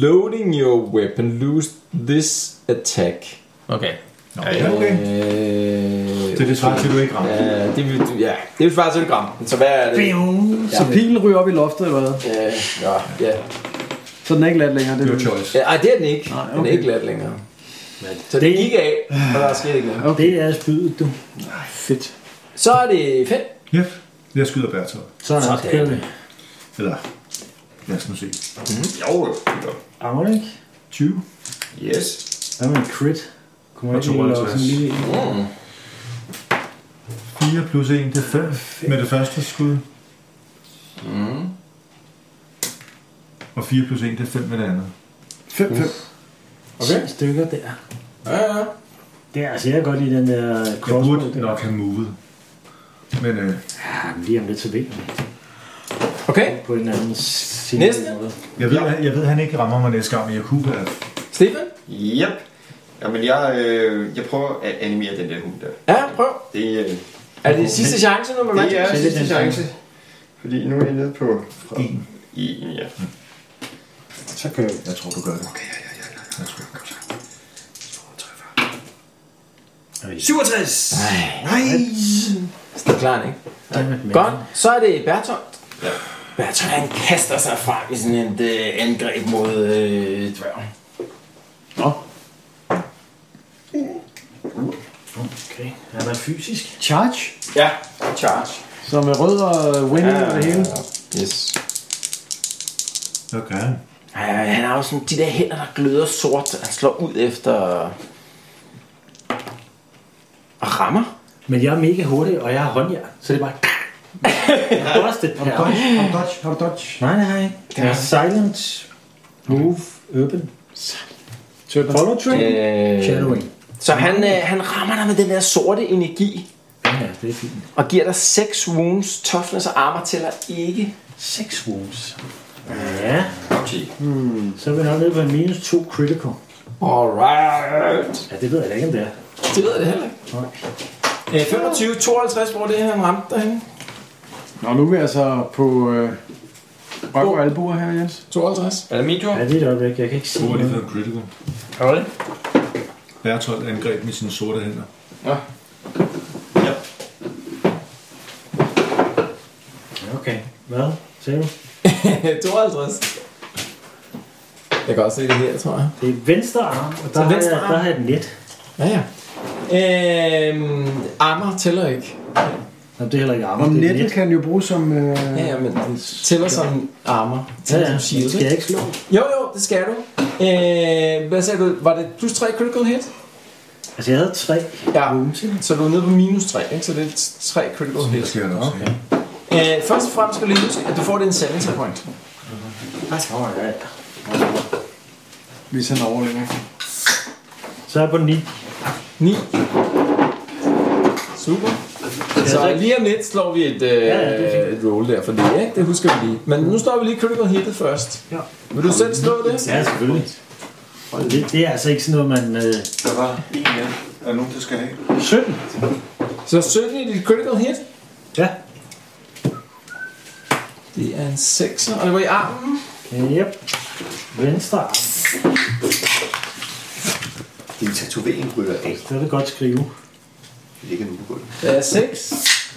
Speaker 4: loading your weapon. Lose this attack.
Speaker 5: Okay.
Speaker 6: ja, okay.
Speaker 4: Uh,
Speaker 6: Det er det svar til, du ikke rammer.
Speaker 4: uh, det vil, ja, det vil faktisk ikke ramme. Så hvad er det?
Speaker 3: Så pilen ryger op i loftet eller hvad?
Speaker 4: Uh, ja, ja.
Speaker 3: Så den er ikke lat længere. Det
Speaker 6: Your
Speaker 3: er
Speaker 6: choice.
Speaker 4: Ja, Ej, det er den ikke.
Speaker 3: Nej,
Speaker 4: Den er
Speaker 3: okay.
Speaker 4: ikke let længere. Så det gik af, og der skete ikke noget.
Speaker 2: Det er spydet, du.
Speaker 3: fedt.
Speaker 4: Så er det fedt.
Speaker 6: Yep. Jeg skyder Bertolt.
Speaker 2: Sådan, så kører vi.
Speaker 6: Eller, lad os nu se.
Speaker 7: Jo, jo.
Speaker 2: Rammer det ikke?
Speaker 6: 20.
Speaker 7: Yes.
Speaker 2: Hvad med en crit? Kommer
Speaker 6: Og
Speaker 2: jeg ikke lige lave
Speaker 6: 52.
Speaker 2: sådan en lille en?
Speaker 6: 4 plus 1, det er 5 med det første skud. Mm. Og 4 plus 1, det er 5 med det andet.
Speaker 3: 5, 5.
Speaker 2: Okay. stykker der.
Speaker 4: Ja, ja.
Speaker 2: Det er altså, jeg kan godt lide den der
Speaker 6: Jeg
Speaker 2: crossbow.
Speaker 6: burde
Speaker 2: der.
Speaker 6: nok have movet. Men øh,
Speaker 2: Ja, men lige om lidt så vinder vi
Speaker 4: Okay,
Speaker 2: på en eller anden sin
Speaker 4: Næste.
Speaker 2: måde.
Speaker 6: jeg, ved, jeg ved, han ikke rammer mig næste gang, men jeg kunne være...
Speaker 4: Stefan?
Speaker 7: Yep. Jamen, jeg, øh, jeg prøver at animere den der hund der.
Speaker 4: Ja, prøv.
Speaker 7: Det, øh,
Speaker 4: Er det sidste chance nu med mig?
Speaker 7: det er
Speaker 2: Sælge
Speaker 7: sidste
Speaker 2: den
Speaker 7: chance. Fordi nu er jeg nede på...
Speaker 6: En.
Speaker 7: En, ja.
Speaker 4: Mm.
Speaker 2: Så kører vi.
Speaker 6: Jeg tror, du gør det.
Speaker 7: 67!
Speaker 4: Det er klart, ikke? Godt, så er det Bertolt. Bertolt, han kaster sig frem i sådan et øh, angreb mod øh, dværgen.
Speaker 2: Okay. Han er fysisk.
Speaker 3: Charge.
Speaker 4: Ja, charge.
Speaker 3: Så med rød og winning og det hele.
Speaker 4: Yes.
Speaker 6: Okay.
Speaker 4: Ja, han har jo sådan de der hænder, der gløder sort. Han slår ud efter... Og rammer.
Speaker 2: [LAUGHS] Men jeg er mega hurtig, og jeg har håndjern, så det er bare... Busted
Speaker 3: Har du
Speaker 2: power.
Speaker 3: dodge? Har du dodge? Har du dodge?
Speaker 2: Nej, nej. Det er silent, move, open. Follow trail.
Speaker 4: Øh,
Speaker 2: Shadowing.
Speaker 10: Så han, øh, han rammer dig med den der sorte energi,
Speaker 2: Ja, det er fint.
Speaker 10: og giver dig 6 wounds, toughness og armor tæller ikke.
Speaker 2: 6 wounds. Ja. Hmm, Så er vi nok nede på en minus 2 critical.
Speaker 4: alright.
Speaker 2: Ja, det ved jeg da ikke, om det er.
Speaker 4: Det ved jeg det heller ikke. Øh, 25, 52, hvor det er, han ramte derhenne.
Speaker 3: Nå, nu er vi altså på øh, røv og albuer her, Jens.
Speaker 4: 52.
Speaker 5: Er det min tur?
Speaker 2: Ja, det er et øjeblik. Jeg kan ikke se
Speaker 6: Hvor er det
Speaker 2: noget.
Speaker 6: for en critical?
Speaker 5: Hvad det?
Speaker 6: Bertolt angreb med sine sorte hænder.
Speaker 2: Okay. Hvad? Ser du?
Speaker 4: [LAUGHS] 52. Jeg kan også se det her, tror jeg.
Speaker 2: Det er venstre arm, og der, har,
Speaker 4: venstre
Speaker 2: jeg,
Speaker 4: arm.
Speaker 2: der har jeg et net.
Speaker 4: Ja, ja. Øhm, armor tæller ikke.
Speaker 2: Nå, det er heller ikke arm.
Speaker 3: Og
Speaker 2: det er
Speaker 3: nettet kan jo bruges som... Øh,
Speaker 4: Ja, ja, men den tæller som armor.
Speaker 2: Ja,
Speaker 4: Tæller
Speaker 2: ja.
Speaker 4: som shield,
Speaker 2: Skal
Speaker 4: ikke?
Speaker 2: jeg ikke slå?
Speaker 4: Jo, jo, det skal du. Øh, hvad sagde du? Var det plus 3 critical hit?
Speaker 2: Altså, jeg havde tre.
Speaker 4: Ja. Så du er nede på minus 3, ikke? Så det er 3 critical
Speaker 6: Det
Speaker 4: hit.
Speaker 6: skal jeg nok okay.
Speaker 4: Øh, først og fremmest skal du lige huske, at du får din sanity point.
Speaker 3: Hvis han overlever.
Speaker 2: Så er jeg på 9.
Speaker 4: 9. Super. Så lige om lidt slår vi et, øh,
Speaker 2: Altså, ja, det er
Speaker 4: et roll der for det, ikke? Det husker vi lige. Men nu står vi lige critical hittet først.
Speaker 2: Ja.
Speaker 4: Vil du selv slå det?
Speaker 2: Ja, selvfølgelig. Det, det er altså ikke sådan noget, man... Øh,
Speaker 6: Der var en mere. Er der nogen, der skal have?
Speaker 2: 17.
Speaker 4: Så 17 i dit critical hit.
Speaker 2: Ja.
Speaker 4: Det er en 6'er, og det var i armen.
Speaker 2: Yep. Venstre arm.
Speaker 7: Din tatovering ryger af.
Speaker 2: Så er det godt skrive.
Speaker 7: Det ligger nu på gulvet.
Speaker 4: Det er 6.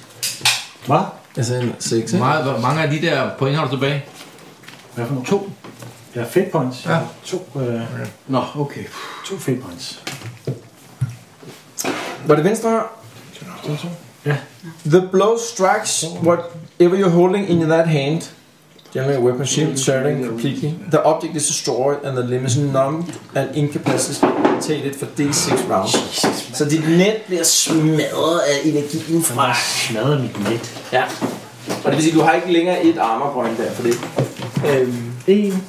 Speaker 2: Hvad?
Speaker 4: Altså en 6,
Speaker 5: Hvor
Speaker 4: ikke?
Speaker 5: meget- hvor mange af de der point har du tilbage?
Speaker 2: Hvad for nogle? To. Jeg har fed points. Ja. To, øh,
Speaker 3: Nå, okay.
Speaker 2: to fed points.
Speaker 4: Var det venstre hånd?
Speaker 2: Ja.
Speaker 4: The blow strikes whatever you're holding in that hand. Generally a weapon shield turning completely. The object is destroyed and the limb is numbed and incapacitated for D6 rounds. Så dit net bliver smadret af energien fra...
Speaker 2: Smadrer mit net.
Speaker 4: Ja. Og det vil sige, du har ikke længere et armor point der for det. Øhm,
Speaker 2: En.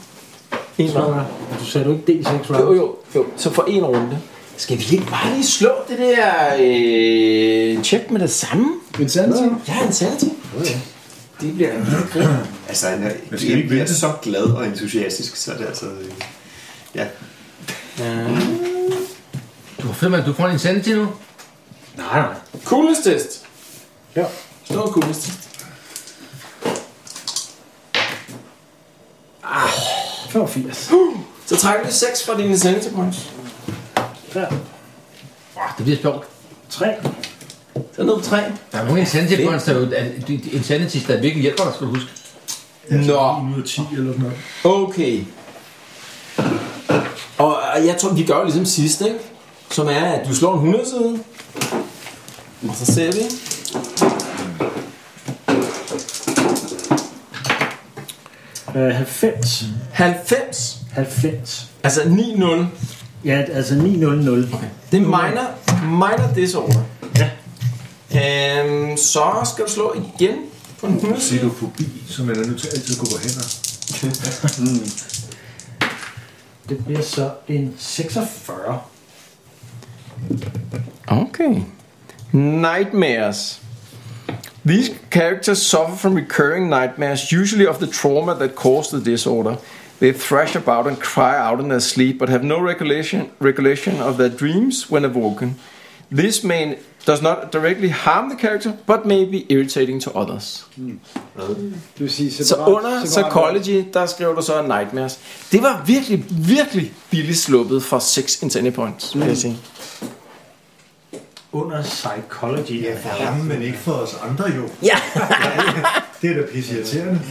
Speaker 4: en
Speaker 2: Så,
Speaker 4: round.
Speaker 2: du sagde du ikke D6 round?
Speaker 4: Jo, jo, jo. Så for en runde. Skal vi ikke bare lige slå det der øh, check med det samme?
Speaker 3: En sandsyn.
Speaker 4: Ja, en sanity. Det bliver en vild grin.
Speaker 7: Altså, han er,
Speaker 6: Hvad skal vi
Speaker 7: jeg
Speaker 6: ikke
Speaker 7: bliver
Speaker 6: vente?
Speaker 7: så glad og entusiastisk, så er det altså... øh, Ja,
Speaker 5: Du har fem, du får en sanity nu.
Speaker 2: Nej, nej.
Speaker 4: Coolness test.
Speaker 2: Ja.
Speaker 4: Stor coolness test.
Speaker 2: 85.
Speaker 4: Så trækker du 6 fra dine sanity points.
Speaker 2: Ja.
Speaker 5: Åh, det bliver sjovt.
Speaker 2: 3.
Speaker 4: Så er ned på 3.
Speaker 5: Der er nogle insanity points, der jo er- de- de- insanity, der virkelig hjælper dig, skal du huske.
Speaker 4: Nå,
Speaker 6: 110 eller sådan noget.
Speaker 4: okay. Og og jeg tror, vi gør jo ligesom sidst, ikke? Som er, at du slår en 100 side. Og så ser vi.
Speaker 2: Øh, 90.
Speaker 4: 90.
Speaker 2: 90.
Speaker 4: Altså 9-0.
Speaker 2: Ja, altså 900. Okay.
Speaker 4: Det er minor, minor
Speaker 10: er
Speaker 4: disorder.
Speaker 2: Ja.
Speaker 4: Øhm, så skal du slå igen på en 100 side.
Speaker 6: Xenofobi, som man er nødt til altid at gå på hænder.
Speaker 2: Det bliver så en 46.
Speaker 10: Okay. Nightmares. These characters suffer from recurring nightmares, usually of the trauma that caused the disorder. They thrash about and cry out in their sleep, but have no recollection, recollection of their dreams when awoken. This may, does not directly harm the character, but may be irritating to others.
Speaker 3: Det vil sige
Speaker 10: Så under psychology, der skriver du så nightmares. Det var virkelig, virkelig billigt sluppet for 6 intended points, vil jeg sige.
Speaker 2: Under psychology.
Speaker 6: Ja,
Speaker 2: Ja.
Speaker 6: for ham, men ikke for os andre jo.
Speaker 10: Ja.
Speaker 6: [LAUGHS] det er da pisse irriterende.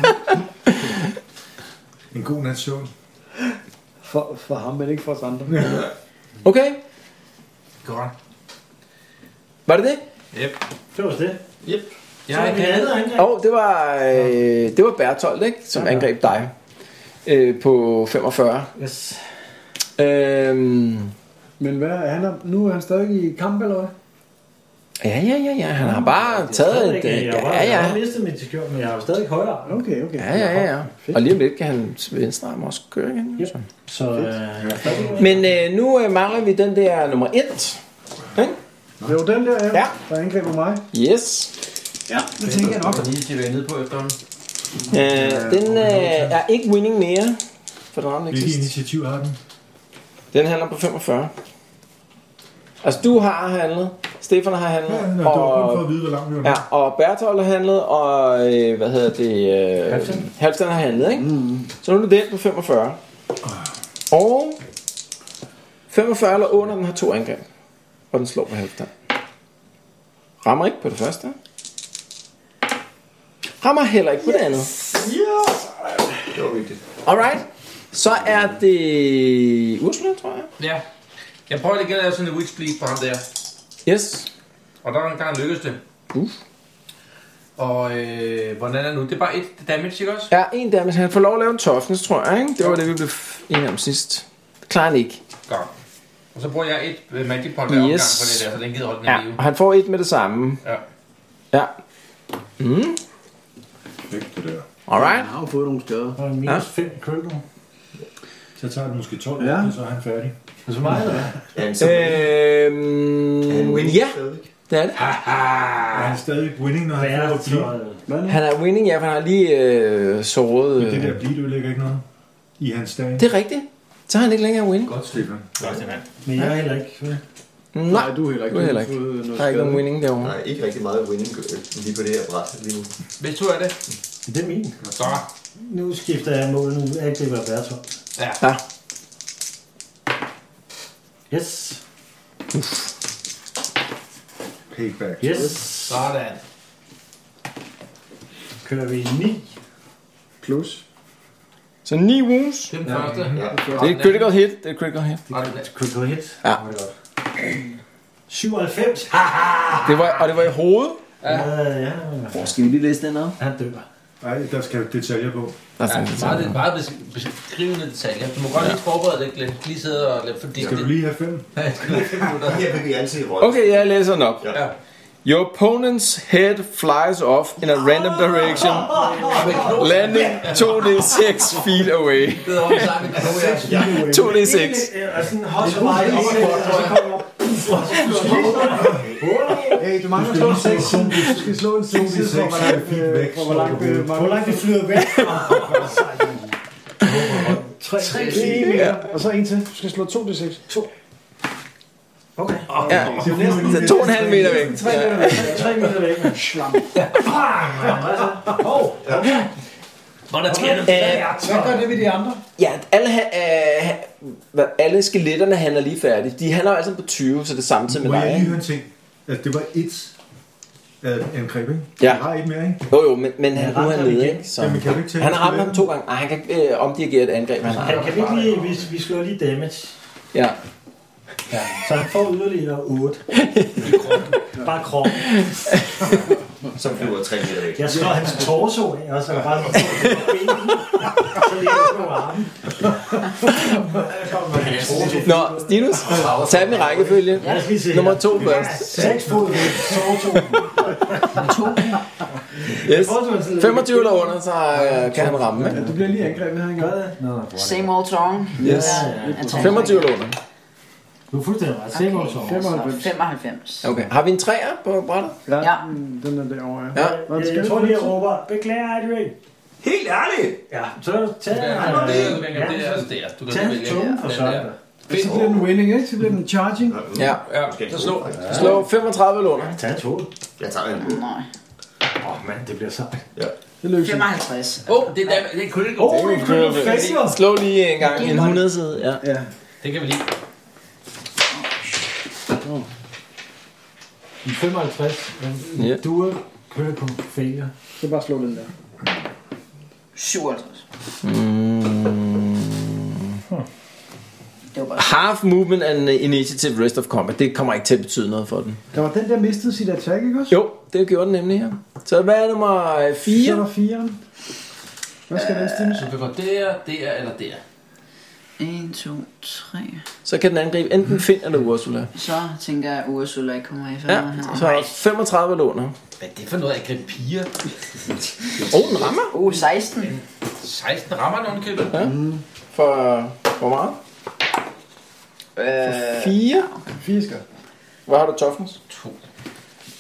Speaker 6: en god nats søvn.
Speaker 3: For, for ham, men ikke for os andre. Ja.
Speaker 10: Okay,
Speaker 5: Godt.
Speaker 10: var det det?
Speaker 5: Yep.
Speaker 2: Det var det.
Speaker 5: Yep.
Speaker 2: Så er det andet angreb.
Speaker 10: Og det var, øh, det var Bertolt, ikke? Som angreb dig øh, på 45.
Speaker 2: Yes.
Speaker 10: Øhm,
Speaker 4: Øhm,
Speaker 3: Men hvad, er han er, nu er han stadig i kamp, eller hvad?
Speaker 4: Ja, ja, ja, ja. Han har bare taget et...
Speaker 2: Jeg,
Speaker 4: øh,
Speaker 2: jeg,
Speaker 4: Ja,
Speaker 2: jeg har
Speaker 4: ja.
Speaker 2: mistet mit skjold, men jeg har jo stadig højere. arm.
Speaker 3: Okay, okay.
Speaker 4: Ja, ja, ja, ja. Og lige om lidt kan han venstre arm også køre igen. Yep.
Speaker 2: Så øh, jeg er stadig
Speaker 4: Men øh, nu øh, mangler vi den der nummer 1.
Speaker 3: Det var den der, ja,
Speaker 4: Ja.
Speaker 3: der angriber mig.
Speaker 4: Yes.
Speaker 3: Ja, det tænker jeg nok.
Speaker 5: Og lige til at være nede på efter ham.
Speaker 4: Øh, den øh, er ikke winning mere, for den rammer ikke
Speaker 6: Hvilket
Speaker 4: sidst.
Speaker 6: initiativ har den?
Speaker 4: Den handler på 45. Altså, du har handlet, Stefan har handlet,
Speaker 6: Ja, nå, det var kun for
Speaker 4: og,
Speaker 6: at vide, hvor langt vi var
Speaker 4: ja, og Bertolt har handlet, og øh, hvad hedder det, øh,
Speaker 2: Halfdan.
Speaker 4: Halvstand har handlet, ikke? Mm. Så nu er det den på 45. Og 45 eller under, den har to angreb, og den slår på Halvstand. Rammer ikke på det første. Rammer heller ikke på det andet.
Speaker 7: Det var vigtigt.
Speaker 4: Alright. Så er det Ursula, tror jeg.
Speaker 5: Ja. Jeg prøver lige igen at lave sådan en weak split på ham der.
Speaker 4: Yes.
Speaker 5: Og der er en gang lykkedes det.
Speaker 4: Uff.
Speaker 5: Og øh, hvordan er det nu? Det er bare et damage, ikke også?
Speaker 4: Ja, en der, men han får lov at lave en toughness, tror jeg. Ikke? Det var det, vi blev f- enige om sidst. Det klarer han ikke.
Speaker 5: Godt. Og så bruger jeg et øh, magic pot hver omgang
Speaker 4: Yes.
Speaker 5: på det der, så den gider holde den i live.
Speaker 4: Ja, og han får et med det samme.
Speaker 5: Ja.
Speaker 4: Ja. Mm.
Speaker 6: Perfekt, det der.
Speaker 4: Alright.
Speaker 3: Jeg har jo fået nogle skader.
Speaker 2: på en minus 5 krykker.
Speaker 6: Så tager det måske 12
Speaker 3: Ja.
Speaker 6: ja. så er han færdig.
Speaker 2: Er så meget, eller hvad?
Speaker 7: Ja, så
Speaker 4: Øhm, ja,
Speaker 7: stadigvæk.
Speaker 4: det er det.
Speaker 6: Ah. Er han stadig winning, når han
Speaker 2: Hvad er øh,
Speaker 6: får
Speaker 2: der
Speaker 6: at blive?
Speaker 4: Han er winning, ja, for han har lige øh, såret.
Speaker 6: Men det
Speaker 4: Øh.
Speaker 6: der blive, det ødelægger ikke noget i hans dag.
Speaker 4: Det er rigtigt. Så har han ikke længere winning.
Speaker 6: Godt, Stefan.
Speaker 5: Godt, Stefan.
Speaker 2: Men jeg er heller ikke... vel?
Speaker 4: Nej,
Speaker 3: du er heller ikke.
Speaker 4: Du er heller ikke.
Speaker 3: har fået noget
Speaker 4: der er ikke
Speaker 3: skade.
Speaker 4: nogen winning derovre.
Speaker 7: Nej, ikke rigtig meget winning øh, lige på det her bræt lige nu.
Speaker 5: Hvis du er det.
Speaker 2: Det er min.
Speaker 5: Så.
Speaker 2: Nu skifter jeg mål, nu angriber jeg Bertolt.
Speaker 5: Ja.
Speaker 4: Ja.
Speaker 2: Yes,
Speaker 6: Payback.
Speaker 2: yes.
Speaker 5: Sådan.
Speaker 2: Kører vi 9.
Speaker 3: Plus.
Speaker 4: Så 9 wounds.
Speaker 5: Det er den første. Ja.
Speaker 4: Det er et critical hit. Det er et critical hit.
Speaker 2: Critical hit.
Speaker 4: Ja.
Speaker 2: Åh, det er godt. 97. Ha!
Speaker 4: Det var, og det var i hovedet.
Speaker 2: Ja, ja.
Speaker 11: Hvor skal vi lige læse den op?
Speaker 2: Han dør.
Speaker 6: Ej, der skal detaljer på.
Speaker 4: Der er
Speaker 5: Ja,
Speaker 4: sådan lidt sådan.
Speaker 5: meget, meget bes- beskrivende detaljer. Du må godt lige forberede lidt, lidt. Lige sidde og lidt fordele
Speaker 6: Skal du
Speaker 5: det.
Speaker 6: lige have fem?
Speaker 7: Her vil vi altid i rollen.
Speaker 4: Okay, jeg læser den op.
Speaker 7: Ja.
Speaker 5: Ja.
Speaker 4: Your opponent's head flies off in a random direction, landing 2d6 feet away.
Speaker 5: [LAUGHS] Det er over sammen med Klo, ja.
Speaker 2: Ja,
Speaker 4: 2d6.
Speaker 2: og sådan en hot spot, og så kommer op.
Speaker 3: Hey, du mangler slå en 6. Du skal slå en 6 for, hvor langt, øh, for, hvor langt, øh,
Speaker 2: Hvor langt det flyder væk. 3
Speaker 3: Det er en mere, og så en til. Du skal slå 2 til 6. 2.
Speaker 2: Okay.
Speaker 4: Ja, så 2,5 meter væk.
Speaker 2: 3 meter væk. 3 meter væk. mand. Slam. Bang! Hvad så? Hov. Okay.
Speaker 5: Og der sker det.
Speaker 4: Øh,
Speaker 3: Hvad gør det ved de andre?
Speaker 4: ja, alle, ha- øh, ha- hvad- alle skeletterne handler lige færdigt. De handler altså på 20, så det er samtidig
Speaker 6: Må
Speaker 4: med
Speaker 6: jeg
Speaker 4: dig.
Speaker 6: lige
Speaker 4: ikke?
Speaker 6: høre en ting? At det var et øh, angreb, ikke?
Speaker 4: Ja.
Speaker 6: Jeg har et mere, ikke?
Speaker 4: Jo, jo, men, men han, nu er
Speaker 2: ramte
Speaker 4: han
Speaker 2: ham
Speaker 4: nede,
Speaker 2: igen.
Speaker 4: ikke? Så.
Speaker 6: Jamen, kan du ikke tage
Speaker 4: Han har ramt ham
Speaker 6: skeletten?
Speaker 4: to gange. Nej, han kan ikke øh, omdirigere et angreb, han
Speaker 2: Kan,
Speaker 4: har.
Speaker 2: kan vi ikke lige, vi, vi slår lige damage.
Speaker 4: Ja.
Speaker 2: Ja. Så han får yderligere 8. Bare kroppen.
Speaker 7: Så flyver tre meter væk.
Speaker 2: Jeg slår hans torso af, og så er der bare sådan ben. Så ligger han på armen.
Speaker 4: Nå, Stinus, tag dem i rækkefølge.
Speaker 2: Lad os lige se
Speaker 4: Nummer to først.
Speaker 2: 6 fod væk, torso.
Speaker 4: Yes. 25 eller under, så øh, kan han ramme. Ikke?
Speaker 3: Du bliver lige angrebet her engang.
Speaker 8: Same old song.
Speaker 4: Yes.
Speaker 8: Jeg tror,
Speaker 4: 25 eller under.
Speaker 2: Du er fuldstændig ret. Same old song.
Speaker 8: Okay, så 95.
Speaker 4: Okay. Har vi en træer på brættet?
Speaker 8: Ja.
Speaker 3: Mm, Den er derovre, ja.
Speaker 4: Ja.
Speaker 3: Nå, det skal
Speaker 2: Øh, Jeg
Speaker 3: vi
Speaker 2: tror
Speaker 3: lige
Speaker 2: lige, jeg råber, beklager Adrian.
Speaker 5: Helt ærligt!
Speaker 2: Ja, så tag
Speaker 5: Ja,
Speaker 2: den.
Speaker 5: nu er det, du
Speaker 2: øh,
Speaker 5: kan
Speaker 2: ja,
Speaker 5: det
Speaker 2: så
Speaker 5: er der. Du kan
Speaker 2: Tag
Speaker 5: vælge
Speaker 2: tungen
Speaker 5: den
Speaker 2: for
Speaker 5: der.
Speaker 2: søren.
Speaker 3: Så bliver den winning, ikke? Så bliver den charging.
Speaker 4: Ja.
Speaker 5: Ja, så slå.
Speaker 4: Slå 35 eller under.
Speaker 2: Tag toget.
Speaker 7: Jeg tager en.
Speaker 8: Nej.
Speaker 2: Åh oh, mand, det bliver sejt.
Speaker 3: Det lykkes.
Speaker 8: 55.
Speaker 5: Åh, det er dam- det er critical.
Speaker 4: Slå lige en gang en 100 side. Ja.
Speaker 3: Ja.
Speaker 5: Det kan vi lige.
Speaker 2: 55.
Speaker 4: Ja.
Speaker 2: Yeah. Du er critical failure.
Speaker 3: Så bare slå den der.
Speaker 8: 57.
Speaker 4: Mm.
Speaker 8: Det var bare...
Speaker 4: Half movement and initiative rest of combat. Det kommer ikke til at betyde noget for den.
Speaker 3: Der var den der mistede sit attack, ikke også?
Speaker 4: Jo, det gjorde den nemlig her. Så hvad er nummer
Speaker 3: Så er
Speaker 4: 4?
Speaker 3: der 4'eren. Hvad skal den stemme?
Speaker 5: Så du går der, der eller der.
Speaker 8: 1, 2, 3.
Speaker 4: Så kan den angribe enten Finn eller Ursula.
Speaker 8: Så tænker jeg, at Ursula ikke kommer efter
Speaker 4: Ja,
Speaker 8: mig her.
Speaker 4: så er der 35 eller under.
Speaker 5: Hvad er det for noget at gribe piger?
Speaker 4: Åh, oh, den rammer.
Speaker 8: Uh, 16.
Speaker 5: 16 rammer nogen købet.
Speaker 4: Ja. For hvor meget?
Speaker 8: Øh,
Speaker 4: 4. 4 skal. Hvad har du, Toffens?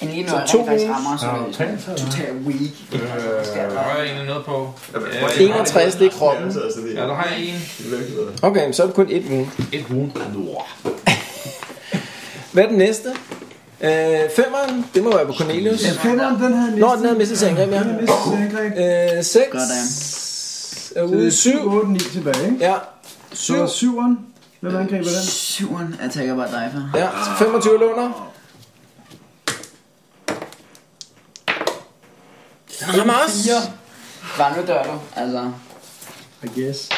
Speaker 8: en lige nu
Speaker 4: Så
Speaker 8: er
Speaker 4: to
Speaker 8: rent faktisk
Speaker 4: minus.
Speaker 8: rammer, så det er sådan totalt weak.
Speaker 5: Der har jeg egentlig noget på. Ja,
Speaker 4: 61, det er altså. kroppen.
Speaker 5: Ja, der har jeg en.
Speaker 4: Okay, så er det kun et uge.
Speaker 5: Et wound. Nord.
Speaker 4: Hvad er den næste? Øh, femmeren, det må være på Cornelius.
Speaker 3: Ja, femmeren, den havde
Speaker 4: Nå, den havde mistet sin angreb, ja.
Speaker 3: Den havde mistet sin angreb.
Speaker 4: Øh, 6.
Speaker 8: Goddamn.
Speaker 4: Er
Speaker 3: Så det
Speaker 4: ude
Speaker 3: er 7,
Speaker 4: 7.
Speaker 3: 8, 9 tilbage, ikke?
Speaker 4: Ja.
Speaker 3: Så
Speaker 4: 7.
Speaker 3: syveren. Hvem angriber den?
Speaker 8: Syveren attacker bare dig for.
Speaker 4: Ja, 25 låner. Den rammer også.
Speaker 8: Bare nu dør du, altså.
Speaker 3: I guess.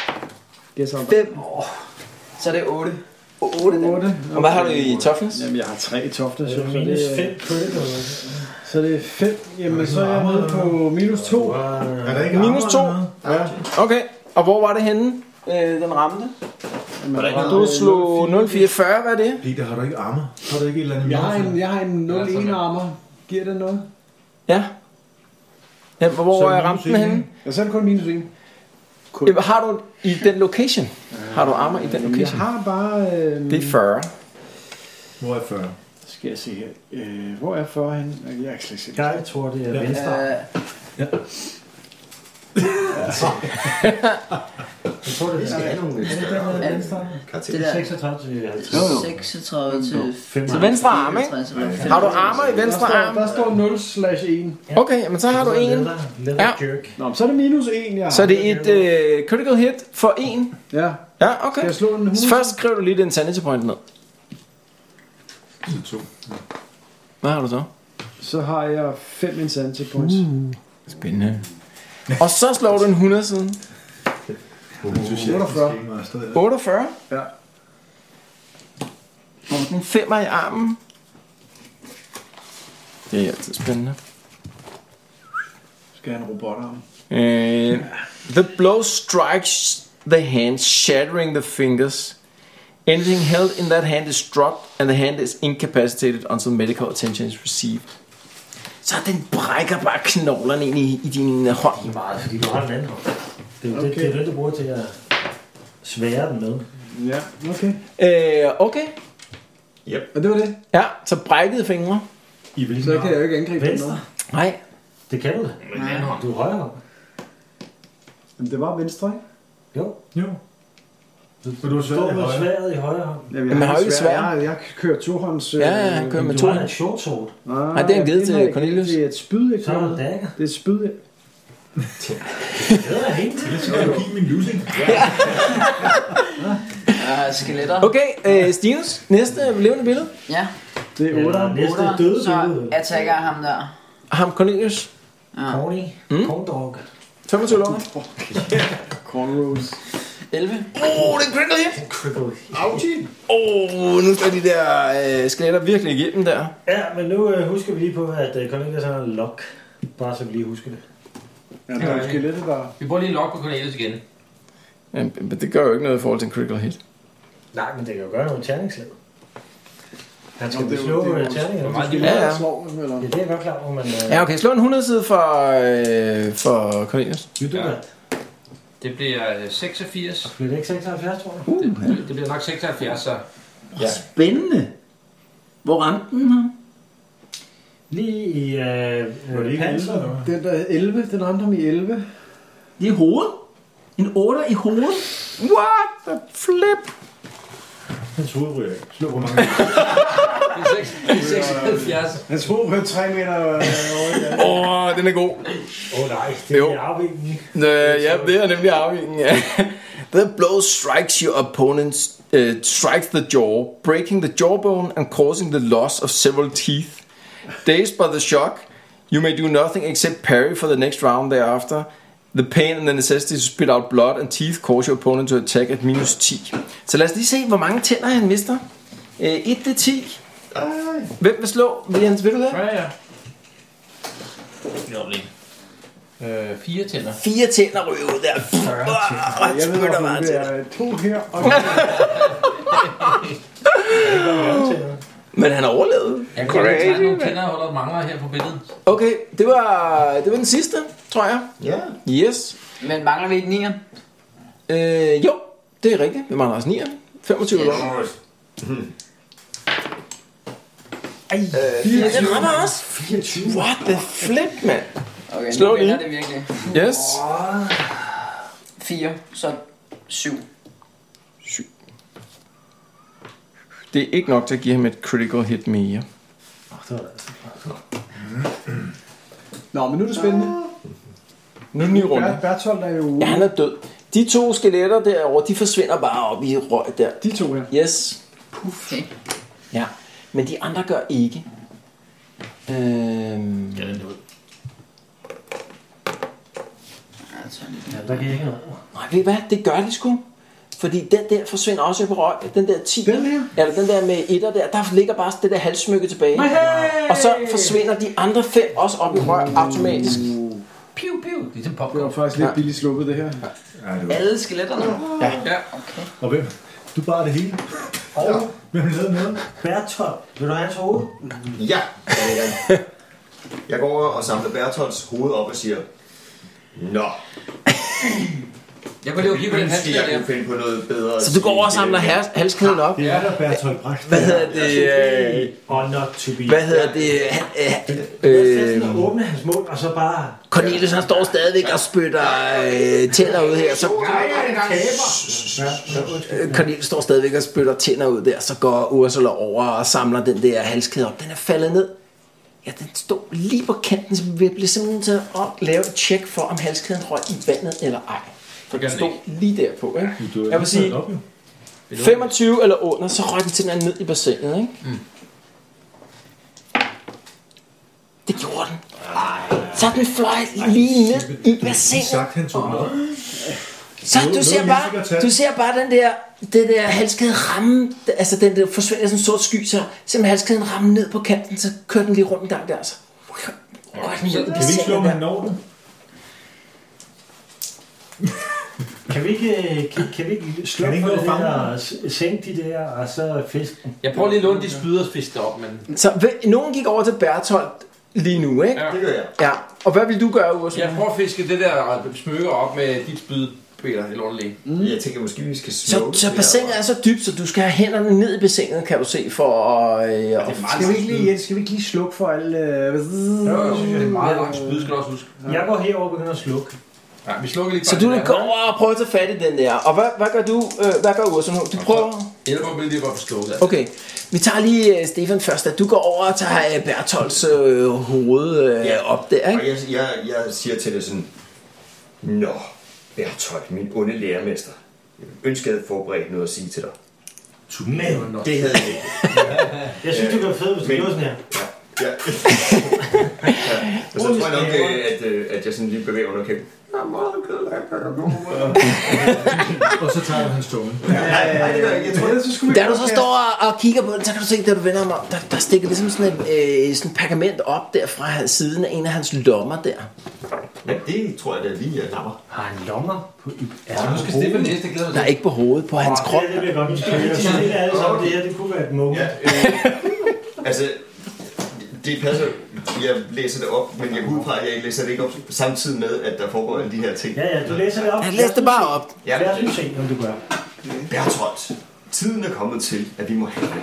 Speaker 3: Guess up.
Speaker 8: 5 år. Så er det 8.
Speaker 3: 8. 8.
Speaker 4: Og hvad har du i Toffens?
Speaker 3: Jamen, jeg har tre tofter, så, så
Speaker 2: Minus 5
Speaker 3: det,
Speaker 2: på det.
Speaker 3: så det er 5. Jamen, så er jeg nede på minus 2.
Speaker 6: Er der ikke
Speaker 4: Minus
Speaker 6: armor
Speaker 4: 2.
Speaker 6: eller noget?
Speaker 4: Okay, og hvor var det henne, øh, den ramte?
Speaker 3: Hvordan
Speaker 4: Du slog 044, hvad er det?
Speaker 6: Peter, har du ikke armor? Har du ikke et eller andet
Speaker 3: Jeg har
Speaker 6: mirakel?
Speaker 3: en, jeg har en 0-1 armor. Giver det noget?
Speaker 4: Ja. ja hvor
Speaker 6: Så
Speaker 4: hvor er
Speaker 6: minus
Speaker 4: ramte den
Speaker 6: en,
Speaker 4: henne?
Speaker 6: ikke?
Speaker 3: Ja, så er det kun minus 1.
Speaker 4: Jamen, Har du i den location? Har du armor i den
Speaker 3: Jamen, jeg
Speaker 4: location?
Speaker 3: har bare... Øh,
Speaker 4: Det er 40.
Speaker 6: Hvor er 40?
Speaker 3: Skal jeg se her. Øh, hvor er 40 henne? Jeg kan slet ikke se det.
Speaker 2: Jeg tror, det er venstre.
Speaker 8: Øh,
Speaker 2: Jeg tror, det er
Speaker 7: have nogle øh,
Speaker 2: den der med venstre.
Speaker 8: det
Speaker 7: karakterer.
Speaker 8: der
Speaker 2: 36 til 50.
Speaker 8: 36 til
Speaker 4: Til venstre arm, ikke? Har du armor i
Speaker 3: Der
Speaker 4: venstre
Speaker 3: står,
Speaker 4: arm?
Speaker 3: der står 0 slash 1.
Speaker 4: Okay, jamen så har du en.
Speaker 2: Leather
Speaker 4: Ja.
Speaker 2: jerk.
Speaker 3: Nå, men så er det minus 1, jeg har.
Speaker 4: Så det er et øh, critical hit for en.
Speaker 3: Ja.
Speaker 4: Ja, okay.
Speaker 3: Skal jeg slå en 100?
Speaker 4: Først skriver du lige den sanity point ned.
Speaker 6: To.
Speaker 4: Hvad har du så?
Speaker 3: Så har jeg 5 insanity points.
Speaker 4: Hmm. Spændende. Og så slår du en 100 siden.
Speaker 6: Jeg synes, jeg
Speaker 3: 48.
Speaker 6: ikke er stadig.
Speaker 4: 48.
Speaker 3: Ja.
Speaker 4: En femmer i armen. Det er altid spændende.
Speaker 3: Skal jeg have en robotarm?
Speaker 4: Uh, the blow strikes the hand, shattering the fingers. Anything held in that hand is dropped, and the hand is incapacitated until medical attention is received. Så den brækker bare knoglerne ind i, i din øh, hånd.
Speaker 2: Meget, fordi du har den anden hånd. Det er jo det,
Speaker 3: Okay.
Speaker 2: det, er det, du bruger til at svære den med.
Speaker 3: Ja, okay.
Speaker 4: Uh, okay,
Speaker 3: Og det var det.
Speaker 4: ja, så brækkede fingre.
Speaker 6: I hvilken
Speaker 3: Så kan jeg jo ikke angribe den
Speaker 2: Venstre?
Speaker 3: noget.
Speaker 4: Nej,
Speaker 2: Det kan du da. Du er højre hånd.
Speaker 3: Men det var venstre, ikke?
Speaker 2: Jo.
Speaker 6: Jo. Men du har
Speaker 2: Du står
Speaker 6: svært i
Speaker 2: med
Speaker 6: højre.
Speaker 2: sværet i højre hånd.
Speaker 3: Jamen,
Speaker 4: Men han har jo ikke sværd.
Speaker 3: Jeg, har- jeg kører tohånds... øh,
Speaker 4: ja, ja, han kører
Speaker 2: Men
Speaker 4: med
Speaker 2: du
Speaker 4: to.
Speaker 2: har en short sword.
Speaker 3: Nej,
Speaker 4: Nej, det er en givet til
Speaker 3: jeg finder ikke.
Speaker 4: Cornelius.
Speaker 3: Det er et spyd, ikke?
Speaker 2: Så er der en dagger.
Speaker 3: Det er et spyd. ikke?
Speaker 2: Det er helt
Speaker 6: Så kan du give min losing.
Speaker 8: øh, skeletter.
Speaker 4: Okay, uh, Stinus, næste levende billede.
Speaker 8: Ja,
Speaker 3: Det er
Speaker 2: Eller
Speaker 3: 8.
Speaker 2: næste
Speaker 8: otter,
Speaker 2: døde
Speaker 8: så
Speaker 2: billede.
Speaker 8: attacker jeg ham der.
Speaker 4: Ham Cornelius,
Speaker 8: Ja.
Speaker 2: Corny.
Speaker 4: Mm.
Speaker 2: Corn dog.
Speaker 4: 25 låner.
Speaker 3: Cornrows.
Speaker 8: 11.
Speaker 4: Åh, oh, det er critical hit.
Speaker 2: Cripple.
Speaker 4: Åh, oh, nu skal de der øh, skeletter virkelig igennem der.
Speaker 2: Ja, men nu øh, husker vi lige på, at øh, Cornelius har en lock. Bare så vi lige husker det.
Speaker 3: Ja, der er jo skelettet, der...
Speaker 5: Vi bruger lige lok på Cornelius igen.
Speaker 4: Jamen, men det gør jo ikke noget i forhold til en critical hit.
Speaker 2: Nej, men det kan jo gøre noget terningslag. Han skal jo
Speaker 3: Nå, det er jo-
Speaker 2: slå
Speaker 3: det er jo-
Speaker 2: øh, terningerne.
Speaker 5: meget
Speaker 2: Det
Speaker 4: Ja, ja.
Speaker 3: Slår, eller?
Speaker 2: er det, jeg er godt klar over, men øh,
Speaker 4: Ja, okay. Slå en 100 side for, øh, for Cornelius.
Speaker 2: vil du
Speaker 5: Ja.
Speaker 2: da?
Speaker 5: Det bliver øh, 86.
Speaker 2: Bliver det ikke 76, tror jeg?
Speaker 5: Det, det bliver nok 76, så.
Speaker 12: Spændende. Hvor ramte den her?
Speaker 2: Lige i øh, øh, panser.
Speaker 3: Den der 11, den ramte ham i 11.
Speaker 12: Det er hovedet. En 8 i hovedet.
Speaker 4: What the flip?
Speaker 6: Hans hoved ryger ikke. Slå hvor mange.
Speaker 5: Det er seks- det er 76.
Speaker 3: [LAUGHS] Hans hoved rød 3 meter øh, over i
Speaker 4: [LAUGHS] Åh, oh, den er god.
Speaker 2: Åh oh, nej, det
Speaker 4: Jo.
Speaker 2: er arvingen.
Speaker 4: Øh, ja, det er nemlig afhængig af. The blow strikes your opponent's uh, strikes the jaw, breaking the jawbone and causing the loss of several teeth. Dazed by the shock, you may do nothing except parry for the next round thereafter. The pain and the necessity to spit out blood and teeth cause your opponent to attack at minus 10. Så lad os lige se, hvor mange tænder han mister. Uh, 1 til 10. Hvem vil slå? Vil, Jens, vil du det?
Speaker 5: Ja, ja. Nå, lige. Øh, fire tænder.
Speaker 13: Fire tænder ryger ud der. Og han spytter meget til dig.
Speaker 3: To her og
Speaker 4: Men han overlevede.
Speaker 5: Jeg kan godt tegne nogle tænder, hvor der mangler her på billedet.
Speaker 4: Okay, det var, det var den sidste, tror jeg.
Speaker 7: Ja.
Speaker 4: Yes.
Speaker 8: Men mangler vi ikke nier?
Speaker 4: Øh, jo, det er rigtigt. Vi mangler også 9. 25 yes. år.
Speaker 8: Ja, det rammer også.
Speaker 4: What the flip, mand?
Speaker 8: Okay,
Speaker 4: Slå
Speaker 8: nu
Speaker 4: lige.
Speaker 8: vender det virkelig.
Speaker 4: Yes.
Speaker 8: 4, så 7.
Speaker 4: Det er ikke nok til at give ham et critical hit mere.
Speaker 3: Nå, men nu er det spændende.
Speaker 4: Nu er det en ny runde.
Speaker 3: Bert- Bertolt er jo ude.
Speaker 4: Ja, han er død. De to skeletter derovre, de forsvinder bare op i røg der.
Speaker 3: De to her.
Speaker 4: Yes.
Speaker 8: Okay.
Speaker 4: Ja. Men de andre gør ikke. Øhm,
Speaker 5: Ja, den er ud.
Speaker 2: Ja, der gik ikke noget.
Speaker 4: nej, ved I hvad? Det gør de sgu. Fordi den der forsvinder også på røg. Den der 10. Den her? Eller den der med etter der. Der ligger bare det der halssmykke tilbage.
Speaker 2: Hey!
Speaker 4: Og så forsvinder de andre fem også op i røg automatisk.
Speaker 5: Piu, piu.
Speaker 3: Det
Speaker 5: Det er som
Speaker 3: var
Speaker 5: Ligesom popcorn.
Speaker 3: faktisk lidt billigt sluppet, det her.
Speaker 6: Ja, det var.
Speaker 8: Alle skeletterne?
Speaker 5: Ja.
Speaker 8: Okay.
Speaker 6: Og hvem? Du bare det hele. Hvem lavede noget?
Speaker 2: Bertolt, vil du have hans hoved?
Speaker 7: Ja. [LAUGHS] Jeg, jeg går over og samler Bertolds hoved op og siger, Nå,
Speaker 5: Jeg kunne lige give på den
Speaker 7: ønske,
Speaker 5: halskæde
Speaker 7: jeg
Speaker 5: der.
Speaker 7: kunne finde på noget bedre. øh,
Speaker 4: Så du går over og samler hals- halskæden op.
Speaker 6: Det er der, Bertolt Brecht.
Speaker 4: Hvad hedder det? Øh,
Speaker 2: Or not to be.
Speaker 4: hvad hedder det? Han,
Speaker 2: Jeg
Speaker 4: øh,
Speaker 2: skal
Speaker 4: øh,
Speaker 2: sådan at åbne hans mund, og så bare...
Speaker 4: Cornelius han står stadigvæk og spytter øh, tænder ud her. Så, øh, Cornelius står stadigvæk og spytter tænder ud der. Så går Ursula over og samler den der halskæde op. Den er faldet ned. Ja, den stod lige på kanten, så vi bliver simpelthen til at lave et tjek for, om halskæden røg i vandet eller ej. For den
Speaker 5: Det gør den
Speaker 4: stod lige derpå, ikke? Jeg vil sige,
Speaker 6: Op, jo.
Speaker 4: 25 eller under, så røg den simpelthen ned i bassinet, ikke? Mm. Det gjorde den. Så den fløj lige ned i bassinet.
Speaker 6: Sagt, han tog den op.
Speaker 4: Så
Speaker 6: Nu- nu
Speaker 4: du
Speaker 6: er
Speaker 4: ser
Speaker 6: det helt sikkert
Speaker 4: bare,
Speaker 6: tæt.
Speaker 4: du ser bare den der, den der halskæde ramme, altså den der forsvinder sådan en sort sky, så simpelthen halskæden rammer ned på kanten, så kører den lige rundt en gang der, altså. Røg den ned i
Speaker 6: Kan vi ikke slå,
Speaker 4: bassinet
Speaker 6: om han
Speaker 4: der.
Speaker 6: når den?
Speaker 2: Kan vi ikke, øh, kan, kan vi ikke slå
Speaker 6: Kan vi ikke
Speaker 2: for
Speaker 6: nå
Speaker 2: det
Speaker 6: at fange
Speaker 2: der,
Speaker 6: ham?
Speaker 2: og s- sænke de der, og så fisk den?
Speaker 5: Jeg prøver lige at låne de spyderfisk op, men
Speaker 4: Så hvem- nogen gik over til Bertolt lige nu, ikke?
Speaker 5: Ja.
Speaker 7: Det gør jeg.
Speaker 4: Ja. Og hvad vil du gøre, Ursula?
Speaker 5: jeg prøver at fiske det der smykke op med dit spyd, Peter, eller ordentligt.
Speaker 6: Mm.
Speaker 7: Jeg tænker, måske vi skal
Speaker 4: Så,
Speaker 7: smoke.
Speaker 4: så bassinet er så dybt, så du skal have hænderne ned i bassinet, kan du se, for at... Øh, ja,
Speaker 3: Skal vi ikke lige, Jens, skal vi ikke lige slukke for alle... Øh,
Speaker 5: Jo, jo, det er meget langt spyd, skal du også huske.
Speaker 2: Jeg går herover og begynder at slukke.
Speaker 5: Nej, vi slukker lige
Speaker 4: så du går over og prøver at tage fat i den der. Og hvad, hvad gør du, øh, hvad gør Ursula nu? Du prøver...
Speaker 5: Hjælper mig lige bare at slukket.
Speaker 4: Okay, vi tager lige øh, Stefan først. at Du går over og tager øh, Bertolds øh, hoved øh,
Speaker 7: Ja.
Speaker 4: op der,
Speaker 7: Og
Speaker 4: ikke?
Speaker 7: jeg, jeg, jeg siger til det sådan, Nå, Bertolt, min onde lærermester. Jeg ønskede, jeg havde forberedt noget at sige til dig.
Speaker 2: Men
Speaker 7: Det havde jeg ikke.
Speaker 2: jeg synes, det bliver fedt, hvis det
Speaker 7: Men-
Speaker 2: går sådan her.
Speaker 7: Ja. ja. ja. Og så tror jeg nok, øh, at, øh, at jeg sådan lige bevæger underkæben. Jeg er meget ked af, at jeg går.
Speaker 6: Og så tager han hans tunge.
Speaker 7: Nej, nej, det gør jeg ikke. Jeg tror,
Speaker 3: Ellers så skulle vi...
Speaker 4: Da du så står og, og kigger på den, så kan du se, da du vender ham om, der, der stikker ligesom sådan et øh, sådan pergament op der fra hans- siden af en af hans lommer der.
Speaker 7: Ja, det tror jeg da lige, jeg napper.
Speaker 2: Har han lommer på i
Speaker 5: Ja, nu skal Stefan næste, det glæder mig
Speaker 4: Der er
Speaker 5: til.
Speaker 4: ikke på hovedet, på hans krop.
Speaker 2: Ja, det vil jeg godt. lide. Jeg synes, det er alle sammen, det her, det kunne være et moment.
Speaker 7: Ja, øh, altså, det passer. Jeg læser det op, men jeg går ud fra, at jeg ikke læser det ikke op samtidig med, at der foregår alle de her ting.
Speaker 2: Ja, ja, du læser det op.
Speaker 4: Han læste det bare op.
Speaker 7: Ja,
Speaker 2: Lad os nu se, om du gør.
Speaker 7: Bertolt, tiden er kommet til, at vi må handle.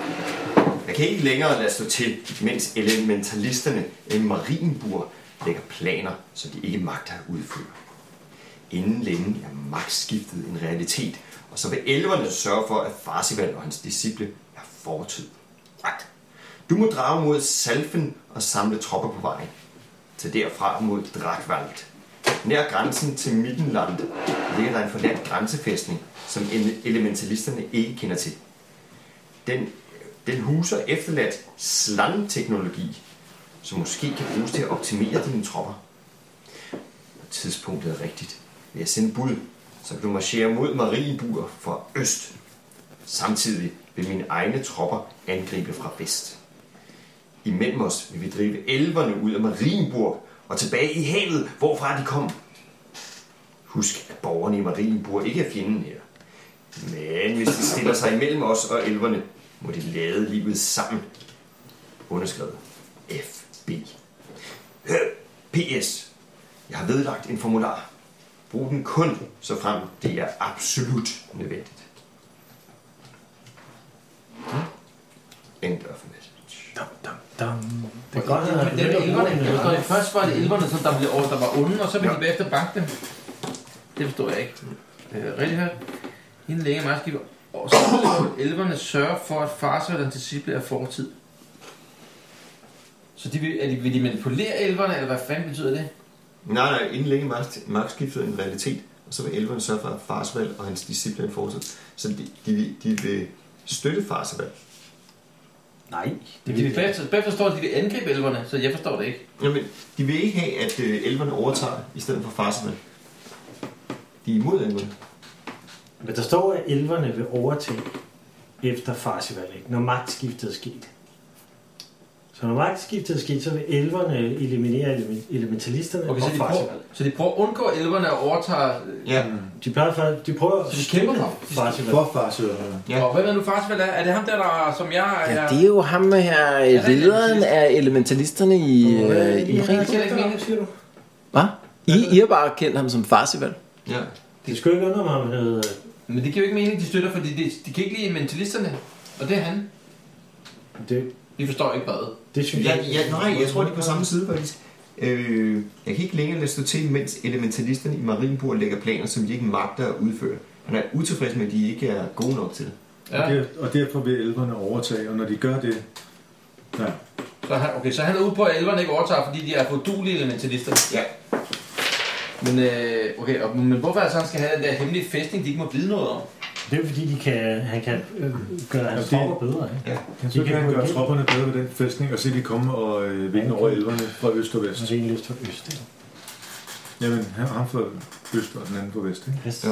Speaker 7: Jeg kan ikke længere lade stå til, mens elementalisterne i Marienburg lægger planer, som de ikke magter at udføre. Inden længe er magtskiftet en realitet, og så vil elverne sørge for, at Farsival og hans disciple er fortid. Right. Du må drage mod Salfen og samle tropper på vejen. Til derfra mod Drakvald. Nær grænsen til Mittenland ligger der en forladt grænsefæstning, som ele- elementalisterne ikke kender til. Den, den huser efterladt slangeteknologi, som måske kan bruges til at optimere dine tropper. Når tidspunktet er rigtigt, vil jeg sende bud, så kan du marchere mod Marienburg fra øst. Samtidig vil mine egne tropper angribe fra vest. Imellem os vil vi drive elverne ud af Marienburg og tilbage i havet, hvorfra de kom. Husk, at borgerne i Marienburg ikke er fjenden her. Men hvis de stiller sig imellem os og elverne, må de lade livet sammen. Underskrevet. FB. Hør, PS. Jeg har vedlagt en formular. Brug den kun, så frem det er absolut nødvendigt. Hm? End of message. Dum, dum, dum.
Speaker 5: Det er godt, at han
Speaker 7: er
Speaker 5: det var elverne. Jeg forstår ikke. Først var det elverne, som der, blev, og der var onde, og så ville de bagefter banke dem. Det forstår jeg ikke. Det er rigtig hørt. Hende læge meget skidt. Og så må elverne sørge for, at farsøgteren til disciple er fortid. Så de vil, er de, vil de manipulere elverne, eller hvad fanden betyder det?
Speaker 7: Nej, nej, inden længe magt- magtskiftet er en realitet, og så vil elverne sørge for, at Farsvald og hans disciple er en fortsat. Så de, de, de vil støtte Farsvald. Nej.
Speaker 5: De vil bagefter, bagefter står, at de vil angribe elverne, så jeg forstår det ikke.
Speaker 7: Jamen, de vil ikke have, at øh, elverne overtager i stedet for Farsvald. De er imod elverne.
Speaker 2: Men der står, at elverne vil overtage efter Farsivald, ikke? når magtskiftet er sket. Så når magtskiftet er sket, så vil elverne eliminere element- elementalisterne okay,
Speaker 5: Okay, så
Speaker 2: og
Speaker 5: de, prøver,
Speaker 2: Farsivald.
Speaker 5: så de prøver at undgå elverne og overtager...
Speaker 7: Ja.
Speaker 2: De, plejer, for- de prøver at
Speaker 5: Så de
Speaker 2: støtte
Speaker 5: kæmper for- de-
Speaker 2: Farsivald.
Speaker 5: for
Speaker 2: Farsivald.
Speaker 5: Ja. Og hvem er nu Farsvald er? Er det ham der, der som jeg er...
Speaker 4: Ja, det er jo ham her, øh, lederen af elementalisterne i, øh, i
Speaker 5: Jeg
Speaker 4: Marienborg.
Speaker 5: kender ikke meningen, siger du.
Speaker 4: Hvad? I, I har bare kendt ham som Farsivald.
Speaker 7: Ja.
Speaker 2: Det skulle ikke undre mig, øh, om han hedder...
Speaker 5: Men det giver jo ikke mening, de støtter, fordi de, de kan ikke lide mentalisterne. Og det er han.
Speaker 2: Det...
Speaker 5: De forstår ikke hvad.
Speaker 2: Det
Speaker 7: Ja, ja, nej, jeg tror, de er på samme side faktisk. Øh, jeg kan ikke længere lade stå til, mens elementalisterne i Marienburg lægger planer, som de ikke magter at udføre. Han er utilfreds med, at de ikke er gode nok til.
Speaker 6: Ja. Og, der, og derfor vil elverne overtage, og når de gør det... Ja.
Speaker 5: Så han, okay, så han er ude på, at elverne ikke overtager, fordi de er fordulige elementalister.
Speaker 7: Ja.
Speaker 5: Men, øh, okay, og, men hvorfor altså han skal have den der hemmelige fæstning, de ikke må vide noget om?
Speaker 2: Det er jo fordi, de kan, han kan øh, gøre hans tropper bedre. Ikke?
Speaker 7: Ja.
Speaker 6: Han så
Speaker 2: De
Speaker 6: kan han
Speaker 2: gå
Speaker 6: gøre
Speaker 2: igennem.
Speaker 6: tropperne bedre ved den fæstning, og se de komme og øh, vinde over elverne fra øst og vest.
Speaker 2: Altså en lyst fra øst. ikke?
Speaker 6: Jamen, han ham fra øst og den anden fra vest, ikke?
Speaker 2: Yes.
Speaker 7: Jo.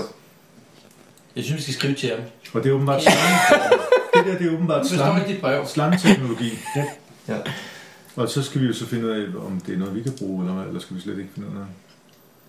Speaker 5: Jeg synes, vi skal skrive til ham.
Speaker 6: Og det er åbenbart slange. det der, det er åbenbart
Speaker 5: Jeg forstår ikke dit brev.
Speaker 6: slange, slangeteknologi.
Speaker 2: Ja.
Speaker 7: Ja.
Speaker 6: Og så skal vi jo så finde ud af, om det er noget, vi kan bruge, eller, hvad, eller skal vi slet ikke finde ud af.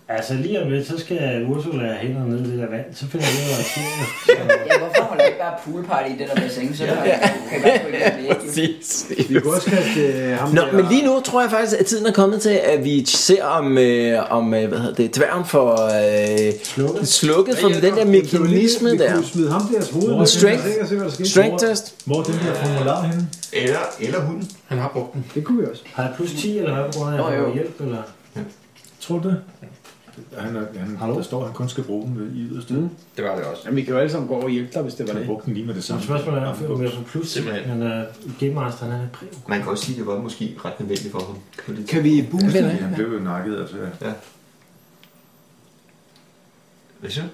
Speaker 2: Altså lige om lidt, så skal Ursula have hænderne ned i det der vand, så finder jeg ud af, at det er-
Speaker 8: Ja, hvorfor holder I ikke bare poolparty i den der bassine? Så kan man kan bare gå igennem det.
Speaker 4: Præcis.
Speaker 3: Vi kunne også kaste øh, ham
Speaker 4: Nå,
Speaker 3: der...
Speaker 4: men lige nu tror jeg faktisk, at tiden er kommet til, at vi ser om, øh, om øh, hvad hedder det, dværgen for øh, slukket, slukket for den der mekanisme
Speaker 3: vi
Speaker 4: der.
Speaker 3: kunne smide ham deres hoved.
Speaker 4: En strength,
Speaker 3: og se, hvad der sker.
Speaker 4: strength test.
Speaker 6: Hvor er den her formular henne?
Speaker 7: Eller, eller hunden.
Speaker 5: Han har brugt den.
Speaker 3: Det kunne vi også.
Speaker 2: Har jeg plus 10, eller hvad, bruger jeg
Speaker 8: Nå, jo.
Speaker 2: for hjælp, eller?
Speaker 6: Tror du det? Han, er, han, der står, at han kun skal bruge den ved i yderste. Mm.
Speaker 5: Det var det også.
Speaker 3: Jamen, vi kan jo alle sammen gå over og hjælpe dig, hvis det var
Speaker 6: Han
Speaker 3: det.
Speaker 6: brugte den lige med det
Speaker 2: Så
Speaker 6: samme.
Speaker 2: spørgsmålet er, om jeg får plus,
Speaker 5: Simpelthen.
Speaker 2: men uh, Game Master, han er præv.
Speaker 7: Man kan også sige, at det var måske ret nødvendigt for ham. På det
Speaker 3: Kan vi booste?
Speaker 6: Fordi han blev jo nakket, altså. ja.
Speaker 7: Ja. Hvad siger du?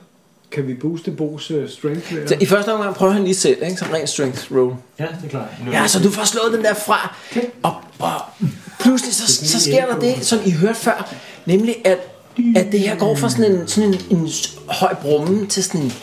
Speaker 3: Kan vi booste Bo's øh, strength?
Speaker 4: Så i første omgang prøver han lige selv, ikke? Som ren strength roll.
Speaker 2: Ja, det er klart.
Speaker 4: Ja, så du får slået den der fra, og, og pludselig så, så sker der det, som I hørte før, nemlig at, at det her går fra sådan en, sådan en, en s- høj brumme til sådan en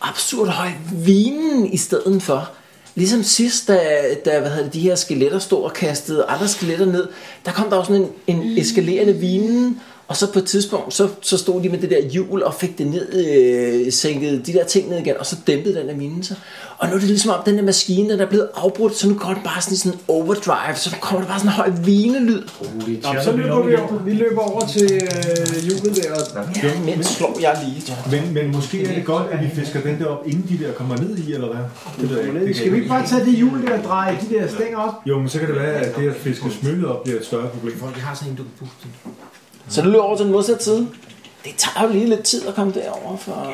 Speaker 4: absurd høj vinen i stedet for. Ligesom sidst, da, da hvad hedder det, de her skeletter stod og kastede andre skeletter ned, der kom der også sådan en, en eskalerende vinen, og så på et tidspunkt, så, så stod de med det der hjul og fik det ned, øh, sænkede de der ting ned igen, og så dæmpede den der mine sig. Og nu er det ligesom om, den der maskine, den er blevet afbrudt, så nu går det bare sådan i sådan en overdrive, så kommer der bare sådan en høj vinelyd.
Speaker 3: Nå, så løber vi over. Vi løber over til øh, hjulet der.
Speaker 4: Ja, men slår jeg lige.
Speaker 6: Men, men måske er det godt, at vi fisker den der op, inden de der kommer ned i, eller hvad? Det ved jeg ikke. Det
Speaker 3: Skal vi ikke bare tage det hjul der og dreje de der stænger op?
Speaker 6: Jo, men så kan det være, at det at fiske smykket op bliver et større problem.
Speaker 5: Folk, de har sådan en, du kan puste den.
Speaker 4: Så nu løber jeg over til den modsatte side. Det tager jo lige lidt tid at komme derover, for...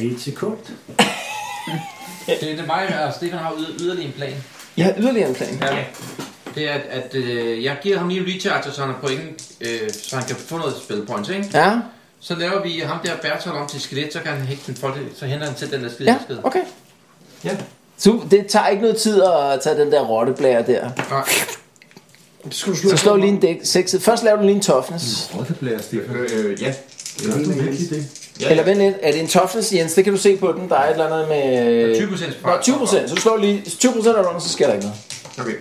Speaker 2: Ja, et sekund.
Speaker 5: [LAUGHS] Det er det mig, og Stefan har yder- yderligere en plan.
Speaker 4: Jeg har yderligere en plan.
Speaker 5: Ja. Det er, at, at øh, jeg giver ham lige en recharge, så han har point, øh, så han kan få noget spilpoints, ikke?
Speaker 4: Ja,
Speaker 5: Så laver vi ham der Bertolt om til skelet, så kan han hægte den folk, så henter han til den der skelet.
Speaker 4: ja, okay.
Speaker 7: Ja.
Speaker 4: Så det tager ikke noget tid at tage den der rotteblære der.
Speaker 5: Nej,
Speaker 4: Så slå lige en dæk, sekset. Først laver du lige en toughness.
Speaker 6: Rotteblærer, Stefan.
Speaker 7: Øh, øh, ja.
Speaker 6: Det er en vigtig idé.
Speaker 7: ja,
Speaker 4: Eller vent lidt, er det en toughness, Jens? Det kan du se på den. Der er et eller andet med...
Speaker 5: 20%
Speaker 4: Nå, 20 så du slår lige... 20 er der under, så sker der ikke noget.
Speaker 7: Okay.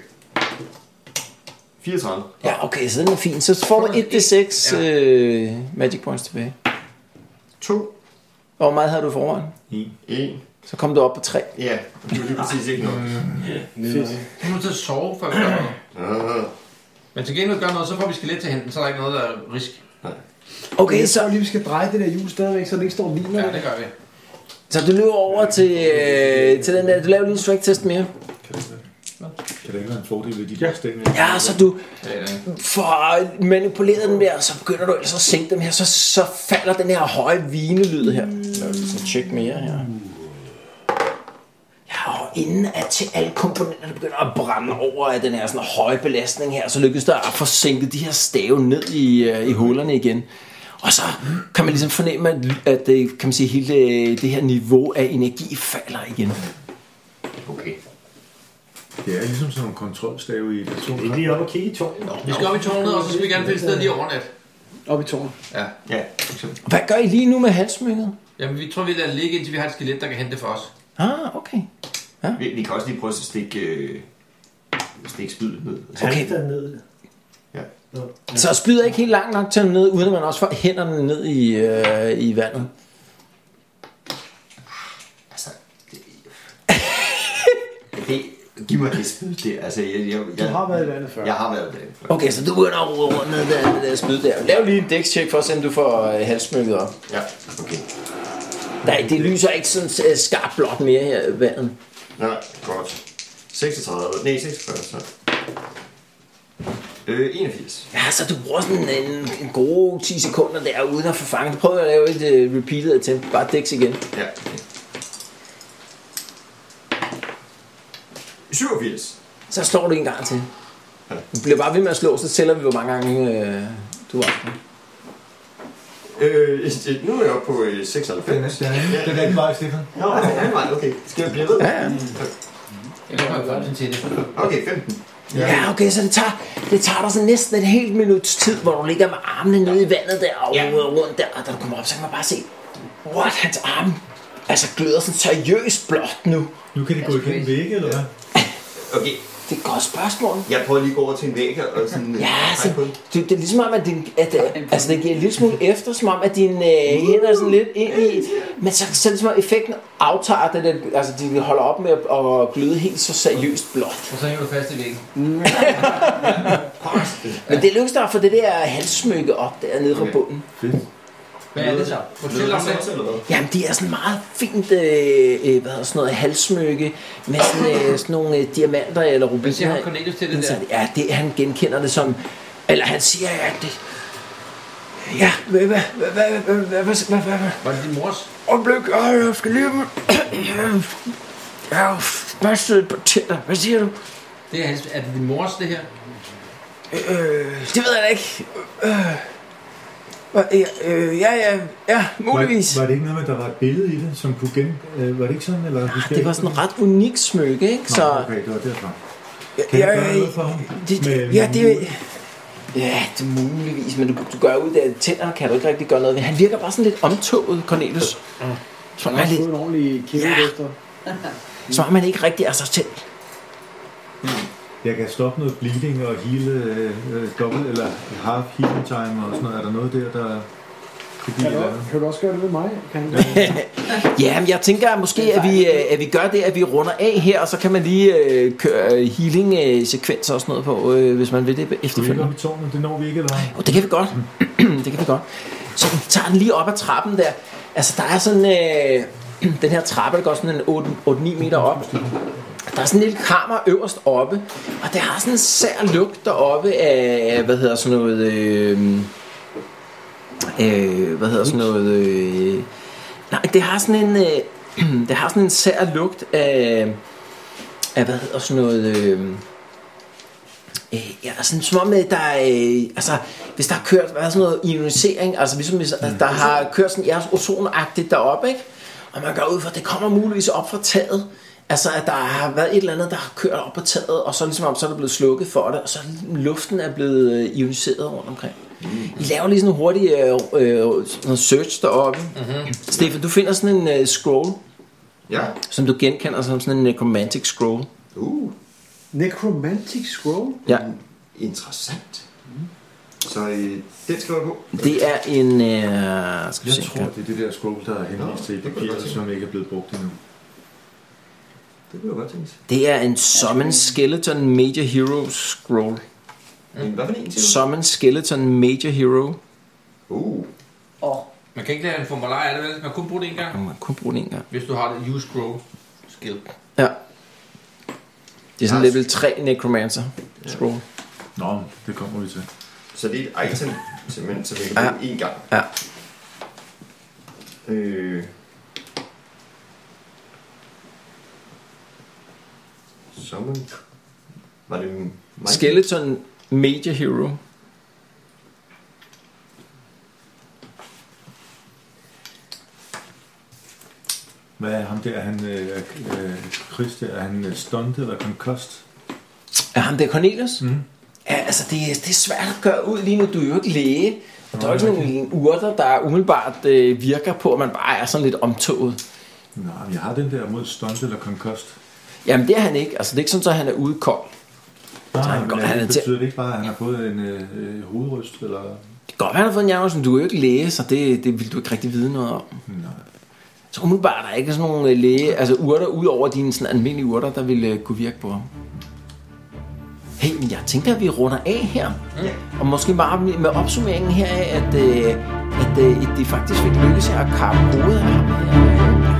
Speaker 7: 34.
Speaker 4: Ja, okay, så den er fin. Så får du 1d6 ja. øh, magic points tilbage.
Speaker 7: 2.
Speaker 4: Og hvor meget havde du i forvejen?
Speaker 7: 1.
Speaker 4: Så kom du op på 3.
Speaker 7: Ja, det var lige præcis ikke noget.
Speaker 5: Nu er nødt til at sove, før vi gør noget.
Speaker 7: Ah,
Speaker 5: Men til gengæld gør noget, så får vi skelet til henten, så er der ikke noget, der er risk.
Speaker 4: Okay,
Speaker 3: Så
Speaker 4: så,
Speaker 3: lige, vi skal dreje det der hjul stadigvæk, så det ikke står og ligner.
Speaker 5: Ja, det gør vi.
Speaker 4: så du løber over til, øh, til den der. Du laver lige en strength test mere.
Speaker 6: Kan det ikke være en fordel ved de der stænger?
Speaker 4: Ja, så du
Speaker 5: Det er det.
Speaker 4: får manipuleret den der, og så begynder du ellers at sænke dem her. Så, så falder den her høje vinelyd her. Laver lige sådan tjek mere her. Ja, og inden at til alle komponenterne begynder at brænde over af den her sådan høje belastning her, så lykkes der at få sænket de her stave ned i, øh, i hullerne igen. Og så kan man ligesom fornemme, at, at øh, kan man sige, hele øh, det her niveau af energi falder igen.
Speaker 5: Okay.
Speaker 6: Det er ligesom sådan nogle kontrolstave i et atomkraft.
Speaker 2: Vi er oppe og kigge i tårnet.
Speaker 5: Vi skal op i tårnet, og så skal vi gerne finde et sted lige overnat.
Speaker 3: Op i tårnet.
Speaker 5: Ja.
Speaker 7: Ja,
Speaker 4: Hvad gør I lige nu med halsmyndet?
Speaker 5: Jamen, vi tror, vi lader det ligge, indtil vi har et skelet, der kan hente det for os.
Speaker 4: Ah, okay.
Speaker 7: vi, vi kan også lige prøve at stikke, øh, stikke spydet ned. Altså,
Speaker 4: Okay,
Speaker 2: Dernede.
Speaker 4: Så spyder ikke helt langt nok til den ned, uden at man også får hænderne ned i, øh, i vandet.
Speaker 7: Altså, det... det giv mig det spyd der. Altså, jeg, jeg, jeg,
Speaker 3: Du har været i vandet før.
Speaker 7: Jeg har været i vandet før.
Speaker 4: Okay, så du begynder at rode rundt ned der, det der spyd der. Lav lige en dækstjek for at se, om du får øh, halssmykket op.
Speaker 7: Ja, okay.
Speaker 4: Nej, det lyser ikke sådan øh, skarpt blåt mere her i vandet.
Speaker 7: Nej, godt. 36. Nej, 46. Så. Øh, 81.
Speaker 4: Ja, så du bruger sådan en, en gode 10 sekunder der, uden at få fanget. Prøv at lave et øh, repeated attempt. Bare dæks igen.
Speaker 7: Ja. 87.
Speaker 4: Så slår du en gang til. Du bliver bare ved med at slå, så tæller vi, hvor mange gange øh, du har.
Speaker 7: Øh, øh, nu er jeg oppe på øh, 96.
Speaker 6: Den er den rigtige vej, Stefan.
Speaker 7: Nå, det er mig. Okay. Skal jeg blive ved?
Speaker 4: Ja, ja.
Speaker 5: Jeg kan godt finde til det.
Speaker 7: Okay, 15.
Speaker 4: Ja, okay, så det tager, det tager dig sådan næsten et helt minuts tid, hvor du ligger med armene nede i vandet der og ja. rundt der, og da du kommer op, så kan man bare se, what, hans arm altså gløder sådan seriøst blåt nu.
Speaker 6: Nu kan det gå igennem vægge, eller hvad?
Speaker 7: Okay,
Speaker 4: Det er et godt spørgsmål.
Speaker 7: jeg prøver lige at gå over til en væg og sådan... øh,
Speaker 4: Ja,
Speaker 7: pege
Speaker 4: altså,
Speaker 7: på den.
Speaker 4: det, det er ligesom om, at, din, at øh, altså, det giver en lille smule efter, som om, at dine øh, hænder er sådan lidt ind i, et- men så, så ligesom, at effekten aftager, det, der, altså, de holder op med at, at gløde helt så seriøst blåt.
Speaker 5: Og så hænger du fast i væggen.
Speaker 4: Men det lykkes dig at få det der halssmykke op der nede fra bunden.
Speaker 5: Hvad er det så? Fortæl om det.
Speaker 4: Jamen, det er sådan meget fint, øh, øh, hvad hedder sådan noget, halssmykke med sådan, øh, sådan nogle øh, diamanter eller
Speaker 5: Hvad siger
Speaker 4: rubiner.
Speaker 5: ham Cornelius til det der?
Speaker 4: Han- Ja, det, han genkender det som, eller han siger, ja, det, Ja, hvad, hvad, hvad, hvad, hvad, hvad, hvad, hvad, hvad, hvad,
Speaker 5: Var det din mors?
Speaker 4: Øjeblik, øh, jeg skal lige... Jeg har mastet på tænder. Hvad siger du?
Speaker 5: Det er, hans, er det din mors, det her?
Speaker 4: Øh, det ved jeg da ikke. Øh, øh, øh, ja, ja, ja, muligvis.
Speaker 6: Var, var det ikke noget med, at der var et billede i det, som kunne gen... Øh, var det ikke sådan, eller...
Speaker 4: Ah, Det var sådan en ret unik smykke, ikke?
Speaker 6: Så...
Speaker 4: Så,
Speaker 6: Okay, det var derfra. Kan
Speaker 4: ja,
Speaker 6: jeg gøre noget for ham?
Speaker 4: Det,
Speaker 6: Med-
Speaker 4: ja, det,
Speaker 6: med-
Speaker 4: ja, det er muligvis, men du, du gør ud af tænder, kan du ikke rigtig gøre noget ved. Han virker bare sådan lidt omtoget, Cornelius. Som om han,
Speaker 3: Jeg har fået
Speaker 4: lidt,
Speaker 3: en ordentlig kæde
Speaker 4: Ja.
Speaker 3: efter.
Speaker 4: som om han ikke rigtig er sig selv.
Speaker 6: Jeg kan stoppe noget bleeding og hele øh, øh, dobbelt, eller half healing time og sådan noget. Er der noget der, der kunne blive et
Speaker 3: Kan du,
Speaker 6: eller andet?
Speaker 3: kan du også gøre det ved mig? Kan jeg?
Speaker 4: Ja, men jeg tænker måske, at vi, øh, at vi gør det, at vi runder af her, og så kan man lige øh, køre øh, healing-sekvenser og sådan noget på, øh, hvis man vil det
Speaker 6: Du er ikke
Speaker 4: efterfølgende.
Speaker 6: oppe i tårnet, det når vi ikke, eller hvad?
Speaker 4: Oh, det kan vi godt. [CLEARS THROAT] det kan vi godt. Så vi tager den lige op ad trappen der. Altså, der er sådan... Øh, [CLEARS THROAT] den her trappe, der går sådan en 8-9 meter op. Der er sådan en lille kammer øverst oppe, og det har sådan en sær lugt deroppe af, hvad hedder sådan noget, øh, øh, hvad hedder sådan noget, øh, nej, det har sådan en, øh, [CLEARS THROAT] det har sådan en sær lugt af, af hvad hedder sådan noget, øh, Øh, ja, sådan som om, øh, der er, øh, altså, hvis der har kørt hvad er sådan noget ionisering, altså ligesom hvis mm. der har kørt sådan jeres ozonagtigt deroppe, ikke? Og man går ud fra, at det kommer muligvis op fra taget. Altså, at der har været et eller andet, der har kørt op på taget, og så ligesom om, så er det blevet slukket for det, og så er luften er blevet øh, ioniseret rundt omkring. I laver lige sådan en hurtig øh, øh, sådan en search deroppe.
Speaker 6: Mhm.
Speaker 4: Mm-hmm. Stefan, du finder sådan en øh, scroll,
Speaker 7: Ja.
Speaker 4: som øh, du genkender som sådan en necromantic scroll.
Speaker 7: Uh.
Speaker 3: Necromantic Scroll?
Speaker 4: Ja.
Speaker 7: Interessant.
Speaker 6: Mhm.
Speaker 7: Så øh, den skal jeg på.
Speaker 4: Det er en... Øh, skal vi
Speaker 6: Jeg
Speaker 4: se,
Speaker 6: tror, det er det der scroll, der er henvist til i
Speaker 7: Nå, det kunne jeg godt
Speaker 6: papiret,
Speaker 7: se.
Speaker 6: som ikke er blevet brugt endnu.
Speaker 7: Det kunne jeg godt tænke sig.
Speaker 4: det er en Summon Skeleton Major Hero Scroll.
Speaker 7: Men hvad for en til?
Speaker 4: Summon Skeleton Major Hero.
Speaker 7: Uh,
Speaker 8: Åh,
Speaker 5: Man kan ikke lade en formular af det, vel? Man kan kun bruge det en gang,
Speaker 4: Og man kun bruge den en gang.
Speaker 5: hvis du har det use grow skill.
Speaker 4: Ja. Det er sådan level 3 Necromancer Scroll.
Speaker 6: Nå, det kommer vi til.
Speaker 7: så det er et item, simpelthen, som jeg kan bruge én gang.
Speaker 4: Ja.
Speaker 7: Øh. Summon. Var det mig?
Speaker 4: Skeleton Major Hero.
Speaker 6: Hvad er ham der, han, øh, øh, Chris der, er han øh, stuntet eller concussed?
Speaker 4: Er ham der Cornelius?
Speaker 6: Mhm.
Speaker 4: Ja, altså det, er- det er svært at gøre ud lige nu. Du er jo ikke læge. Og der er jo ikke nogen urter, der umiddelbart øh, virker på, at man bare er sådan lidt omtoget.
Speaker 6: Nej, men jeg har den der mod stuntet eller concussed.
Speaker 4: Jamen det er han ikke. Altså det er ikke sådan, at han er ude kold.
Speaker 6: Nej,
Speaker 4: han
Speaker 6: men
Speaker 4: går-
Speaker 6: er
Speaker 4: han er
Speaker 6: det
Speaker 4: til-
Speaker 6: betyder det ikke bare, at han har fået en øh, øh, hovedryst, eller...
Speaker 4: Det kan godt være, han har fået en hjerne, men du er jo ikke læge, så det, det vil du ikke rigtig vide noget om.
Speaker 6: Nej.
Speaker 4: Så umiddelbart er der ikke sådan nogle øh, læge, altså urter ud over dine sådan almindelige urter, der ville øh, kunne virke på ham. Hey, men jeg tænker, at vi runder af her. Og måske bare med med opsummeringen her af, at, øh, at øh, at det faktisk fik lykkes jer at kappe hovedet af ham her.